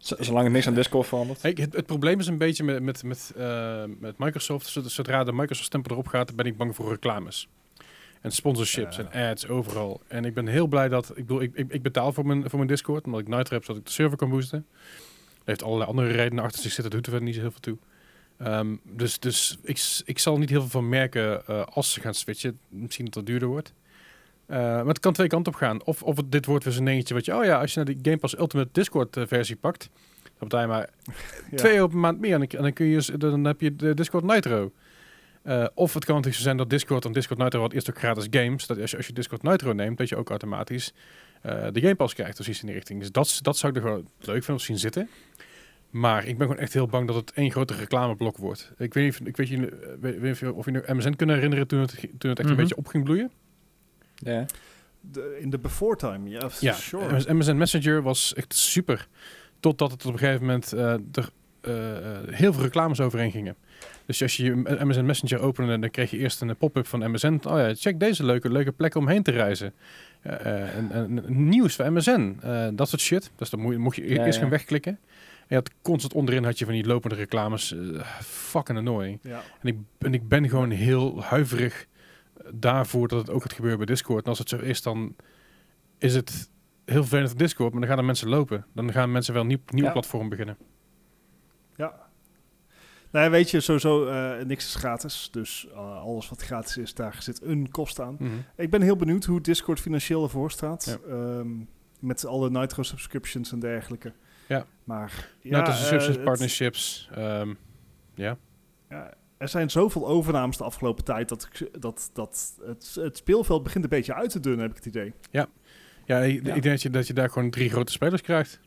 Z- zolang het niks aan Discord verandert.
Hey, het, het probleem is een beetje met, met, met, eh, met Microsoft. Zodra- Zodra de Microsoft-stempel erop gaat, ben ik bang voor reclames. En sponsorships
Ja.
en ads overal. En ik ben heel blij dat... Ik, bedoel, ik, ik, ik betaal voor mijn, voor mijn Discord, omdat ik Nightrap zodat ik de server kan boosten. Dat heeft allerlei andere redenen achter zich zitten. Dat doet er verder niet zo heel veel toe. Ehm, dus dus ik, s- ik zal er niet heel veel van merken eh, als ze gaan switchen. Misschien dat dat duurder wordt. Eh, maar het kan twee kanten op gaan. Of, of het- dit wordt weer zo'n dingetje wat je... Oh ja, als je naar die Game Pass Ultimate Discord eh, versie pakt... Dan betaal je maar
Ja.
Twee euro per maand meer en dan, en dan kun je, dus- dan heb je de Discord Nitro. Eh, of het kan natuurlijk zo zijn dat Discord, en Discord Nitro had eerst ook gratis games, dat als je, als je Discord Nitro neemt, dat je ook automatisch eh, de Game Pass krijgt, precies in die richting. Dus dat, is- dat zou ik er gewoon leuk van zien zitten. Maar ik ben gewoon echt heel bang dat het één grote reclameblok wordt. Ik weet niet, of- ik weet, jullie- eh, weet, weet niet of je nu MSN kunnen herinneren toen het, toen het echt
Mhm.
een beetje op ging bloeien.
Ja.
De- in de before time, ja,
Ja,
sure.
MS- MSN Messenger was echt super. Totdat het op een gegeven moment eh, er eh, eh, heel veel reclames overheen gingen. Dus als je je M- MSN Messenger opende, dan kreeg je eerst een pop-up van MSN. Oh ja, check deze leuke, leuke plek om heen te reizen. Eh, eh, en, en nieuws van MSN. eh, dat soort shit. Dus dan moe- mocht je e-
Ja,
eerst
ja.
gaan wegklikken. En je had constant onderin had je van die lopende reclames. eh, fucking annoying.
Ja.
En ik, en ik ben gewoon heel huiverig daarvoor dat het ook gaat gebeuren bij Discord. En als het zo is, dan is het heel vervelend op Discord, maar dan gaan er mensen lopen. Dan gaan mensen wel een nieuw, nieuw
Ja.
platform beginnen.
Ja. Nou ja, weet je, sowieso eh, niks is gratis. Dus eh, alles wat gratis is, daar zit een kost aan.
Nou,
Ik ben heel benieuwd hoe Discord financieel ervoor staat.
Ja.
Ehm, met alle Nitro subscriptions en dergelijke.
Ja.
Maar ja,
nou, tussen
eh,
subsidies,
het-
partnerships. ehm,
ja, er zijn zoveel overnames de afgelopen tijd dat, ik, dat, dat het, het speelveld begint een beetje uit te dunnen, heb ik het idee.
ja, ik, ik
Ja.
denk dat je, dat je daar gewoon drie grote spelers krijgt.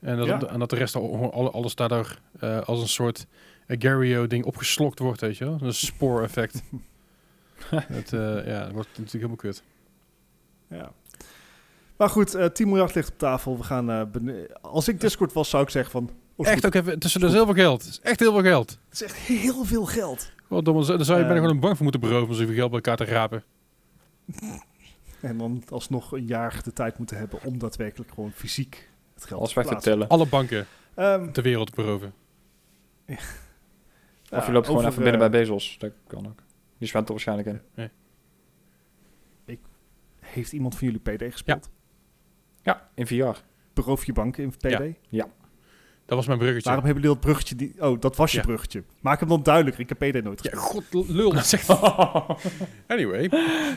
En dat,
Ja.
en dat de rest, al, al- alles daardoor eh, als een soort Agario-ding opgeslokt wordt, weet je wel. Een spoor-effect. het, eh, ja, dat wordt natuurlijk helemaal kut.
Ja. Maar goed, eh 10 miljard ligt op tafel. We gaan, eh, bene- als ik Discord was, zou ik zeggen van... oh, is
Echt
goed.
ook even, tussen de zoveel geld. Het is Echt heel veel geld.
Het is echt heel veel geld.
Goddomme, dan zou je bijna
Ehm.
gewoon een bank voor moeten beroven om zoveel geld bij elkaar te rapen.
En dan alsnog een jaar de tijd moeten hebben om daadwerkelijk gewoon fysiek het geld
Alles
te
weg te
plaatsen.
tellen.
Alle banken
eh,
Ehm,
ter wereld beroven.
Of je
ja,
loopt gewoon
over,
even binnen
eh,
bij Bezos. Dat kan ook. Die zwemt er waarschijnlijk in.
Heeft iemand van jullie PD gespeeld?
Ja, in VR.
Beroof je banken in PD?
Ja. Dat was mijn bruggetje.
Waarom hebben jullie dat bruggetje? Die... Oh, dat was je
Ja.
bruggetje. Maak hem dan duidelijker. Ik heb PD nooit
Ja,
gespeeld.
god, lul. Dat zegt... anyway,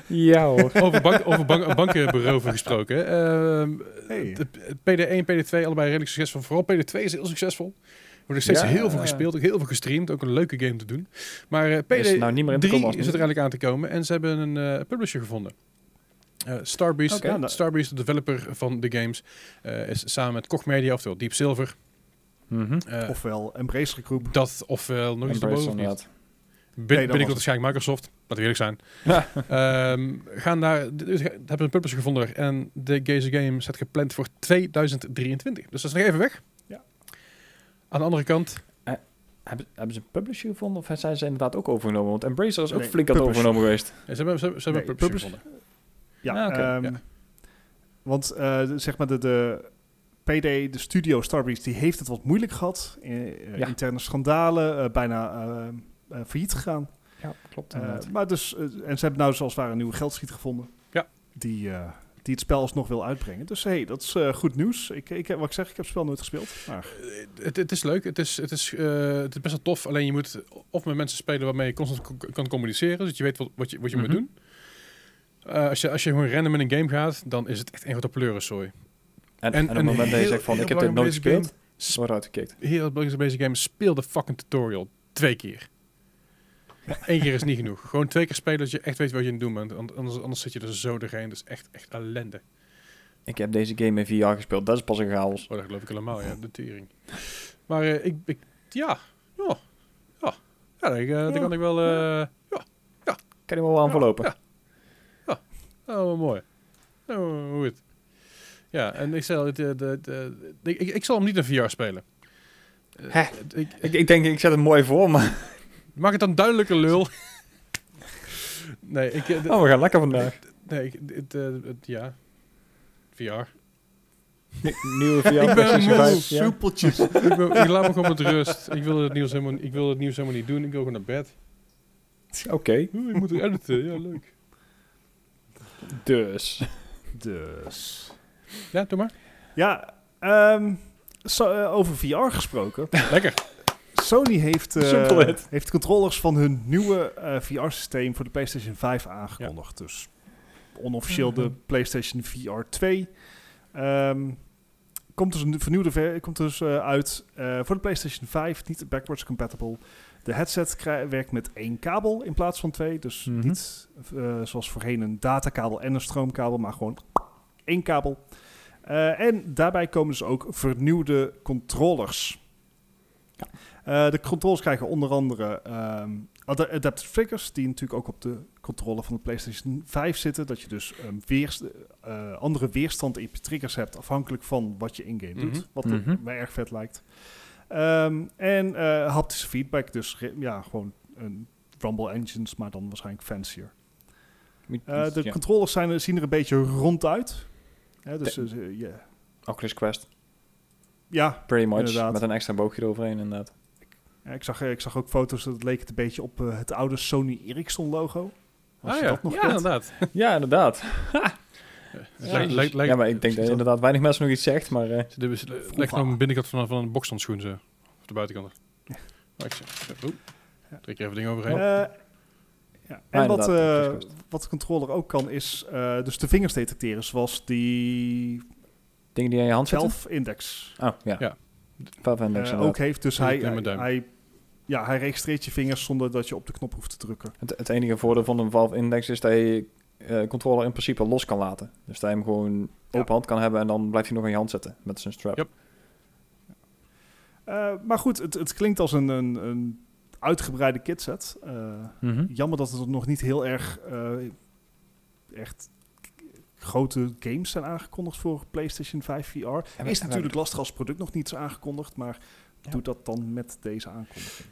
Ja hoor.
over, bank, over bank, banken beroven gesproken. Ehm,
Hey.
de PD1, PD2, allebei redelijk succesvol. Vooral PD2 is heel succesvol. Wordt nog steeds
Ja.
heel veel gespeeld, ook heel veel gestreamd. Ook een leuke game te doen. Maar eh, PD3
Is er nou niet meer in te komen als
is er
nu?
eigenlijk aan te komen. En ze hebben een eh, publisher gevonden. Eh, Starbeast,
Oké.
nou-
eh, Starbeast, de developer van de games, eh, is samen met Koch Media, oftewel Deep Silver.
Mhm.
eh,
Ofwel Embrace Groep.
dat ofwel nog iets
Embrace
erboven. of niet?
inderdaad.
Nee,
Bin,
dat
binnenkort
was
waarschijnlijk Microsoft, laten we eerlijk zijn. Ehm, gaan daar, dus ga- hebben een publisher gevonden en de deze game staat gepland voor 2023. Dus dat is nog even weg.
Ja.
Aan de andere kant,
Hebben, hebben ze een publisher gevonden of zijn ze inderdaad ook overgenomen? Want Embracer is ook
Nee,
flink aan het
publisher.
overgenomen geweest.
eh, ze hebben, ze, hebben- ze hebben
Nee,
een publisher
publisher.
gevonden.
Ja,
Ah, oké,
ehm,
ja.
Want eh, de- zeg maar de, de PD, de studio Starbreeze, die heeft het wat moeilijk gehad. Eh, eh,
Ja.
Interne schandalen, eh, bijna eh, eh, failliet gegaan.
Ja, klopt
Eh, maar dus, eh, en ze hebben nou zoals het ware een nieuwe geldschiet gevonden.
Ja.
Die, eh, die het spel alsnog wil uitbrengen. Dus hey, dat is eh, goed nieuws. Ik, ik, heb- wat ik zeg, ik heb het spel nooit gespeeld. Maar
Eh, Het, het is leuk, het is, het, is, eh, het is best wel tof. Alleen je moet of met mensen spelen waarmee je constant co- kan communiceren, zodat je weet wat, wat je, wat je
Mhm.
moet doen. Eh, als, je, als je gewoon random in een game gaat, dan is het echt een grote pleurensooi. en
En, en op het
een
moment dat je
heel-
zegt van,
heel
ik heb dit nooit
belangrijk bij deze
gespeeld, wordt uitgekeken.
heel belangrijk bij deze game, speel de fucking tutorial twee keer. Eén keer is niet genoeg. Gewoon twee keer spelen dat je echt weet wat je aan het doen bent. Want Anders, anders zit je er zo doorheen. Dat is echt, echt ellende.
Ik heb deze game in VR gespeeld, dat is pas een chaos.
Oh, dat geloof ik allemaal, ja. De tering. Maar eh, ik, ik... Ja. Ja. Ja. Ja, dat, eh, dat
Ja.
kan ik wel... eh
Kan je me wel aan verlopen.
Ja. oh, wat mooi. Oh, hoe het. Ja, en ik, zal, het, eh, de, de- ik, ik, ik zal hem niet in VR spelen. Eh,
Hè?
Ik,
Ik, ik denk, ik zet het mooi voor, maar
maak het dan duidelijker, lul. nee, ik... eh, de-
oh, we gaan lekker vandaag.
Nee, ik, het, eh, het- ja. VR.
Nieuwe VR.
Ik ben
PlayStation
moe.
5, ja.
soepeltjes.
ik, wil- ik laat me gewoon met rust. Ik wil het nieuws helemaal, ik wil het nieuws helemaal niet doen. Ik wil gewoon naar bed.
Oké,
Oeh, ik moet er editen. Ja, leuk.
dus.
Dus.
Ja, doe maar.
Ja, ehm, zo, eh, over VR gesproken.
Lekker.
Sony heeft, eh,
Simpel het.
heeft controllers van hun nieuwe VR-systeem voor de PlayStation 5 aangekondigd. Dus onofficieel de PlayStation VR 2. Ehm, komt dus een vernieuwde ver komt dus eh, uit eh, voor de PlayStation 5, niet backwards compatible. De headset krij- werkt met één kabel in plaats van twee, dus
Mhm.
niet eh, zoals voorheen een datakabel en een stroomkabel, maar gewoon één kabel. Eh, en daarbij komen dus ook vernieuwde controllers. Eh, de controllers krijgen onder andere ehm, ad- adaptive triggers, die natuurlijk ook op de controller van de PlayStation 5 zitten. Dat je dus een weerst- eh, andere weerstand in je triggers hebt, afhankelijk van wat je in-game
Mhm.
doet. Wat me
Mhm.
mij erg vet lijkt. Ehm, en eh, haptische feedback, dus ge- ja, gewoon een Rumble Engines, maar dan waarschijnlijk fancier. Eh, de
Ja.
controllers zijn, er- zien er een beetje rond uit. Hè, dus,
De-
eh, ze- ja.
Oculus Quest,
ja,
pretty much.
Inderdaad.
Met een extra boogje eroverheen, inderdaad.
Ja, ik, zag, eh, ik zag ook foto's, dat leek het een beetje op eh, het oude Sony Ericsson logo. Als
Ah
je
ja,
dat nog
ja,
kent.
inderdaad.
ja, inderdaad.
Het lijkt-
dus-
lijkt- lijkt-
ja, maar ik denk dat
precies
inderdaad weinig mensen nog iets zegt, maar... eh,
Het is- het lijkt nog een binnenkant van, van een bokshandschoen, zo. Of de buitenkant. Maar ik zeg, zo, oeh. Trek er even ding overheen.
Eh, ja. En wat,
inderdaad,
eh,
dat is best.
wat de controller ook kan, is eh, dus de vingers detecteren, zoals die
dingen die aan je hand zitten?
self-index
Oh, ja.
Ja.
Valve
eh,
Index, inderdaad.
ook heeft. Dus
Ja,
hij,
met mijn
hij,
duim.
ja, hij registreert je vingers zonder dat je op de knop hoeft te drukken.
Het, het enige voordeel van een Valve Index is dat je eh controller in principe los kan laten. Dus dat je hem gewoon
Ja.
open hand kan hebben en dan blijft hij nog aan je hand zitten met zijn strap.
Yep.
Eh, maar goed, het, het klinkt als een, een, een uitgebreide kitset. Eh
Mhm.
Jammer dat er nog niet heel erg eh, echt grote games zijn aangekondigd voor PlayStation 5 VR.
maar-
is
maar-
natuurlijk lastig als product nog niet is aangekondigd, maar
Ja.
doe dat dan met deze aankondiging.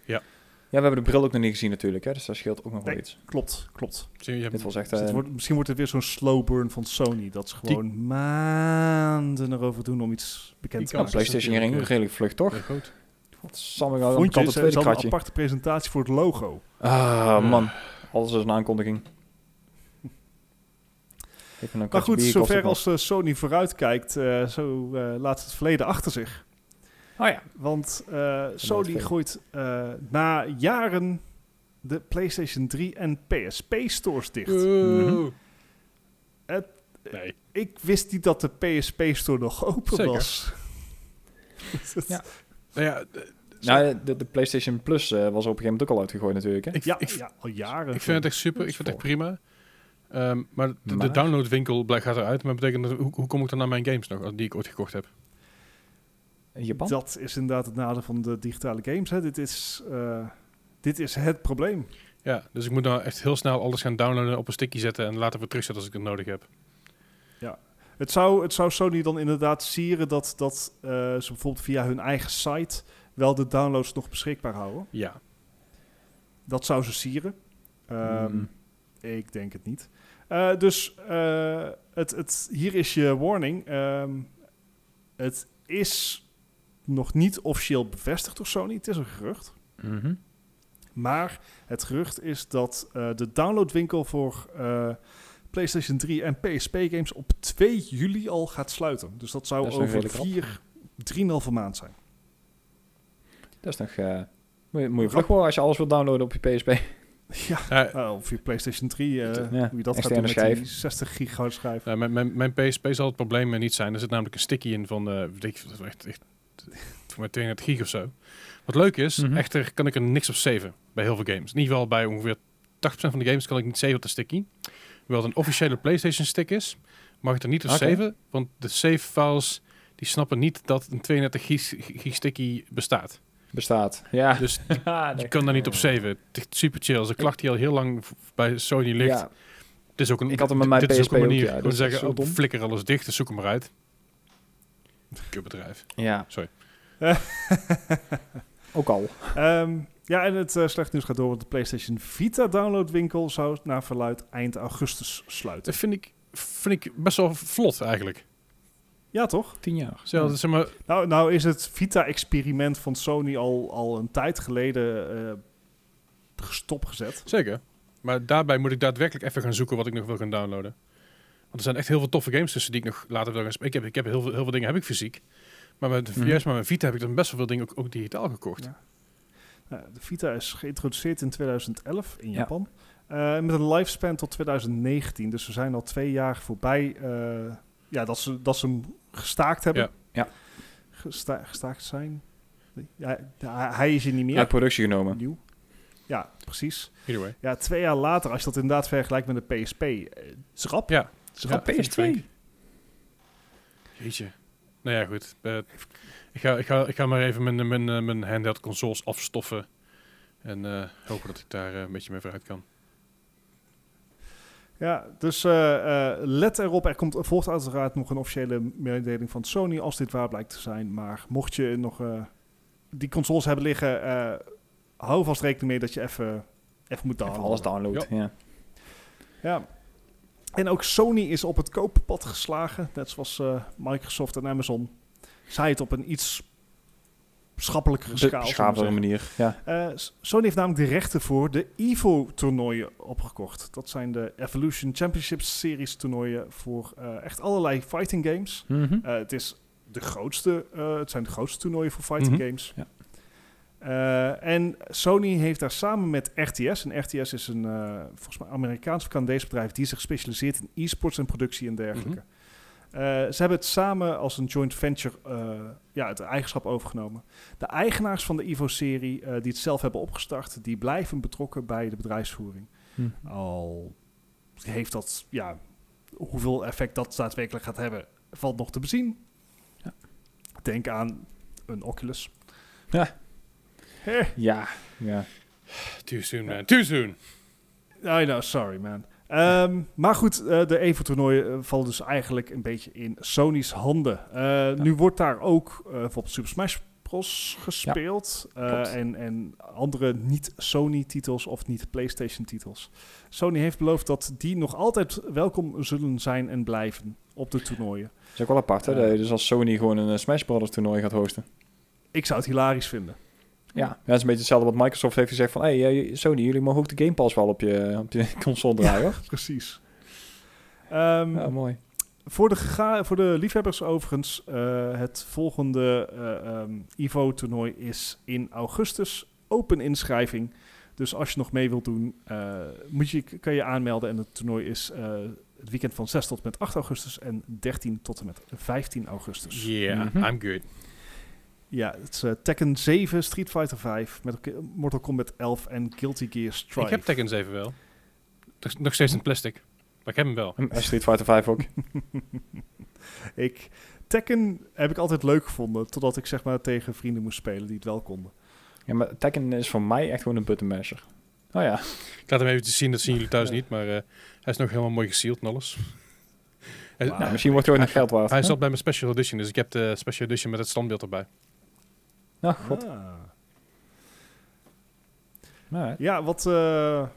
Ja, we hebben de bril ook nog niet gezien natuurlijk, hè, dus dat scheelt ook nog wel
Nee.
iets.
Klopt, klopt.
Zie je, je hebt-
Dit was echt...
Dus het
eh,
wordt, misschien wordt het weer zo'n slow burn van Sony, dat ze
Die-
gewoon maanden erover doen om iets bekend
Die
te
ja,
kans
maken.
is
PlayStation ging ook
eh,
natuurlijk,
redelijk vlug, toch?
heel groot.
Sam, ik
Vond je,
het
ze hadden
tweede
een
kratje.
aparte presentatie voor het logo.
Ah,
Eh.
man. Alles is een aankondiging. Even een
Maar
kratje
goed,
bier kost
zover
ook
als eh, Sony vooruitkijkt, eh zo eh, laat ze het verleden achter zich.
nog. Oh ja.
Want eh Sony
vergeten.
gooit eh, na jaren de PlayStation 3 en PSP stores dicht.
Mm.
Mhm.
Oeh.
Het-
nee.
Ik wist niet dat de PSP store nog open
Zeker.
was.
Ja.
Nou ja, d-
Nou, de, de PlayStation Plus eh, was op een gegeven moment ook al uitgegooid natuurlijk, hè?
ik,
ja,
ik,
ja, al jaren.
ik vind het echt super. Ik vind het echt prima. Ehm, maar de, de
Maar?
downloadwinkel blijkt- gaat eruit. Maar betekent dat, hoe, hoe kom ik dan naar mijn games nog, die ik ooit gekocht heb?
In Japan?
Dat is inderdaad het nadeel van de digitale games. Hè. Dit, is, eh, dit is het probleem.
Ja, dus ik moet nou echt heel snel alles gaan downloaden, op een stickje zetten en later weer terugzetten als ik het nodig heb.
Het zou, het zou Sony dan inderdaad sieren dat, dat eh, ze bijvoorbeeld via hun eigen site wel de downloads nog beschikbaar houden.
Ja.
Dat zou ze sieren. Ehm,
Mm.
Ik denk het niet. Eh, dus eh, het, het, hier is je warning. Ehm, het is nog niet officieel bevestigd door Sony. Het is een gerucht.
Mhm.
Maar het gerucht is dat eh, de downloadwinkel voor eh, PlayStation 3 en PSP games op 2 juli al gaat sluiten. Dus dat zou
Dat is nog
over
redelijk rap.
4, 3,5 maand zijn.
Dat is nog... eh moet je, moet je vlug worden als je alles wilt downloaden op je PSP.
Ja,
Nou,
nou, of je PlayStation 3, eh,
Ja,
hoe je dat gaat doen
externe
met
schijf.
die 60 gigahertz schijf.
nou, mijn, mijn, mijn PSP zal het probleem eh, niet zijn. Er zit namelijk een sticky in van, eh weet ik, veel, echt, echt, voor mij 32 gig of zo. Wat leuk is,
Mhm.
echter kan ik er niks op saven bij heel veel games. In ieder geval bij ongeveer 80% van de games kan ik niet saven op de sticky. Hoewel het een officiële PlayStation stick is, mag ik er niet op
Oké.
saven. Want de save files, die snappen niet dat een 32 gig, gig sticky bestaat.
Bestaat. Ja.
Dus
Ah,
Je
nee.
kan daar niet op saven. Het is echt super chill. Ze klacht die al heel lang v- bij Sony ligt.
Ja,
het is ook een,
ik had hem met mijn
dit is ook
PSP
een
ook,
manier.
ja.
Gewoon
Dat is
zeggen,
zo
oh,
dom.
flikker alles dicht en zoek hem maar uit. Kutbedrijf.
ja.
Sorry.
ook al.
Ehm, ja, en het eh, slecht nieuws gaat door, want de PlayStation Vita downloadwinkel zou naar verluid eind augustus sluiten.
Dat vind ik, vind ik best wel vlot eigenlijk.
Ja, toch?
Tien jaar.
Zo, dat zeg maar,
Nou, nou is het Vita-experiment van Sony al, al een tijd geleden eh, stopgezet.
zeker. Maar daarbij moet ik daadwerkelijk even gaan zoeken wat ik nog wil gaan downloaden. Want er zijn echt heel veel toffe games tussen die ik nog later wil gaan spelen. Ik heb, ik heb heel, veel, heel veel dingen heb ik fysiek. Maar met,
Mhm.
juist met mijn Vita heb ik dan best wel veel dingen ook, ook digitaal gekocht.
Ja. Nou, de Vita is geïntroduceerd in 2011 in
Ja.
Japan. Eh, met een lifespan tot 2019. Dus we zijn al twee jaar voorbij eh, ja, dat, ze, dat ze hem gestaakt hebben.
Ja.
gesta- gestaakt zijn. Ja, hij- hij is er niet meer.
Uit productie genomen.
Nieuw. Ja, precies.
Either way.
Ja, twee jaar later, als je dat inderdaad vergelijkt met de PSP, eh, is rap.
Ja.
Is
Ja.
rap.
vind ik flink. Jeetje. Nou ja, goed. Eh, ik, ga, ik, ga, ik ga maar even mijn, mijn, eh, mijn handheld consoles afstoffen. En eh, hopen dat ik daar eh, een beetje mee vooruit kan.
Ja, dus eh, eh, let erop. Er komt volgt uiteraard nog een officiële mededeling van Sony als dit waar blijkt te zijn. Maar mocht je nog eh, die consoles hebben liggen, eh, hou vast rekening mee dat je even, even moet
Even
downloaden.
alles downloaden. Ja.
Ja. En ook Sony is op het kooppad geslagen, net zoals eh, Microsoft en Amazon. Zij het op een iets schappelijkere
Op
schaal.
een
zullen we
schaafdere manier. Ja.
eh, S- Sony heeft namelijk de rechten voor de EVO-toernooien opgekocht. Dat zijn de Evolution Championship Series toernooien voor eh, echt allerlei fighting games.
Mhm.
Eh, het, is de grootste, eh, het zijn de grootste toernooien voor fighting
Mhm.
games.
Ja.
Eh, en Sony heeft daar samen met RTS, en RTS is een eh, volgens mij Amerikaans of Canadees bedrijf die zich specialiseert in e-sports en productie en dergelijke. Eh, ze hebben het samen als een joint venture eh, ja, het eigenschap overgenomen. De eigenaars van de Evo-serie, eh, die het zelf hebben opgestart, die blijven betrokken bij de bedrijfsvoering. Al heeft dat, ja, hoeveel effect dat daadwerkelijk gaat hebben, valt nog te bezien.
Ja.
Denk aan een Oculus.
Ja.
Eh,
Ja. ja.
Too soon, man. Too soon!
I know, sorry man. Ehm, maar goed, eh, de Evo-toernooien eh, vallen dus eigenlijk een beetje in Sony's handen. Eh, Nu wordt daar ook eh, bijvoorbeeld Super Smash Bros. gespeeld. eh,
klopt.
en, en andere niet-Sony-titels of niet-PlayStation-titels. Sony heeft beloofd dat die nog altijd welkom zullen zijn en blijven op de toernooien.
Dat is ook wel apart, hè?
Ja.
dat je Dus als Sony gewoon een eh, Smash Brothers toernooi gaat hosten.
Ik zou het hilarisch vinden.
Ja. ja, dat is een beetje hetzelfde wat Microsoft heeft gezegd van... Hé, hey, eh, Sony, jullie mogen ook de Game Pass wel op je, op je console draaien, hoor.
Precies. Ehm,
Ja, mooi.
Voor de, gega- voor de liefhebbers overigens, eh, het volgende eh, ehm, IVO-toernooi is in augustus. Open inschrijving. Dus als je nog mee wilt doen, eh, moet je, kan je aanmelden. En het toernooi is eh, het weekend van 6 tot en met 8 augustus en 13 tot en met 15 augustus.
Yeah,
Mhm.
I'm good.
Ja, het is eh, Tekken 7, Street Fighter 5, met elke- Mortal Kombat 11 en Guilty Gear Strive.
Ik heb Tekken 7 wel. Nog- Nog steeds in plastic. Maar ik heb hem wel.
En eh, Street Fighter 5 ook.
Ik, Tekken heb ik altijd leuk gevonden, totdat ik zeg maar tegen vrienden moest spelen die het wel konden.
Ja, maar Tekken is voor mij echt gewoon een buttonmasher. Oh ja.
Ik laat hem even zien, dat zien jullie thuis niet. Maar eh, hij is nog helemaal mooi gesealed en alles. Hij-
Wauw.
nou, misschien wordt het ook nog geld waard.
Hij
hè?
zat bij mijn special edition, dus ik heb de special edition met het standbeeld erbij.
Nou, god.
Ah.
Nou, hè.
Ja, wat, eh,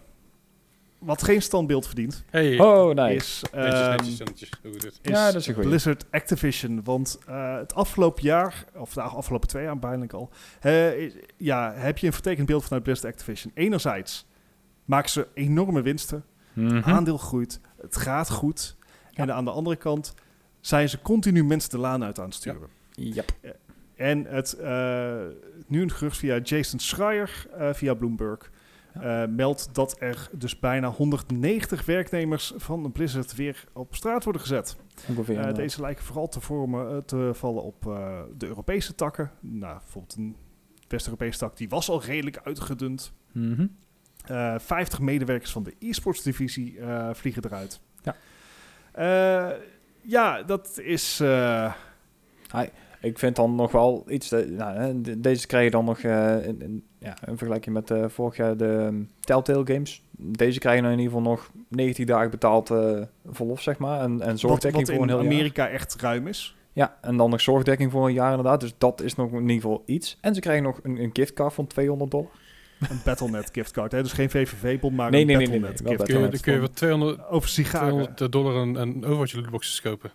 wat geen standbeeld verdient,
Hey,
oh, nee.
is,
netjes,
ehm,
netjes, netjes. Heel goed dit.
is
Ja, dat is een goeie.
Blizzard Activision. Want eh, het afgelopen jaar, of de afgelopen twee jaar bijna al, eh, is- ja, heb je een vertekend beeld vanuit Blizzard Activision. Enerzijds maken ze enorme winsten,
Mhm.
aandeel groeit, het gaat goed. En aan de andere kant zijn ze continu mensen de laan uit aan het sturen.
Yep.
En het, eh, nu een gerucht via Jason Schreier, eh, via Bloomberg, eh, meldt dat er dus bijna 190 werknemers van Blizzard weer op straat worden gezet.
Ongeveer.
Eh,
ja. nou.
deze lijken vooral te, vormen, eh, te vallen op eh, de Europese takken. Nou, bijvoorbeeld een West-Europese tak, die was al redelijk uitgedund.
Mhm.
Eh, 50 medewerkers van de e-sports divisie eh, vliegen eruit.
Ja.
Eh, ja, dat is... eh,
Ik vind dan nog wel iets. dat- nou, hè, de- deze krijg je dan nog eh in, in- ja, in vergelijking met eh, vorig jaar de ehm, Telltale Games. Deze krijgen dan in ieder geval nog 90 dagen betaald eh, verlof, zeg maar. En, en
wat,
zorgdekking
wat
voor een
in
heel jaar.
Amerika echt ruim is.
Ja, en dan nog zorgdekking voor een jaar inderdaad. Dus dat is nog in ieder geval iets. En ze krijgen nog een, een giftcard van 200 dollar.
Een Battle.net giftcard. Hè? Dus geen VVV-bon, maar
Nee,
een
nee, nee, nee,
Battle.net
nee, wel
Kun je,
Battle.net.
kun je voor 200,
giftcard. Over sigaren.
200 eh, dollar een, een overwatch lootboxes kopen?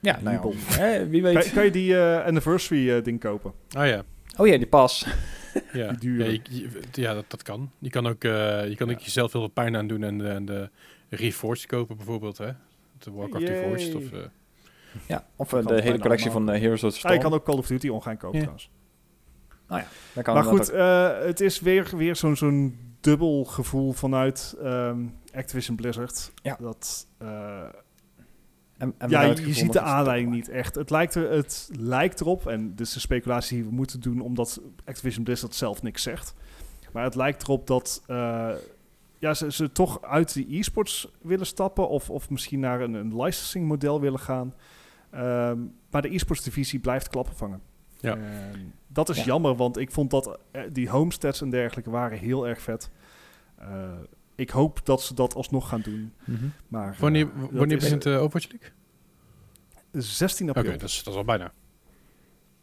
Ja, nou ja, hè, wie
Kan,
weet.
kan je die eh, anniversary-ding kopen?
Ah ja,
Oh ja, die pas.
ja.
Die dure.
Ja, je- je- ja dat, dat kan. Je kan ook, eh, je kan ook jezelf heel veel pijn aan doen en, de- en de Reforged kopen bijvoorbeeld, hè? De Warcraft
Yay.
Reforged of... eh,
Ja, of
Kan
eh, de
het
hele
bijna
collectie van
allemaal.
eh, Heroes of the
Ah,
Storm.
je kan ook Call of Duty online kopen
Ja.
trouwens.
Dat kan
maar
inderdaad
goed, eh, het is weer, weer zo'n zo'n dubbel gevoel vanuit ehm, Activision Blizzard.
Ja.
Dat eh,
En, en
ja,
waaruit
je
gevonden
ziet de
is.
aanleiding niet echt. Het lijkt, er, het lijkt erop, en dit is de speculatie die we moeten doen, omdat Activision Blizzard zelf niks zegt. Maar het lijkt erop dat eh, ja, ze, ze toch uit de e-sports willen stappen, of, of misschien naar een, een licensing model willen gaan. Ehm, maar de e-sports divisie blijft klappen vangen.
Ja.
En dat is
Ja.
jammer, want ik vond dat eh, die homesteads en dergelijke waren heel erg vet. Eh, ik hoop dat ze dat alsnog gaan doen.
Mhm.
Maar, eh,
Wanneer,
dat
wanneer
is
begint de Overwatch League?
16
Oké,
eh, april.
dat, is, dat is al bijna.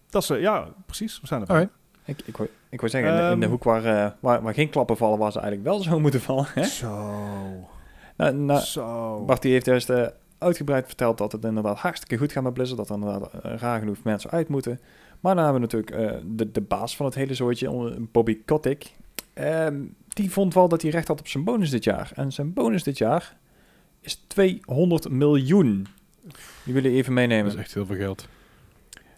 Dat is, eh, ja, precies. We zijn er.
Alright.
Ik, ik, wou, ik wou zeggen, in de- in, de
Ehm.
hoek waar, eh, waar, waar geen klappen vallen, waar ze eigenlijk wel zo moeten vallen. Hè?
Zo.
Nou, nou,
zo.
Bart die heeft juist eh, uitgebreid verteld dat het inderdaad hartstikke goed gaat met Blizzard. Dat er inderdaad eh, raar genoeg mensen uit moeten. Maar dan hebben we natuurlijk eh, de, de baas van het hele zooitje, on- Bobby Kotick. Ehm, die vond wel dat hij recht had op zijn bonus dit jaar. En zijn bonus dit jaar is 200 miljoen. Die willen even
Dat is
meenemen.
echt heel veel geld.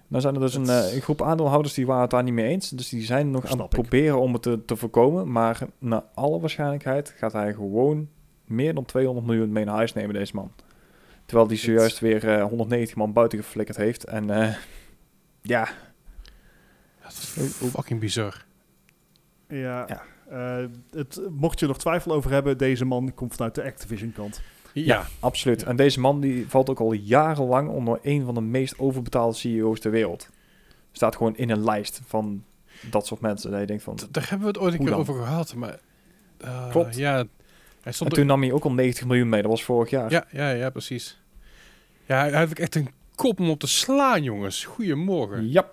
Nou zijn er dus een,
Het-
eh, een groep aandeelhouders die waren het daar niet mee eens. Dus die zijn nog aan
Snap
het
ik.
proberen om het te, te voorkomen. Maar naar alle waarschijnlijkheid gaat hij gewoon meer dan 200 miljoen mee naar huis nemen, deze man. Terwijl die
Het-
zojuist weer eh, 190 man buiten geflikkerd heeft. En eh, ja,
Dat is fucking bizar.
Ja.
Ja.
Eh, het, mocht je er nog twijfel over hebben, deze man komt vanuit de Activision-kant.
Ja,
absoluut. En deze man die valt ook al jarenlang onder een van de meest overbetaalde CEO's ter wereld. Staat gewoon in een lijst van dat soort mensen. Dat je denkt van...
d- daar hebben we het ooit een
Hoe
keer
dan?
over gehad. Maar, eh,
Klopt.
Ja, hij
En
stond er-
toen nam hij ook al 90 miljoen mee. Dat was vorig jaar.
Ja, ja, ja, precies. Ja, hij hij heeft ook echt een kop om op te slaan, jongens. Goedemorgen.
Ja.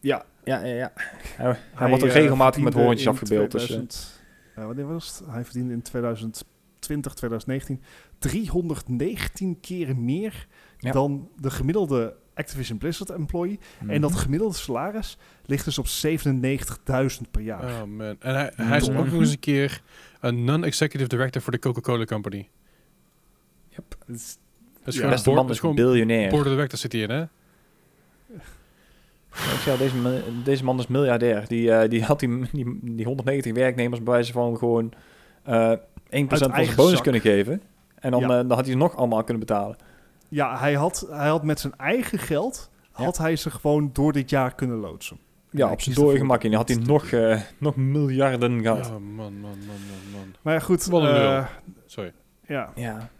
Ja, ja, ja. ja. Hij, hij, wordt ook
eh,
regelmatig met
verdiende
hoorntjes
in
afgebeeld. Dus, eh,
2000 eh, wanneer was het? Hij verdiende in 2020, 2019 319 keer meer
Ja.
dan de gemiddelde Activision Blizzard employee.
eh, Mhm.
En
mm.
dat gemiddelde salaris ligt dus op 97.000 per jaar.
Oh man. En hij, hij is
Mhm.
ook nog eens een keer een non-executive director voor de Coca-Cola Company.
Yep.
Dat is-
Dat is
Ja.
gewoon, board,
beste man
dat is
is een
gewoon
biljonair.
board of directors zit hij in, hè?
Ik zei al, deze, man- deze man is miljardair. Die, eh, die had die, die, die 190 werknemers bij wijze van gewoon eh 1% van
eigen
zijn bonus
zak.
kunnen geven. En dan,
Ja.
eh, dan had hij ze nog allemaal kunnen betalen.
Ja, hij had, hij had met zijn eigen geld... had hij ze gewoon door dit jaar kunnen loodsen.
Ja,
hij
op zijn
kiest ervoor
dode gemak. En dan had hij nog,
dus-
eh, nog miljarden gehad.
Oh man, man, man, man, man.
Maar ja, goed.
Wat een
eh,
lul. Sorry.
ja.
Ja.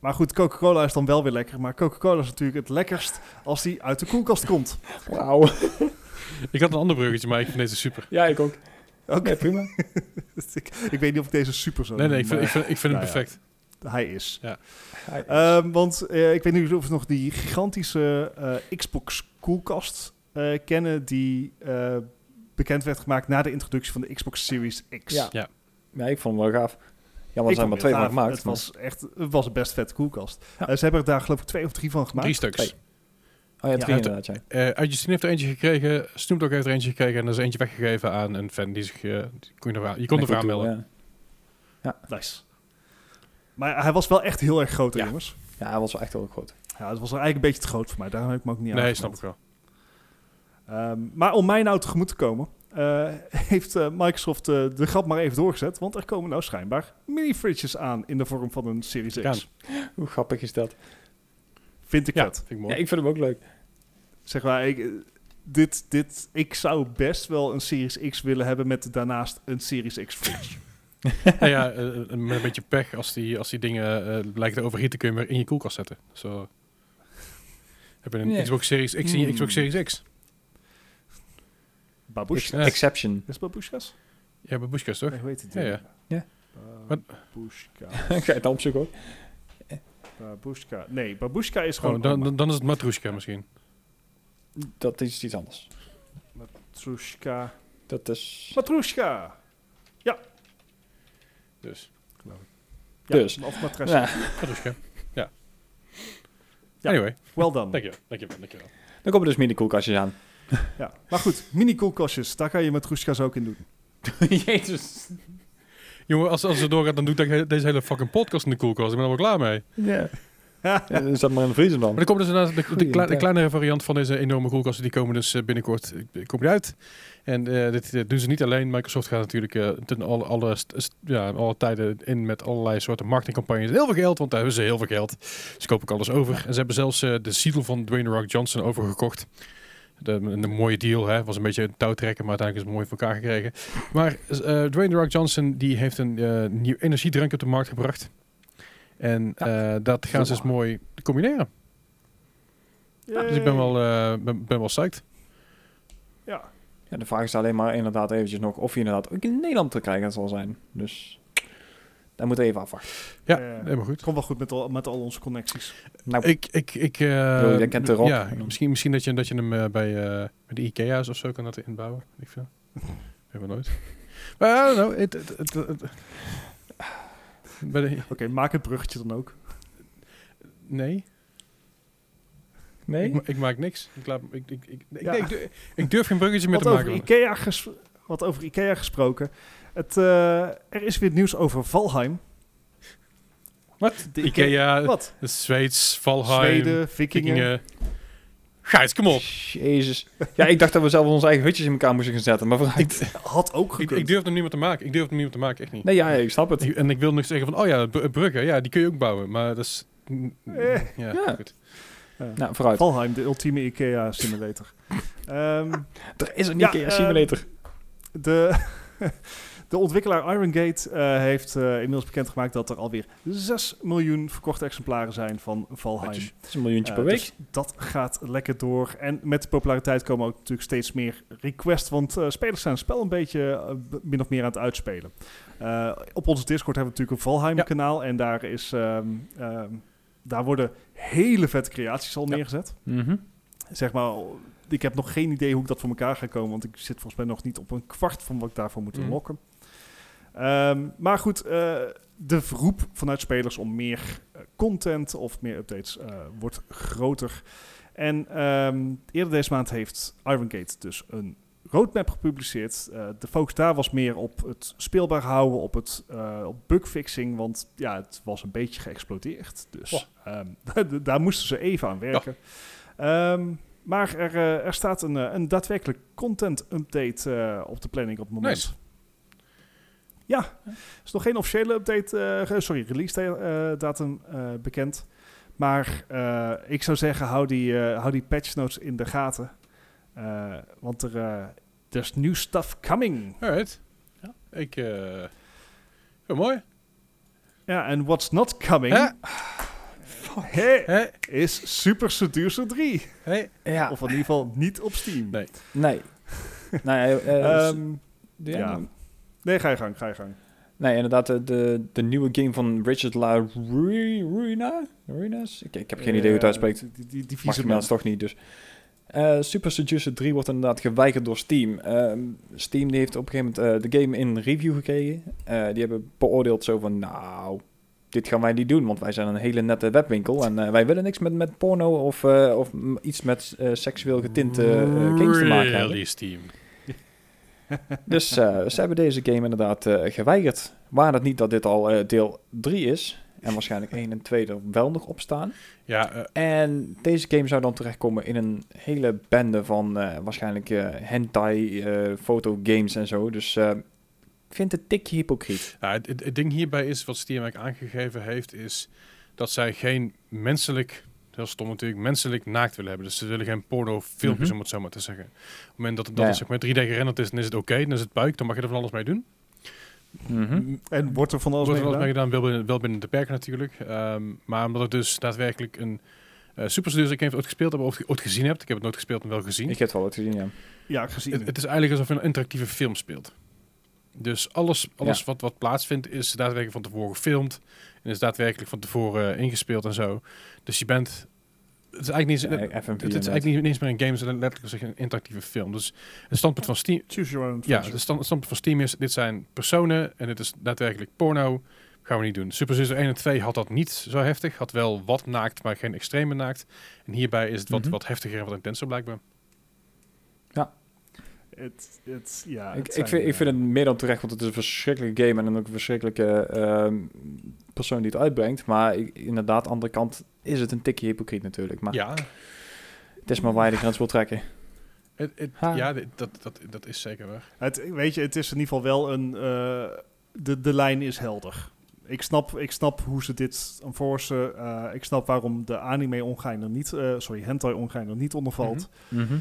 Maar goed, Coca-Cola is dan wel weer lekker. Maar Coca-Cola is natuurlijk het lekkerst als die uit de koelkast komt.
Wauw.
Ik had een ander bruggetje, maar ik vind deze super.
Ja, ik ook.
Oké,
Nee, prima.
ik, ik weet niet of ik deze super zo
Nee, nee, ik
noem,
vind, ik vind, ik vind hem
nou ja.
perfect.
maar hij is.
Hij is-
Ehm, want eh, ik weet niet of we nog die gigantische eh, Xbox koelkast eh, kennen... die eh, bekend werd gemaakt na de introductie van de Xbox Series X.
ja.
ja.
ja, ik vond hem wel gaaf. Ja, want
Ik
er zijn maar
vond
twee
het
van
gaaf.
gemaakt.
Het
maar-
was, echt, het was een best vette koelkast.
Ja.
Eh, ze hebben er daar geloof ik twee of drie van gemaakt.
Drie stuks.
Hey. Oh ja, drie
Ja.
inderdaad, ja.
Eh, Uit Justine heeft er eentje gekregen, Snoop Dogg heeft er eentje gekregen en er is eentje weggegeven aan een fan die zich... eh, die kon je, nog aan, je kon
Met
ervoor
die
aanmelden.
toe,
Nice. Maar hij was wel echt heel erg groot, hè,
Ja.
jongens.
Ja. ja, hij was wel echt heel groot.
Ja, het was er eigenlijk een beetje te groot voor mij. Daarom heb ik me ook niet
nee,
aangemeld.
snap ik wel.
Ehm, maar om mij nou tegemoet te komen, eh, heeft eh, Microsoft eh, de grap maar even doorgezet. Want er komen nou schijnbaar mini-fridges aan in de vorm van een Series X.
Ja.
Hoe grappig is dat?
Vind ik
Ja,
vet.
vind ik
Ja,
mooi.
ik vind hem ook leuk.
Zeg maar, ik, eh, dit, dit, ik zou best wel een Series X willen hebben met daarnaast een Series X fridge.
Nou ja, eh, eh, met een beetje pech, als die, als die dingen eh, lijken te overhieten, kun je hem weer in je koelkast zetten. Zo. Heb je een
Nee.
Xbox Series X en je
Hmm.
Xbox Series X?
Babushka.
Ja.
Exception.
Is het Babushka's?
Ja, bij Bushkas toch?
Nee, hoe heet het?
Ja, ja.
Ja.
Wat?
Babushka.
Ga je het dan opzoeken hoor.
Babushka. Nee, Babushka is gewoon...
Oh, dan, dan, dan is het Matrushka misschien.
Dat is iets anders.
Matrushka.
Dat is...
Matrushka!
Dus,
Ja,
Dus.
Of matras.
Ja.
Matrushka. Ja.
Ja.
Anyway,
Well done.
dankjewel, dankjewel, dankjewel.
Dan komen dus mini-koelkastjes aan.
Ja. Maar goed, mini koelkastjes, daar kan je matrushka's ook in doen.
Jezus.
Jongen, als, als het doorgaat, dan doe ik deze hele fucking podcast in de koelkast. Ik ben er wel klaar mee.
Ja. Ja, dan zet maar in de vriezer dan.
Maar er komt dus inderdaad de, de,
Goeie
klei- de
tijd.
kleinere variant van deze enorme koelkasten. Die komen dus eh, binnenkort eh, komen die uit. En eh, dit eh, doen ze niet alleen. Microsoft gaat natuurlijk eh, ten alle, alle, st- st- ja, alle tijden in met allerlei soorten marketingcampagnes. Heel veel geld, want daar hebben ze heel veel geld. Ze kopen ook alles over. En ze hebben zelfs eh, de titel van Dwayne The Rock Johnson overgekocht. De, een mooie deal, hè. was een beetje een touwtrekker, maar uiteindelijk is het mooi voor elkaar gekregen. Maar eh, Dwayne The Rock Johnson die heeft een eh, nieuw energiedrank op de markt gebracht. En eh, dat gaan ze dus mooi combineren. Dus ik ben wel, eh, ben, ben wel psyched.
Ja.
Ja, de vraag is alleen maar inderdaad eventjes nog of je inderdaad ook in Nederland te krijgen zal zijn. Dus daar moet even afwachten.
Ja,
Eh,
helemaal goed.
het komt wel goed met al, met al onze connecties.
Nou,
Ik, ik, ik... eh,
bedoel, jij kent de rock.
Ja, misschien, misschien dat je, dat je hem eh, bij, eh, bij de Ikea's of zo kan dat inbouwen. Ik vind Hebben we nooit. Maar I don't know. It, it, it- it- bij de,
Oké, maak het bruggetje dan ook.
nee,
nee?
ik, ma- ik maak niks. Ik, laat, ik, ik, ik, ik-
Ja.
nee, ik, durf, ik durf geen bruggetje meer
Wat
te
over,
maken.
IKEA ges- wat over Ikea gesproken. Het, eh, er is weer nieuws over Valheim.
Wat?
De
Ikea,
Wat?
het Zweeds, Valheim,
Zweden, vikingen.
Vikingen. Gijs, kom op.
Jezus. Ja, ik dacht dat we zelf onze eigen hutjes in elkaar moesten gaan zetten, maar vooruit.
Had ook
Ik,
gekund.
ik durf hem niet meer te maken. Ik durf hem niet meer te maken, echt niet.
Nee, ja, ja, ik snap het.
Ik- En ik wil nog zeggen van, oh ja, br- bruggen, ja, die kun je ook bouwen. Maar dat is... mm,
Eh.
Ja,
Ja.
goed.
Ja.
Nou, vooruit.
Valheim, de ultieme Ikea simulator. Ehm,
Er is een
Ja,
Ikea
eh,
simulator.
de, de ontwikkelaar Iron Gate eh, heeft eh, inmiddels bekendgemaakt dat er alweer 6 miljoen verkochte exemplaren zijn van Valheim.
Dat is een miljoentje
Eh,
per week.
dus dat gaat lekker door. En met de populariteit komen ook natuurlijk steeds meer requests. Want eh, spelers zijn het spel een beetje eh, b- min of meer aan het uitspelen. Eh, op onze Discord hebben we natuurlijk een
Ja.
Valheim-kanaal. En daar, is, ehm, ehm, daar worden hele vette creaties al
Ja.
neergezet.
Mhm.
Zeg maar, ik heb nog geen idee hoe ik dat voor elkaar ga komen. Want ik zit volgens mij nog niet op een kwart van wat ik daarvoor moet
Mhm.
lokken. Ehm, maar goed, eh, de roep vanuit spelers om meer eh, content of meer updates eh, wordt groter. En ehm, eerder deze maand heeft Iron Gate dus een roadmap gepubliceerd. Eh, de focus daar was meer op het speelbaar houden, op het eh, op bugfixing. Want ja, het was een beetje geëxplodeerd. Dus ehm, d- daar moesten ze even aan werken. Ehm, maar er, eh, er staat een, eh, een daadwerkelijk content update eh, op de planning op het moment.
Nice.
Ja, is nog geen officiële update, eh, ge- sorry, release da- eh, datum eh, bekend. Maar eh, ik zou zeggen, hou die, eh, hou die patch notes in de gaten. Eh, want er, eh there's new stuff coming.
Alright.
Ja.
Ik... eh ja, mooi.
Ja, en what's not coming
Hè?
hè,
Hé?
is Super Seducer 3.
Hé?
Ja,
Of in ieder geval niet op Steam.
Ah. Nee.
nee. nou ja, eh,
Ehm,
ja.
ja. nee, ga je gang, ga je gang.
Nee, inderdaad, de, de, de nieuwe game van Richard La Ruina? Ruinas? Ik, ik heb geen idee hoe het
Eh,
uitspreekt.
Die, die, die
Mag
vieze
ik
man.
naast toch niet, dus. Eh, Super Seducer 3 wordt inderdaad geweigerd door Steam. Ehm, Steam die heeft op een gegeven moment eh, de game in review gekregen. Eh, die hebben beoordeeld zo van, nou, dit gaan wij niet doen, want wij zijn een hele nette webwinkel en eh, wij willen niks met, met porno of, eh, of m- iets met eh, seksueel getinte eh, games te maken hebben.
Release team.
Dus eh, ze hebben deze game inderdaad eh, geweigerd. Waar het niet dat dit al eh, deel 3 is. En waarschijnlijk 1 en 2 er wel nog op staan.
Ja, eh,
En deze game zou dan terechtkomen in een hele bende van eh, waarschijnlijk eh, hentai, eh fotogames en zo. Dus eh, ik vind het tikje hypocriet.
nou, het, het- het ding hierbij is, wat Steam eigenlijk aangegeven heeft, is dat zij geen menselijk... Heel stom natuurlijk, menselijk naakt willen hebben. Dus ze willen geen porno filmpjes,
Mhm.
om het zo maar te zeggen. Op het moment dat, dat
Ja,
het
ja.
zeg maar 3D gerenderd is, dan is het oké, dan is het puik, dan mag je er van alles mee doen.
Mhm. Mm, En wordt er van alles
Hm? Wordt
mee
er alles mee
gedaan?
gedaan, wel binnen, wel binnen de perken natuurlijk. Ehm, maar omdat het dus daadwerkelijk een eh Super Seducer game ooit gespeeld heb, of ooit gezien heb. Ik heb het nooit gespeeld, maar wel gezien.
Ik heb het wel ooit gezien, ja.
Ja, gezien.
Het, het is eigenlijk alsof je een interactieve film speelt. Dus alles, alles
Ja.
wat, wat plaatsvindt is daadwerkelijk van tevoren gefilmd. En is daadwerkelijk van tevoren eh, ingespeeld en zo. Dus je bent... Het is eigenlijk niet, het,
Eh, FMV
het is
inderdaad.
eigenlijk niet, niet eens meer een game, het is letterlijk zeg, een interactieve film. Dus het standpunt van Steam,
Choose your own
ja, dus-
adventure.
de stand, standpunt van Steam is, dit zijn personen en dit is daadwerkelijk porno. Gaan we niet doen. Super Sister 1 en 2 had dat niet zo heftig. Had wel wat naakt, maar geen extreme naakt. En hierbij is het wat,
Mhm.
wat heftiger en wat intenser blijkbaar.
Het, het, ja,
Ik,
het
ik,
zijn,
vind, ik
eh,
vind het meer dan terecht, want het is een verschrikkelijke game en dan ook een verschrikkelijke ehm, persoon die het uitbrengt. Maar ik- inderdaad, aan de andere kant, is het een tikje hypocriet natuurlijk. Maar
Ja,
het is maar waar je de grens wil trekken.
het, het-
Ha.
ja dit- dat, dat, dat is zeker waar.
Het, weet je, het is in ieder geval wel een. eh, de, de lijn is helder. Ik snap, ik snap hoe ze dit enforcen. eh ik snap waarom de anime-ongein er niet. eh, sorry, hentai-ongein er niet onder valt.
Mhm.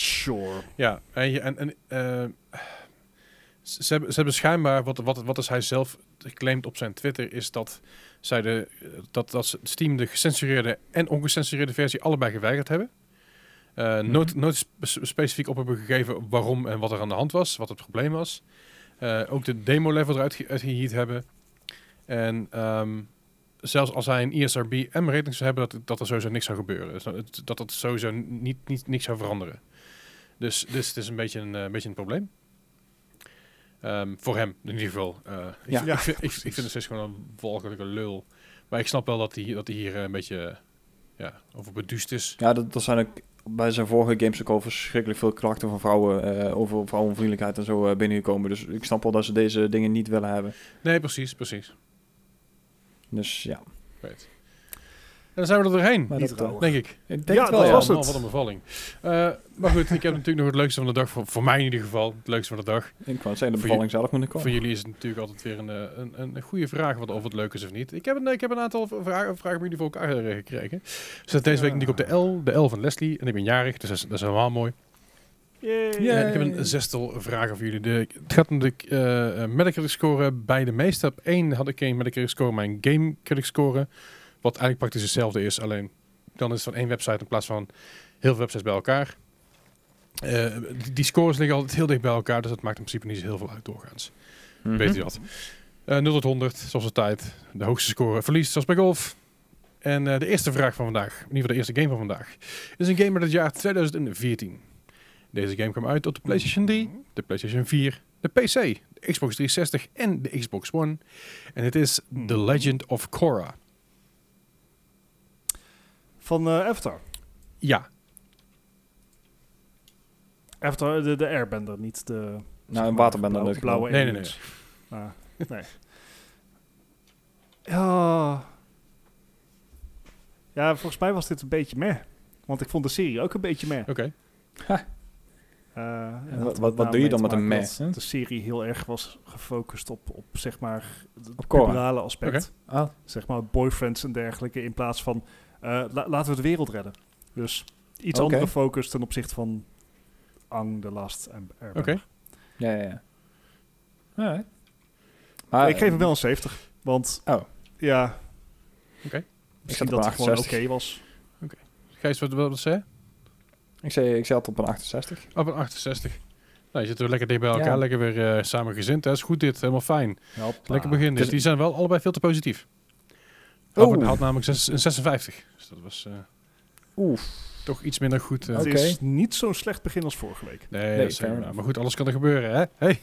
Sure.
Ja, en, je- en, en eh, ze, ze hebben, ze hebben schijnbaar, wat, wat, wat is hij zelf claimt op zijn Twitter, is dat, zij de, dat, dat ze- Steam de gecensureerde en ongecensureerde versie allebei geweigerd hebben. Eh, nooit, nooit spe- specifiek op hebben gegeven waarom en wat er aan de hand was, wat het probleem was. Eh, ook de demo-level eruit ge- uitgehierd hebben. En ehm, zelfs als hij een E ISRB-M-rating zou hebben, dat, dat er sowieso niks zou gebeuren. Dus dat het- dat dat sowieso niet, niet, niks zou veranderen. Dus, dus het is een beetje een, eh, een beetje een probleem. Ehm, voor hem in ieder geval. Eh, ik,
Ja.
ik, vind, ik, ik vind het steeds gewoon een walgelijke lul. Maar ik snap wel dat hij, dat hij hier eh, een beetje eh, ja, over beduust is.
Ja, dat, dat zijn ook bij zijn vorige games ook al verschrikkelijk veel klachten van vrouwen eh, over vrouwenvriendelijkheid en zo eh, binnengekomen. Dus ik snap wel dat ze deze dingen niet willen hebben.
Nee, precies, precies.
Dus ja.
Weet. En dan zijn we er doorheen,
Maar
Niet
dat,
raar.
eh,
denk ik. Oh
ik denk
Ja,
het wel,
dat
ja.
was het.
Man, wat een bevalling. Eh, maar goed, ik heb natuurlijk nog het leukste van de dag. Voor, voor mij in ieder geval, het leukste van de dag.
Ik wou zijn de
Voor
bevalling zelf moet ik
Voor
komen.
jullie is het natuurlijk altijd weer een, eh, een, een, een goede vraag wat, of het leuk is of niet. Ik heb een, ik heb een aantal vra- vragen, vragen bij jullie voor elkaar eh, gekregen. Ze staat deze week natuurlijk op de L, de L van Leslie. En ik ben jarig, dus dat is, dat is helemaal mooi.
Yay.
Ja.
En ik heb een zestal vragen voor jullie. De, het gaat om de eh Metacritic score bij de meeste. Op één had ik geen Metacritic score, maar een Game Critic score. Wat eigenlijk praktisch hetzelfde is, alleen dan is het van één website in plaats van heel veel websites bij elkaar. Eh, die, die scores liggen altijd heel dicht bij elkaar, dus dat maakt in principe niet zo heel veel uit doorgaans.
Mhm.
Weet je wat? Eh 0 tot 100, zoals altijd. De hoogste score verliest, zoals bij golf. En eh, de eerste vraag van vandaag, in ieder geval de eerste game van vandaag, is een game uit het jaar 2014. Deze game kwam uit op de PlayStation 3, de PlayStation 4, de PC, de Xbox 360 en de Xbox One. En het is The Legend of Korra.
Van eh, Avatar.
Ja,
Avatar, de, de Airbender, niet de. zeg
Nou, een
maar,
waterbender. in dit
blauwe-
geval.
blauwe
Nee, nee,
aliens. Ah, nee. Ja. Ja, volgens mij was dit een beetje meh. Want ik vond de serie ook een beetje meh.
oké.
Eh, en
wat-
dat had
wat
daarmee
doe je dan
te
met een
maken
meh,
dat
hè?
De serie heel erg was gefocust op, op zeg maar, het
Korra.
plurale aspect.
Ah,
Zeg maar boyfriends en dergelijke. In plaats van, eh, la- laten we de wereld redden. Dus iets
Oké.
andere focus ten opzichte van Ang, The Last en Airbender.
Oké.
ja, ja, ja. Alright. Maar,
ik geef hem wel een 70. Want
Ah, eh, Oh.
ja.
Oké.
Misschien
Ik zat op
dat
een
het gewoon oké
68.
was.
Gijs, wat, wat, wat zei je?
Ik zei, ik zei het op een 68.
Op een 68. Nou, je zit weer lekker dicht bij elkaar,
Ja.
lekker weer eh, samen gezind. Dat is goed dit, helemaal fijn. Lekker begin. Dus
Dus-
die zijn wel allebei veel te positief.
Oh.
Albert had namelijk zes- een 56. Dus dat was eh,
Oef.
toch iets minder goed. eh.
Oké.
Het is niet zo'n slecht begin als vorige week.
Nee,
Nee,
dat is
fair
helemaal-
enough.
maar goed, alles kan er gebeuren, hè? Hey,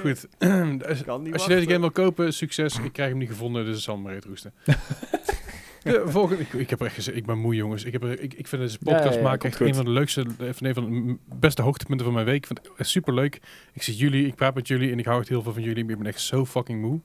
goed. Dus Als-
Kan niet
Als je
wachten.
deze game wil kopen, succes. Ik krijg hem niet gevonden, dus het zal me reet roesten. De volgende, ik, ik heb er echt gezegd, ik ben moe jongens. Ik, heb er, ik, ik vind deze podcast
Ja, ja, ja,
maken
komt
echt
goed.
een van de leukste, eh, van een van de m- beste hoogtepunten van mijn week. Ik vind het echt superleuk. Ik zie jullie, ik praat met jullie en ik hou echt heel veel van jullie. Maar ik ben echt zo fucking moe.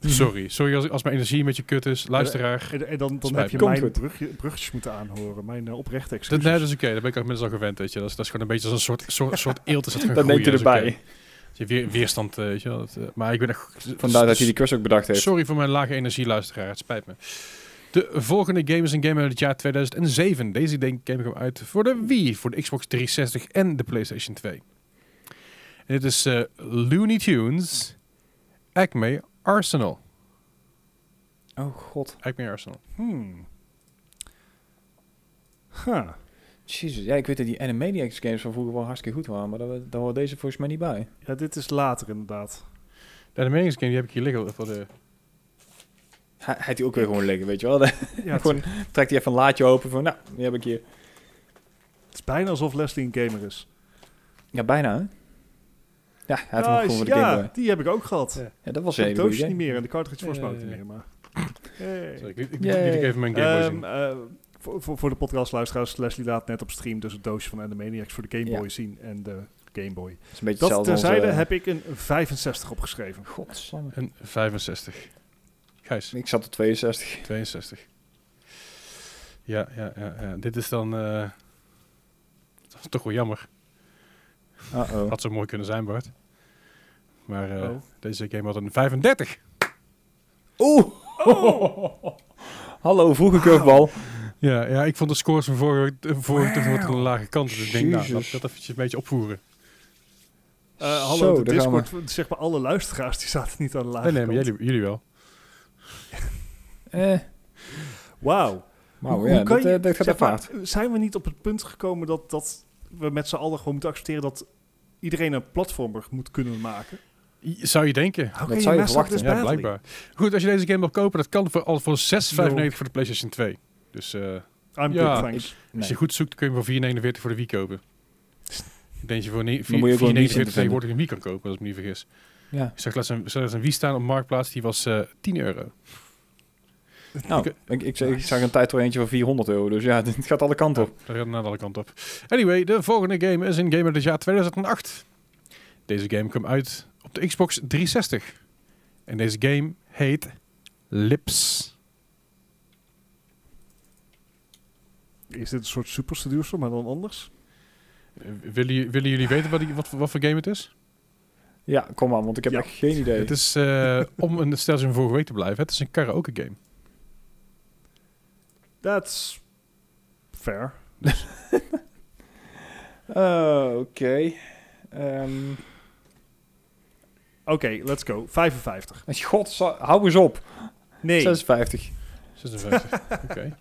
Mhm.
Sorry, sorry als, als mijn energie met je kut is. Luisteraar.
En, en dan, dan
Spijt
heb je
me. Komt
mijn
goed. nou,
brugje- bruggetjes moeten aanhoren. Mijn eh, oprechte
Dat, nee,
excuses.
dat is oké. Daar ben ik inmiddels al gewend, weet je. Dat is, dat is gewoon een beetje als een soort, soort, soort eelt is dat gaan
Dat neemt je
groeien. Dat is
erbij.
oké. Dat je weer, weerstand, eh, weet je wel. Dat, eh, maar ik ben echt...
Vandaar dat hij die cursus ook bedacht heeft.
Sorry voor mijn lage energieluisteraar, het spijt me. De volgende game is een game uit het jaar 2007. Deze game kwam uit voor de Wii, voor de Xbox 360 en de PlayStation 2. En dit is eh, Looney Tunes Acme Arsenal.
Oh god.
Acme Arsenal.
Hmm. Huh.
Jezus. Ja, ik weet dat die Animaniacs games van vroeger wel hartstikke goed waren. Maar daar, daar hoort deze volgens mij niet bij.
Ja, dit is later inderdaad.
De Animaniacs game die heb ik hier liggen. Voor de...
Hij hij had die ook weer gewoon liggen, weet je wel. Dan
Ja, het,
gewoon trekt hij even een laadje open van, nou, die heb ik hier.
het is bijna alsof Leslie een gamer is.
Ja, bijna hè? Ja, hij had hem ook
Nice,
gewoon voor de
ja,
Game Boy.
die heb ik ook gehad.
Ja.
Ja, dat was een
de
hele
doos
goede
niet
game.
meer en de cartridge volgens mij ook niet
Hey.
meer. Maar... Hey.
Sorry, ik liet ik liet
Yay.
jullie even mijn Game Boy
Ehm,
zien.
eh, voor, voor, voor de podcastluisteraars, Leslie laat net op stream dus het doosje van Animaniacs voor de Game
Ja. eh,
Boy zien en de Game Boy.
Dat is een beetje
Dat
hetzelfde als,
terzijde
eh,
heb ik een 65 opgeschreven.
Godsamme.
Een 65. Gijs,
Ik zat op 62.
62. Ja, ja, ja, ja. Dit is dan... eh, dat is toch wel jammer.
Uh-oh.
Had zo mooi kunnen zijn, Bart. Maar eh,
Oh.
deze game had een 35.
Oeh!
Oh.
Hallo, vroege curvebal.
Ja, ja, ik vond de scores van vorige, eh, vorige toch wat aan de lage kant. Dus ik denk, nou, laat
Jezus.
ik dat eventjes een beetje opvoeren.
Eh, hallo,
Zo,
de
daar gaan we.
Discord, zeg maar alle luisteraars, die zaten niet aan de lage
Nee, nee, maar
kant.
jullie, jullie wel.
Eh,
Wauw.
nou
Hoe-
ja,
hoe kan
dat, eh,
je-
dat gaat
zeg maar,
apart.
Zijn we niet op het punt gekomen dat, dat we met z'n allen gewoon moeten accepteren dat iedereen een platformer moet kunnen maken?
I- Zou je dus denken?
How
Dat
can
zou je
mess up
verwachten,
this
ja,
badly?
blijkbaar. Goed, als je deze game wil kopen, dat kan voor, al voor 6,95 voor de PlayStation 2. Dus eh,
I'm
Ja,
good, thanks.
als je goed zoekt, kun je hem voor 4,49 voor de Wii kopen. Ik denk dat je voor ni-
Dan moet je ook wel een Wii vinden
4,49 tegenwoordig een Wii kan kopen, als ik me niet vergis.
Ja.
Ik zag laatst een, zag laatst een Wii staan op Marktplaats, die was eh 10 euro.
Nou, ik, ik, ik, zag een tijd voor eentje van 400 euro, dus ja, dit gaat alle kanten op.
Daar gaat het aan alle kanten op. Anyway, de volgende game is een game uit het jaar 2008. Deze game kwam uit op de Xbox 360. En deze game heet Lips.
Is dit een soort super seducer, maar dan anders?
Eh, Willen, ju- willen jullie weten wat, die- wat, wat voor game het is?
Ja, kom maar, want ik heb
Ja.
echt geen idee.
Het is, eh, om een steltje van vorige week te blijven, het is een karaoke game.
That's fair.
Eh, Oké. Ehm
Oké, let's go. 55.
God, hou eens op.
Nee,
56.
56. Oké.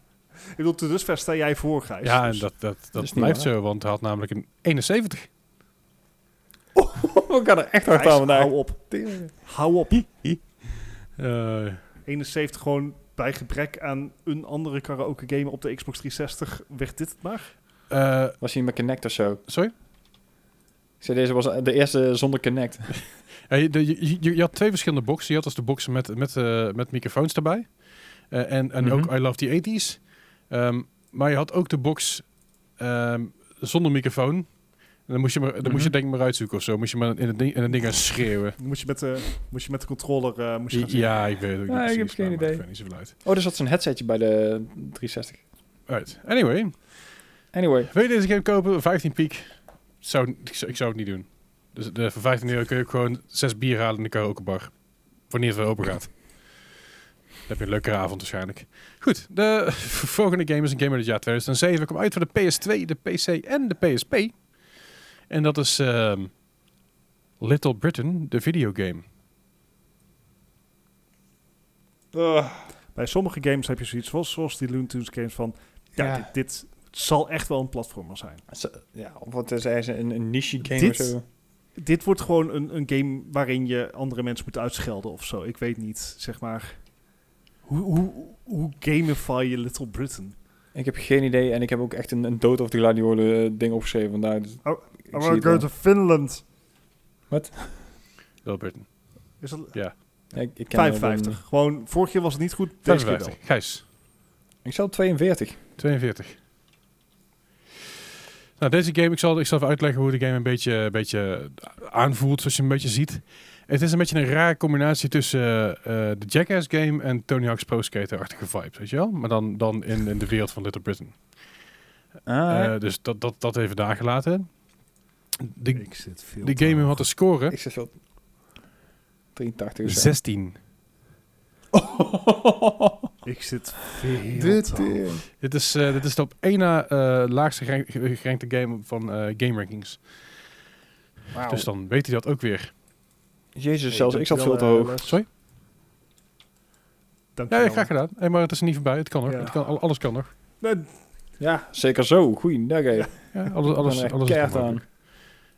ik bedoel, te dusver sta jij voor, Gijs.
Ja, en
Dus-
dat, dat, dat,
is niet
blijft
waar.
zo, want hij had namelijk een 71.
We gaan er echt hard
Gijs,
aan vandaag.
hou op. Hou op.
Eh,
71 gewoon bij gebrek aan een andere karaoke game op de Xbox 360 werd dit het maar.
eh,
Was hij met Connect of zo?
sorry?
Ik zei, deze was de eerste zonder Connect.
Ja, Eh, je, de- je, je- je had twee verschillende boxen. Je had dus de boxen met, met, eh, met microfoons erbij. Eh, en en ook
Mhm.
I Love the 80s. Ehm, maar je had ook de box ehm, zonder microfoon. En dan moest je, maar, dan moest je
Mhm.
denk ik maar uitzoeken of zo. Moest je maar in het ding, in het ding gaan schreeuwen.
Dan Moest je met de, moest je met de controller eh, moest je gaan zingen.
Ja, ik weet het ook niet
Ja, ik heb
precies,
geen
maar
idee.
maakt verder niet zoveel uit.
Oh, er zat zo'n headsetje bij de 360.
Right. Anyway,
Anyway.
wil je deze game kopen? 15 piek. Zou, ik, zou- ik zou het niet doen. Dus de, voor 15 euro kun je ook gewoon 6 bier halen in de karaokebar. Wanneer het weer open gaat. Dan heb je een leukere avond waarschijnlijk. Goed, de volgende game is een game uit het jaar 2007. Komt uit voor de PS2, de PC en de PSP. En dat is ehm, Little Britain, de videogame.
Bij sommige games heb je zoiets zoals, zoals die Looney Tunes games van... Ja,
Ja.
Dit, dit zal echt wel een platformer zijn.
Ze- Ja, of wat zei ze, een, een niche game
Dit-
of zo.
Dit wordt gewoon een, een game waarin je andere mensen moet uitschelden of zo. Ik weet niet, zeg maar... Hoe, hoe, hoe gamify je Little Britain?
Ik heb geen idee en ik heb ook echt een, een dood of de gladiolen eh, ding opgeschreven vandaag. Dus
Oh,
ik zie het wel.
Finland.
Little Britain.
Is dat
Ja, ik, ik ken hem wel.
55? Gewoon, vorig jaar was het niet goed, deze keer wel.
55. Gijs.
Ik zat op 42.
42. Nou, deze game, ik zal, ik zal even uitleggen hoe de game een beetje, een beetje aanvoelt, zoals je een beetje ziet. Het is een beetje een rare combinatie tussen eh, eh, de Jackass game en Tony Hawk's Pro Skater-achtige vibe, weet je wel? Maar dan, dan in, in de wereld van Little Britain.
Ah,
Eh, dus dat, dat, dat even daar gelaten. De,
Ik zit veel
de
te
game
hoog.
had een score
ik zit wel 83 of zo.
16.
Ik zit veel
Dit,
te hoog.
eh,
Dit is, eh, dit is de op één na eh, laagste gerank- gerankte game van eh, game rankings.
wauw.
Dus dan weet hij dat ook weer.
Jezus,
Hey,
Dus zelfs ik zat veel
dankjewel,
te hoog.
eh, Les.
Sorry?
Dank
Ja,
je
ja
wel.
graag gedaan. Hey, maar het is niet voorbij. Het kan nog.
Ja.
Het kan, al- alles kan nog.
Nee,
Ja, zeker zo. Goeiedag, hè.
Ja,
Ja, alles,
Ik ben
alles,
er
alles is
keihard
nog
aan.
mogelijk.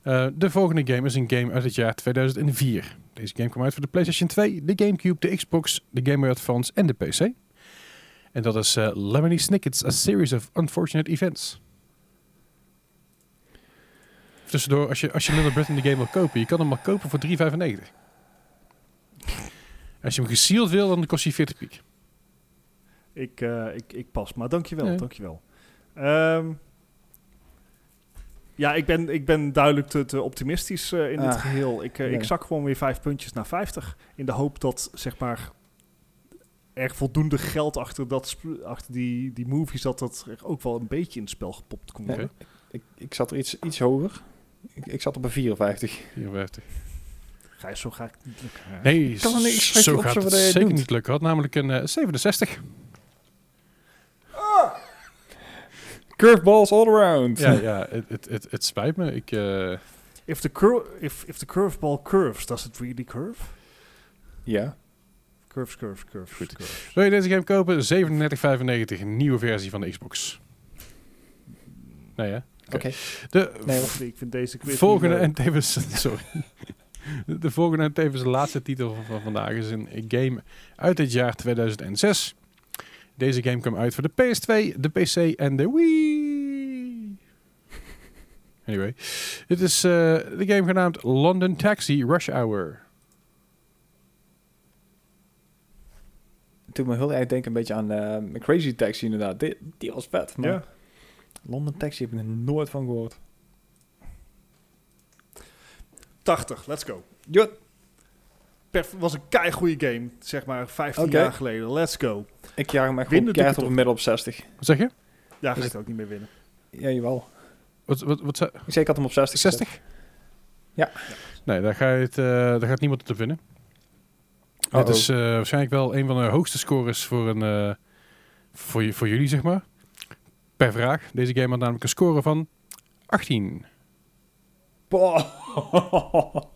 Eh, de volgende game is een game uit het jaar 2004. Deze game kwam uit voor de PlayStation 2, de GameCube, de Xbox, de Game Boy Advance en de PC. En dat is eh Lemony Snicket's A Series of Unfortunate Events. Tussendoor, als je, als je Little Britain de game wil kopen, je kan hem maar kopen voor 3,95. Als je hem gesealed wil, dan kost hij 40 piek.
ik, eh, ik, ik pas, maar dankjewel,
Nee.
dankjewel. Ehm, ja, ik ben, ik ben duidelijk te, te optimistisch eh, in dit
Ah,
geheel. Ik, eh,
nee.
ik zak gewoon weer vijf puntjes naar 50. In de hoop dat, zeg maar, er voldoende geld achter, dat, sp- achter die, die movie zat dat er ook wel een beetje in het spel gepopt kon worden.
Ik, ik zat er iets, iets hoger. Ik, ik zat op een 54.
54.
Gijs, zo ga ik het niet lukken. hè?
Nee,
kan er niks
s-
schrikken
zo
op
gaat
zo'n
het
idee
zeker
doet.
niet lukken. Had namelijk een eh, 67.
Curveballs all around.
Ja, ja het, het, het, het spijt me. Ik, eh,
If, the cur- if, if the curveball curves, does it really curve?
ja.
Curves, curves, curves. curves.
wil je deze game kopen? 37,95. Een nieuwe versie van de Xbox. Nee, hè?
Oké.
De
Nee,
Of nee, ik vind deze quiz
volgende
niet eh, leuk.
en tevens... Sorry. De volgende en tevens de laatste titel van vandaag is een game uit het jaar 2006. Deze game kwam uit voor de PS2, de PC en de Wii. Anyway. Dit is eh, de game genaamd London Taxi Rush Hour.
Het doet me heel erg denken een beetje aan eh, Crazy Taxi inderdaad. Die, die was vet, maar
Ja.
London Taxi heb ik er nooit van gehoord.
80, let's go.
Ja.
Perf was een kei goede game, zeg maar 15
Oké.
jaar geleden. Let's go.
Ik jaag hem
Winnen
echt gewoon
doe ik
keihard
het
op een middel op 60.
Wat zeg je?
Ja, ga
Is
ik
het-
het ook niet meer winnen.
Ja, jawel.
Wat, wat, wat zei-
Ik zei ik had hem op 60 gezet.
60?
Ja.
Nee, daar, ga je het, eh, daar gaat niemand het op winnen.
Uh-oh.
Het is eh, waarschijnlijk wel een van de hoogste scores voor, een, eh, voor, je- voor jullie, zeg maar. Per vraag. Deze game had namelijk een score van 18.
Boah.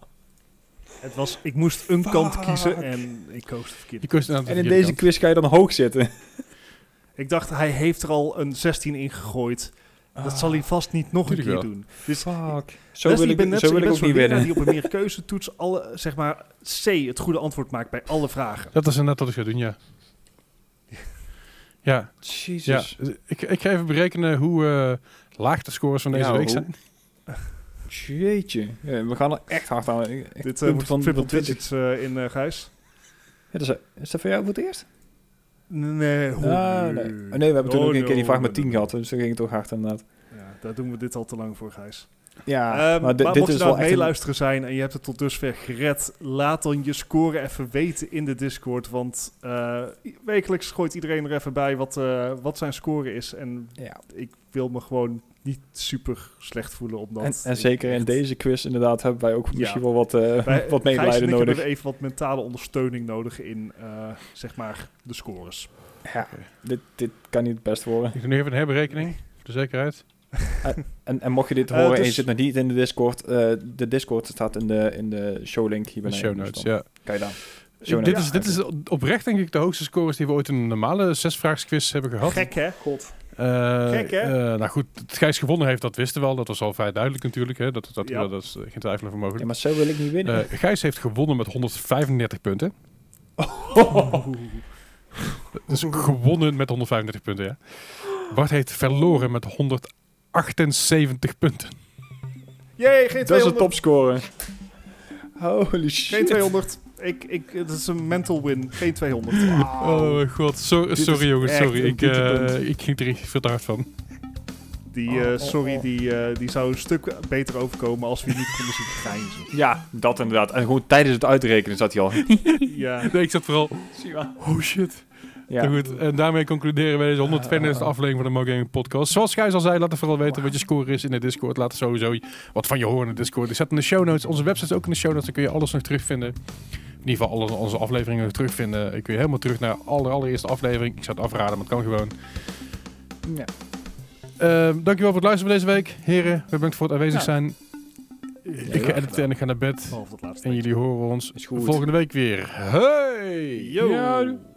Het was, ik moest een kant kiezen en ik koos de verkeerde.
Je koos een aantal
en in
verkeerde
deze quiz ga je dan hoog zitten.
Ik dacht, hij heeft er al een 16 in gegooid. Dat zal hij vast niet nog een
Ah. tuurlijk
keer
wel.
doen. Dus
Fuck. Zo
Leslie,
wil ik,
bent net
zo
zo-
wil
je bent
ik ook
zo'n
niet
winnaar
winnen.
die op een meerkeuzetoets alle, zeg maar, C, het goede antwoord maakt bij alle vragen.
kant. Dat is inderdaad wat ik ga doen, ja. Ja, ja.
Jezus.
Ik, ik ga even berekenen hoe eh, laag de scores van deze
Ja,
week
hoe?
zijn.
Jeetje. Ja, we gaan er echt hard aan. Ik- ik-
Dit eh,
punt
wordt van triple
20.
digits eh, in eh Gijs.
Ja, dat dus, is, is dat voor jou voor het eerst?
Nee, hoe-
Ah, nee. Oh, nee, we hebben toen
Oh,
ook een keer die vraag
no,
met
no,
10
no.
gehad. Dus toen ging het toch hard inderdaad.
Ja, daar doen we dit al te lang voor, Gijs.
Ja,
Ehm,
Ah, maar, di-
maar
dit
mocht
is
je nou
wel
aan het
echt een-
meeluisteren zijn en je hebt het tot dusver gered, laat dan je score even weten in de Discord. Want eh, i- wekelijks gooit iedereen er even bij wat, eh, wat zijn score is. En
Ja.
ik wil me gewoon niet super slecht voelen omdat...
En, en zeker in deze quiz inderdaad hebben wij ook
Ja.
misschien wel wat, eh
Wij-
wat
Gijs en
medelijden
ik
nodig.
hebben even wat mentale ondersteuning nodig in, eh, zeg maar, de scores.
Ja, dit, dit kan niet het best worden.
Ik doe nu even een herberekening, voor de zekerheid.
En, en mocht je dit
Eh,
horen en je
dus-
zit nog niet in de Discord, eh, de Discord staat in de, in de showlink hier
De
beneden.
show
Dus
notes,
dan
ja.
Kan je dan.
Ik-
notes.
Dit is, dit is oprecht denk ik de hoogste scores die we ooit in een normale zesvraagsquiz hebben gehad.
Gek, hè?
God.
Eh,
Gek, hè?
eh, nou goed, dat Gijs gewonnen heeft, dat wisten we al. Dat was al vrij duidelijk natuurlijk. Hè? Dat, dat,
Ja.
dat is eh, geen twijfel over mogelijk.
Ja, maar zo wil ik niet winnen.
Eh, Gijs heeft gewonnen met 135 punten. Dus gewonnen met 135 punten, ja. Bart heeft verloren met 178 punten.
Jee, geen 200.
dat is een topscore. Holy shit.
Geen 200. Ik, ik, het is een mental win. Geen 200.
Oh mijn god, so-
Dit
sorry
is
jongens,
echt
sorry.
een
Ik, eh,
dieptepunt.
ik ging er echt veel te hard van.
Die,
Oh,
eh,
oh,
sorry,
oh.
Die, eh, die zou een stuk beter overkomen als we niet konden zien grijnzen.
Ja, dat inderdaad. En gewoon tijdens het uitrekenen zat hij al.
Ja.
Nee, ik zat vooral... Oh shit. Nou
ja.
Goed, en daarmee concluderen wij deze 132 aflevering van de Mo Gaming Podcast. Zoals Gijs al zei, laat het vooral weten wat je score is in de Discord. Laat sowieso wat van je horen in de Discord. Ik zet in de show notes. Onze website is ook in de show notes. Dan kun je alles nog terugvinden. In ieder geval alle onze afleveringen nog terugvinden. Ik kun je helemaal terug naar de aller, allereerste aflevering. Ik zou het afraden, maar het kan gewoon.
Ja.
Ehm, dankjewel voor het luisteren van deze week. Heren, bedankt voor het aanwezig
Ja.
zijn. Ik ga editen en ik ga naar bed.
Behalve het laatste.
En jullie horen ons
Is goed.
volgende week weer. Hey!
Yo.
Ja.